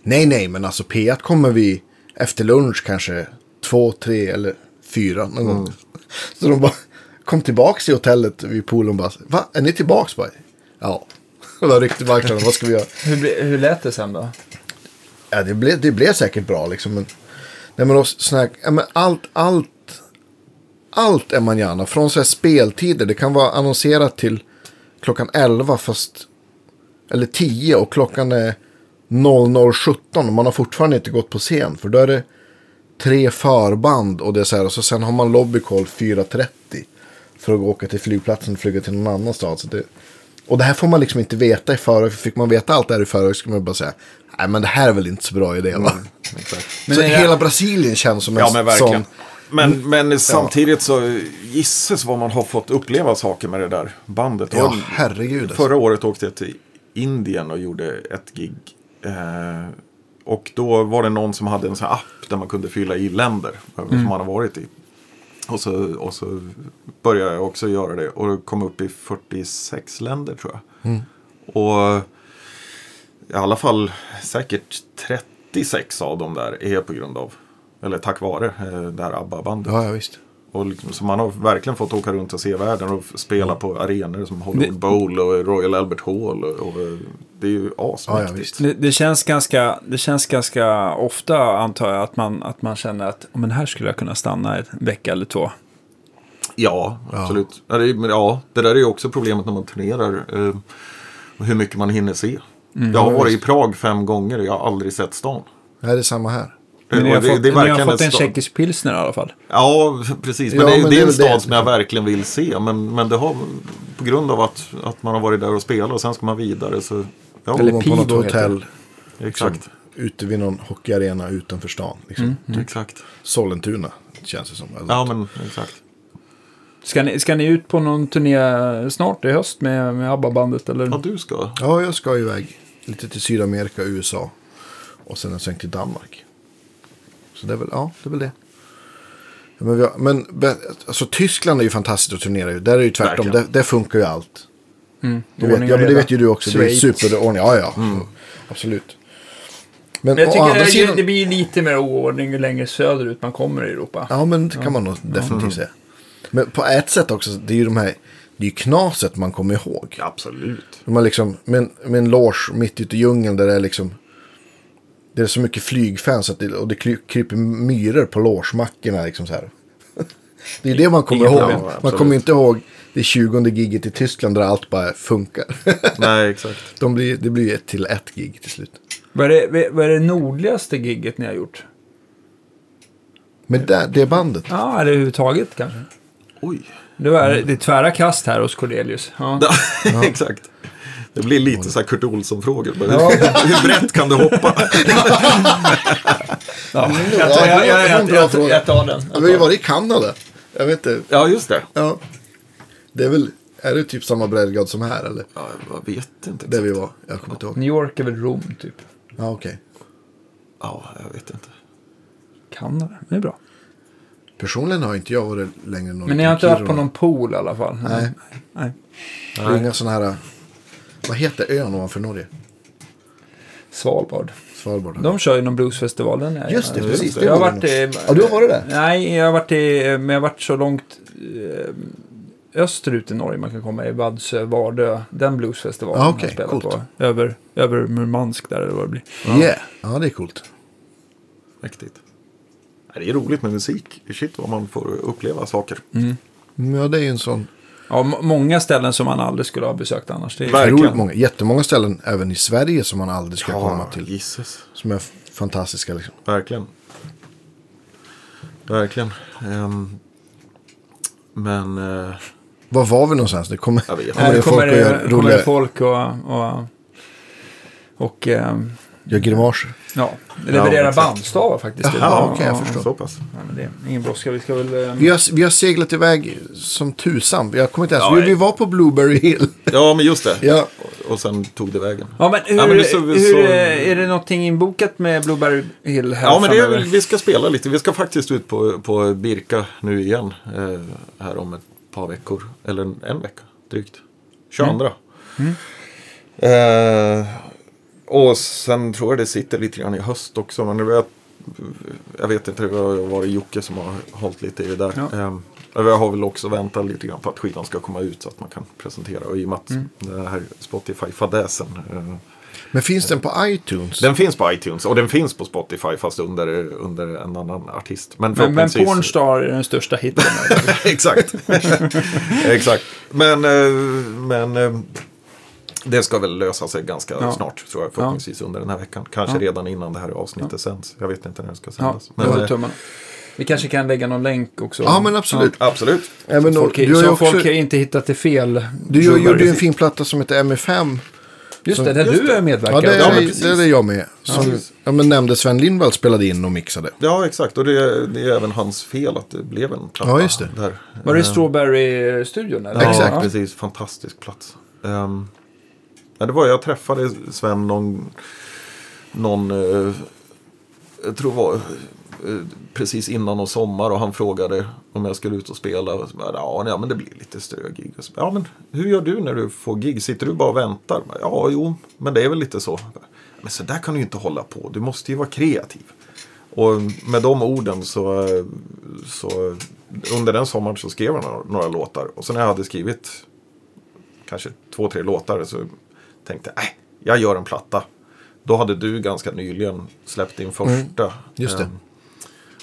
S2: Nej, nej, men alltså P1 kommer vi efter lunch kanske två, tre eller fyra någon gång. Så de bara kom tillbaks till hotellet vid poolen och bara, va, är ni tillbaks? Bara, ja. Och då ryckte marknaden, vad ska vi göra?
S1: Hur, bli- hur lät det sen då?
S2: Ja, det blev, det blev säkert bra liksom. Men, nej, men, då snack, ja, men allt, allt, allt är man gärna. Från så här speltider, det kan vara annonserat till klockan 11 fast, eller 10 och klockan är 00.17 och man har fortfarande inte gått på scen. För då är det tre förband och det är så här. Och så sen har man lobbycall 4.30. För att gå och åka till flygplatsen och flyga till någon annan stad. Så det, och det här får man liksom inte veta i förväg. För fick man veta allt det här i förväg skulle man bara säga. Nej men det här är väl inte så bra idé
S3: Mm,
S2: va?
S1: Men
S2: så
S1: är det-
S2: hela Brasilien känns som en
S3: Ja, men verkligen.
S2: sån. Mm.
S3: Men, men samtidigt så gisses vad man har fått uppleva saker med det där bandet.
S2: Ja
S3: Och
S2: herregud. alltså.
S3: Förra året åkte jag till Indien och gjorde ett gig. Eh, och då var det någon som hade en sån här app där man kunde fylla i länder eh,
S2: Mm.
S3: som man har varit i. Och så, och så började jag också göra det och kom upp i 46 länder tror jag.
S2: Mm.
S3: Och i alla fall säkert 36 av dem där är på grund av, eller tack vare, eh, det här ABBA-bandet.
S2: Ja, ja visst.
S3: Och liksom, så man har verkligen fått åka runt och se världen och f- spela på arenor som Hollywood Bowl och Royal Albert Hall. Och, och, eh, det är ju
S2: Ja,
S3: asmäktigt.
S2: ja, visst.
S1: Det, det, känns ganska, det känns ganska ofta, antar jag, att man, att man känner att "Ja, men här skulle jag kunna stanna en vecka eller två.
S3: Ja, absolut. Ja. det, är- men ja, det där är ju också problemet när man turnerar. Eh, och hur mycket man hinner se.
S1: Mm.
S3: jag har varit i Prag fem gånger och jag har aldrig sett stan.
S2: Nej, det är samma här.
S1: Men ni
S3: Och
S1: har fått, ni har fått
S3: ett
S1: en
S3: stad-
S1: tjeckisk pilsner i alla fall.
S3: Ja, precis. Men
S2: Ja,
S3: det, är-
S2: men
S3: det
S2: det
S3: är
S2: är
S3: en
S2: väl
S3: stad
S2: det.
S3: som jag verkligen vill se. Men, men det har på grund av att, att man har varit där och spelat och sen ska man vidare. Så, ja,
S2: Eller
S1: Eller
S2: man på något
S1: Pivo heter
S2: hotell
S3: exakt.
S2: ute vid någon hockeyarena utanför stan. Liksom.
S1: Mm,
S3: Exakt.
S2: Sollentuna känns det som. Alltså,
S3: Ja, men exakt.
S1: Ska ni, ska ni ut på någon turné snart i höst med, med ABBA-bandet? Eller?
S3: Ja, du ska.
S2: ja, jag ska iväg lite till Sydamerika, USA och sen en sväng till Danmark. Så det är väl, ja, det är väl det. Ja, men vi har, men be- alltså, Tyskland är ju fantastiskt att turnera i. Där är det ju tvärtom. Där,
S3: Verkligen.
S2: där funkar ju allt. Det
S1: Mm, Ordning
S2: vet,
S1: och
S2: ja, men det
S1: reda.
S2: vet ju du också.
S1: Schweiz. Mm.
S2: Det är superordning. Ja, ja. Absolut. Men,
S1: Men jag
S2: å
S1: tycker
S2: andra
S1: det,
S2: sidan...
S1: det blir lite mer oordning ju längre söderut man kommer i Europa.
S2: Ja, Mm. men det kan man nog definitivt säga. Men på ett sätt också, det är ju de här, det är ju knaset man kommer ihåg.
S3: Absolut.
S2: De har liksom, med, en, med en loge mitt ute i djungeln där det är liksom, det är så mycket flygfans att det, och det kry- kryper myror på logemackorna liksom så här. Det är ju det man kommer
S1: Inga
S2: ihåg.
S1: problem,
S2: man
S3: absolut.
S2: kommer ju inte ihåg det 20 giget i Tyskland där allt bara funkar.
S3: Nej, exakt.
S2: De blir, det blir ju ett till ett gig till slut.
S1: Vad är, det, vad är det nordligaste gigget ni har gjort?
S2: Men där, det bandet.
S1: Ja, eller överhuvudtaget kanske.
S3: Oj.
S1: Det, var, det är tvära kast här hos Cornelius. Mm. Ja.
S3: exakt. Det blir lite så här Kurt Olsson-frågor. Bara, Hur, hur brett kan du hoppa?
S1: Ja.
S2: Ja,
S1: Jag, tar- jag, jag,
S2: det var en
S1: jag,
S2: bra
S1: jag,
S2: fråga.
S1: jag tar den.
S2: Vi har ju varit i Kanada. Jag vet inte.
S3: Ja, just det.
S2: Ja. Det är väl, är det typ samma breddgrad som här eller?
S3: Ja, jag vet inte.
S2: Där
S3: Exakt.
S2: vi var, jag kommer inte ihåg.
S1: New York är väl Rom typ.
S2: Ja, okej.
S3: Ja, jag vet inte.
S1: Kanada, det är bra.
S2: Personligen har inte jag varit längre norrut.
S1: Men ni har
S2: än
S1: inte varit på
S2: Kiruna.
S1: någon pool i alla fall?
S2: Nej.
S1: Nej.
S2: Det är inga sådana här, vad heter ön ovanför Norge?
S1: Svalbard.
S2: Svalbard.
S1: De kör ju någon bluesfestival. Den är
S2: Just det,
S1: jag-
S2: precis. Det
S1: Jag har
S2: var
S1: varit
S2: den.
S1: i,
S2: Ja, du har varit där?
S1: Nej, jag har varit i, men jag har varit så långt eh, österut i Norge man kan komma. I Vadsö, Vardö. Den bluesfestivalen
S2: Ja,
S1: har
S2: okej,
S1: jag spelat
S2: coolt.
S1: på. Över, över Murmansk där eller vad det blir.
S2: Yeah. Ja, det är coolt.
S3: Mäktigt. Nej, Det är roligt med musik. Shit vad man får uppleva saker.
S2: Mm, Ja, det är ju en sån.
S1: Ja, må- många ställen som man aldrig skulle ha besökt annars. Det är,
S3: Verkligen.
S2: Otroligt många, jättemånga ställen även i Sverige som man aldrig ska komma till.
S3: Jesus.
S2: Som är f- fantastiska liksom.
S3: Verkligen. Verkligen. Ehm, men... eh,
S2: Var var vi någonstans? Det kommer,
S3: Jag vet.
S2: kommer
S1: här
S2: det folk
S1: kommer
S2: att göra
S1: det, kommer
S2: roliga,
S1: det folk och, och, och ehm,
S2: gör grimaser.
S1: ja, leverera
S3: exakt.
S1: bandstavar faktiskt.
S2: Jaha, okej, jag förstår.
S3: Så pass.
S1: Nej, men det är ingen brådska. Vi ska väl... eh,
S2: Vi har, vi har seglat iväg som tusan. Jag kommer inte ens,
S3: Ja,
S2: vi,
S3: det-
S2: vi var på Blueberry Hill.
S3: Ja, men just det.
S2: Ja.
S3: Och sen tog det vägen.
S1: Ja, men hur,
S3: Ja, men det är så-
S1: hur
S3: så-
S1: eh, är det någonting inbokat med Blueberry Hill här
S3: Ja, men det är,
S1: framöver?
S3: väl- vi ska spela lite. Vi ska faktiskt ut på, på Birka nu igen. Eh, här om ett par veckor. Eller en, en vecka drygt. 22.
S1: Mm.
S3: Eh, och sen tror jag det sitter lite grann i höst också. Men det var, jag vet inte, det har varit Jocke som har hållit lite i det där.
S1: Ja.
S3: Eh, jag har väl också väntat lite grann på att skivan ska komma ut så att man kan presentera. Och i och med att
S1: Mm.
S3: den här Spotify-fadäsen eh,
S2: Men finns den på iTunes?
S3: den finns på iTunes och den finns på Spotify fast under, under en annan artist. Men,
S1: Men, men
S3: förhoppningsvis-
S1: Pornstar är den största hitten. här.
S3: Exakt. Exakt. Men, eh, men eh, Det ska väl lösa sig ganska
S1: Ja.
S3: snart tror jag. Förhoppningsvis under den här veckan. Kanske
S1: Ja.
S3: redan innan det här avsnittet sänds. Jag vet inte när det ska
S1: Ja,
S3: sändas.
S1: jag håller
S3: eh,
S1: tummarna. Vi kanske kan lägga någon länk också.
S2: Ja, men absolut.
S3: absolut.
S2: Även
S1: Så
S2: om-
S1: folk,
S2: du har
S1: så
S2: ju också,
S1: folk inte hittat det fel.
S2: du gör- gjorde ju en
S1: Just
S2: fin platta som heter MFM.
S1: det, där du är
S2: Ja,
S1: medverkad.
S2: det,
S3: Ja,
S2: är,
S3: men
S2: det är jag med. Som,
S3: precis.
S2: ja, men nämnde Sven Lindvall spelade in och mixade.
S3: Ja, exakt. Och det, det är även hans fel att det blev en platta.
S2: Ja, just det.
S3: Där.
S1: Var det Strawberry-studion? eller?
S3: Ja,
S2: Exakt.
S3: precis. Fantastisk plats. Ehm, ja, det var, jag träffade Sven någon, någon eh, jag tror det var eh, precis innan och sommar och han frågade om jag skulle ut och spela. Och så bara, ja, nej, men det blir lite strögig. Och så bara, Ja, men hur gör du när du får gig? Sitter du bara och väntar? Ja, jo, men det är väl lite så. Men så där kan du ju inte hålla på. Du måste ju vara kreativ. Och med de orden så, eh, så under den sommaren så skrev jag några, några låtar. Och sen när jag hade skrivit kanske två, tre låtar så tänkte jag, äh, jag gör en platta. Då hade du ganska nyligen släppt din första.
S2: Mm. just det.
S3: Ehm,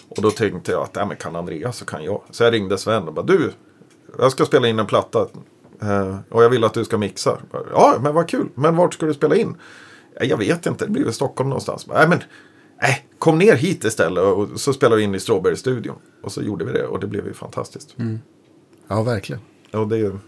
S3: och då tänkte jag att äh, men kan Andreas så kan jag. Så jag ringde Sven och bara du, jag ska spela in en platta. eh, Och jag vill att du ska mixa. Jag bara, Ja, men vad kul. Men vart ska du spela in? "Ja, Jag vet inte, det blir väl Stockholm någonstans. Jag bara, Nej, men nej, kom ner hit istället. Och så spelade vi in i Strawberry-studion. Och så gjorde vi det och det blev ju fantastiskt.
S2: Mm. Ja, verkligen.
S3: Ja, det, är ju-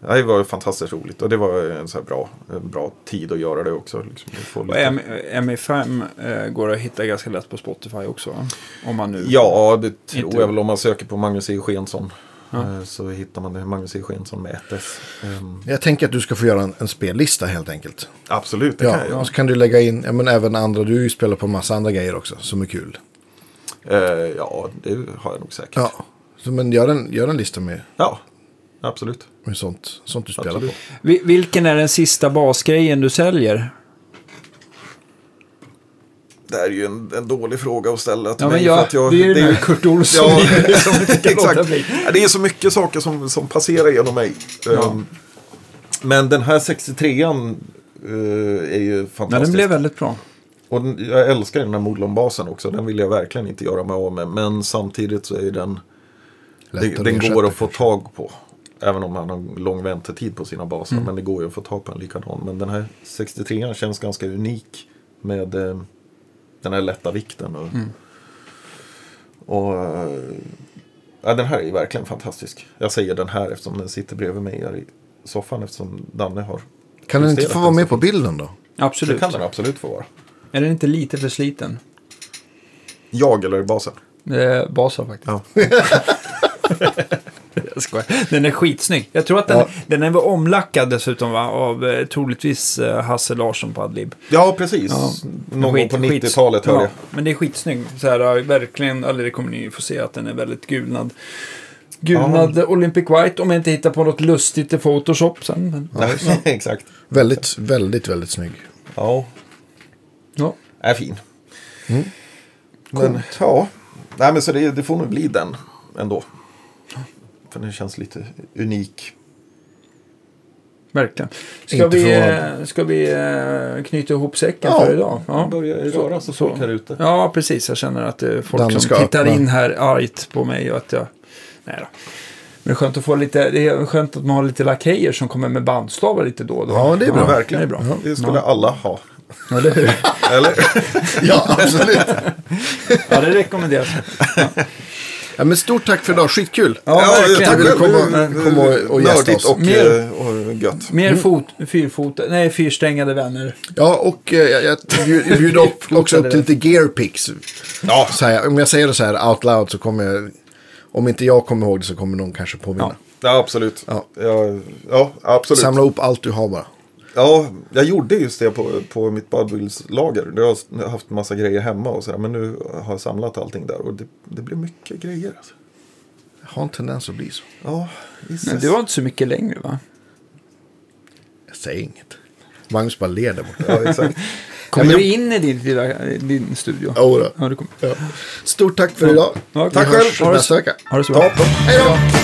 S3: Ja, det var ju fantastiskt roligt och det var en så här bra, en bra tid att göra det också. Liksom. att få
S1: Och
S3: lite-
S1: M- MI5 eh, går att hitta ganska lätt på Spotify också. va? Om man nu...
S3: Ja, det tror
S1: Inte-
S3: jag väl. Om man söker på Magnus E. Skensson eh, så hittar man det. Magnus E. Skensson med ett S. Ehm,
S2: Jag tänker att du ska få göra en, en spellista helt enkelt.
S3: Absolut, det kan
S2: Ja,
S3: jag göra.
S2: och så kan du lägga in ja, men även andra. Du har ju spelat på massa andra grejer också som är kul.
S3: Eh, Ja, det har jag nog säkert.
S2: Ja, så, men gör en, gör en lista med,
S3: Ja, absolut.
S2: med sånt, sånt du spelar
S3: absolut.
S2: på.
S1: Vi- Vilken är den sista basgrejen du säljer?
S3: Det här är ju en, en dålig fråga att ställa till
S1: Ja, men
S3: mig.
S1: jag,
S3: för att jag,
S1: det är ju
S3: det är
S1: den
S3: ju-
S1: här Kurt Olsson
S3: Ja,
S1: som inte kan låta
S3: Exakt.
S1: bli.
S3: Ja, Det är så mycket saker som, som passerar genom mig. Ehm, Men den här 63an eh, är ju fantastisk.
S1: Men den blev väldigt bra.
S3: Och den, jag älskar den här Modlon-basen också. Den vill jag verkligen inte göra mig av med. Men samtidigt så är ju den,
S2: Lätt
S3: det, den
S2: ersätta
S3: går att få
S2: kanske.
S3: tag på. Även om man har lång väntetid på sina baser. Men det går ju att få tag på en likadan. Men den här 63an känns ganska unik. Med eh, den här lätta vikten. Och, och, eh, ja, den här är ju verkligen fantastisk. Jag säger den här eftersom den sitter bredvid mig här i soffan. Eftersom Danne har.
S2: Kan den inte
S3: justerat
S2: få vara
S3: den
S2: med
S3: så-
S2: på bilden då?
S3: Det
S1: Absolut.
S3: kan den absolut få vara.
S1: Är den inte lite för sliten?
S3: Jag eller basen?
S1: Eh, Basa faktiskt.
S3: Ja.
S1: Jag skojar. Den är skitsnygg. Jag tror att den, den är väl omlackad dessutom va? av eh, troligtvis eh, Hasse Larsson på Adlib.
S3: Ja, precis. Någon
S1: Skit-
S3: gång på
S1: skits-
S3: 90-talet hörde jag.
S1: Men det är skitsnygg. Så här, ja, verkligen, eller det kommer ni ju få se att den är väldigt gulnad. Gulnad Olympic White om jag inte hittar på något lustigt i Photoshop sen. Men,
S3: Nej, exakt.
S2: Väldigt, väldigt, väldigt snygg.
S3: Ja,
S1: ja.
S3: är fin.
S1: Mm.
S3: Men ja, Nej, men så det, det får nog bli den ändå. För den känns lite unik.
S1: Verkligen. Ska
S2: Inte
S1: vi,
S2: förvånad.
S1: eh, ska vi eh, knyta ihop säcken
S2: Ja.
S1: för idag? Ja.
S3: börjar ju röra sig folk här ute.
S1: Ja, precis. Jag känner att det är folk
S2: Danne
S1: som
S2: ska
S1: tittar
S2: öppna.
S1: in här argt på mig och att jag... Nej då. Men det är skönt att få lite... Det är skönt att man har lite lakejer som kommer med bandstavar lite då och då.
S2: Ja, det är bra.
S1: Det är
S3: Verkligen.
S1: bra.
S3: Det skulle alla ha.
S1: Ja, eller hur?
S3: Eller?
S2: Ja, absolut.
S1: Ja, det rekommenderas.
S2: Ja, men stort tack för idag, skitkul.
S1: Ja, verkligen.
S2: tack
S1: Vill du
S2: komma- komma och- och gästa
S3: Nördigt
S2: oss?
S3: och,
S1: Mer.
S3: eh, och gött.
S1: Mer fot, fyrfota, Mm. nej, fyrsträngade vänner.
S2: Ja, och eh, jag, jag bjud- bjuder upp, också upp till lite gear picks.
S3: Ja,
S2: Så här, om jag säger det så här out loud så kommer jag, om inte jag kommer ihåg det så kommer någon kanske påminna.
S3: ja absolut.
S2: Ja.
S3: Ja, ja absolut.
S2: Samla ihop allt du har bara.
S3: Ja, jag gjorde just det på, på mitt badbilslager. Jag har haft massa grejer hemma och sådär. Men nu har jag samlat allting där och det, det blir mycket grejer. Alltså.
S2: Jag har en tendens att bli så.
S3: Ja, Jesus.
S1: Men det var inte så mycket längre va?
S2: Jag säger inget. Magnus bara ler där borta.
S3: Ja, exakt.
S1: Kommer
S2: men jag-
S1: du in i din, lilla- din studio?
S2: Jodå.
S1: Ja, du kommer.
S2: Ja. Stort tack för idag.
S1: Ja,
S2: Vi
S1: tack
S2: hörs
S1: själv. Ha det
S2: nästa
S1: så-
S2: vecka.
S1: Ha det så bra.
S2: Hej då!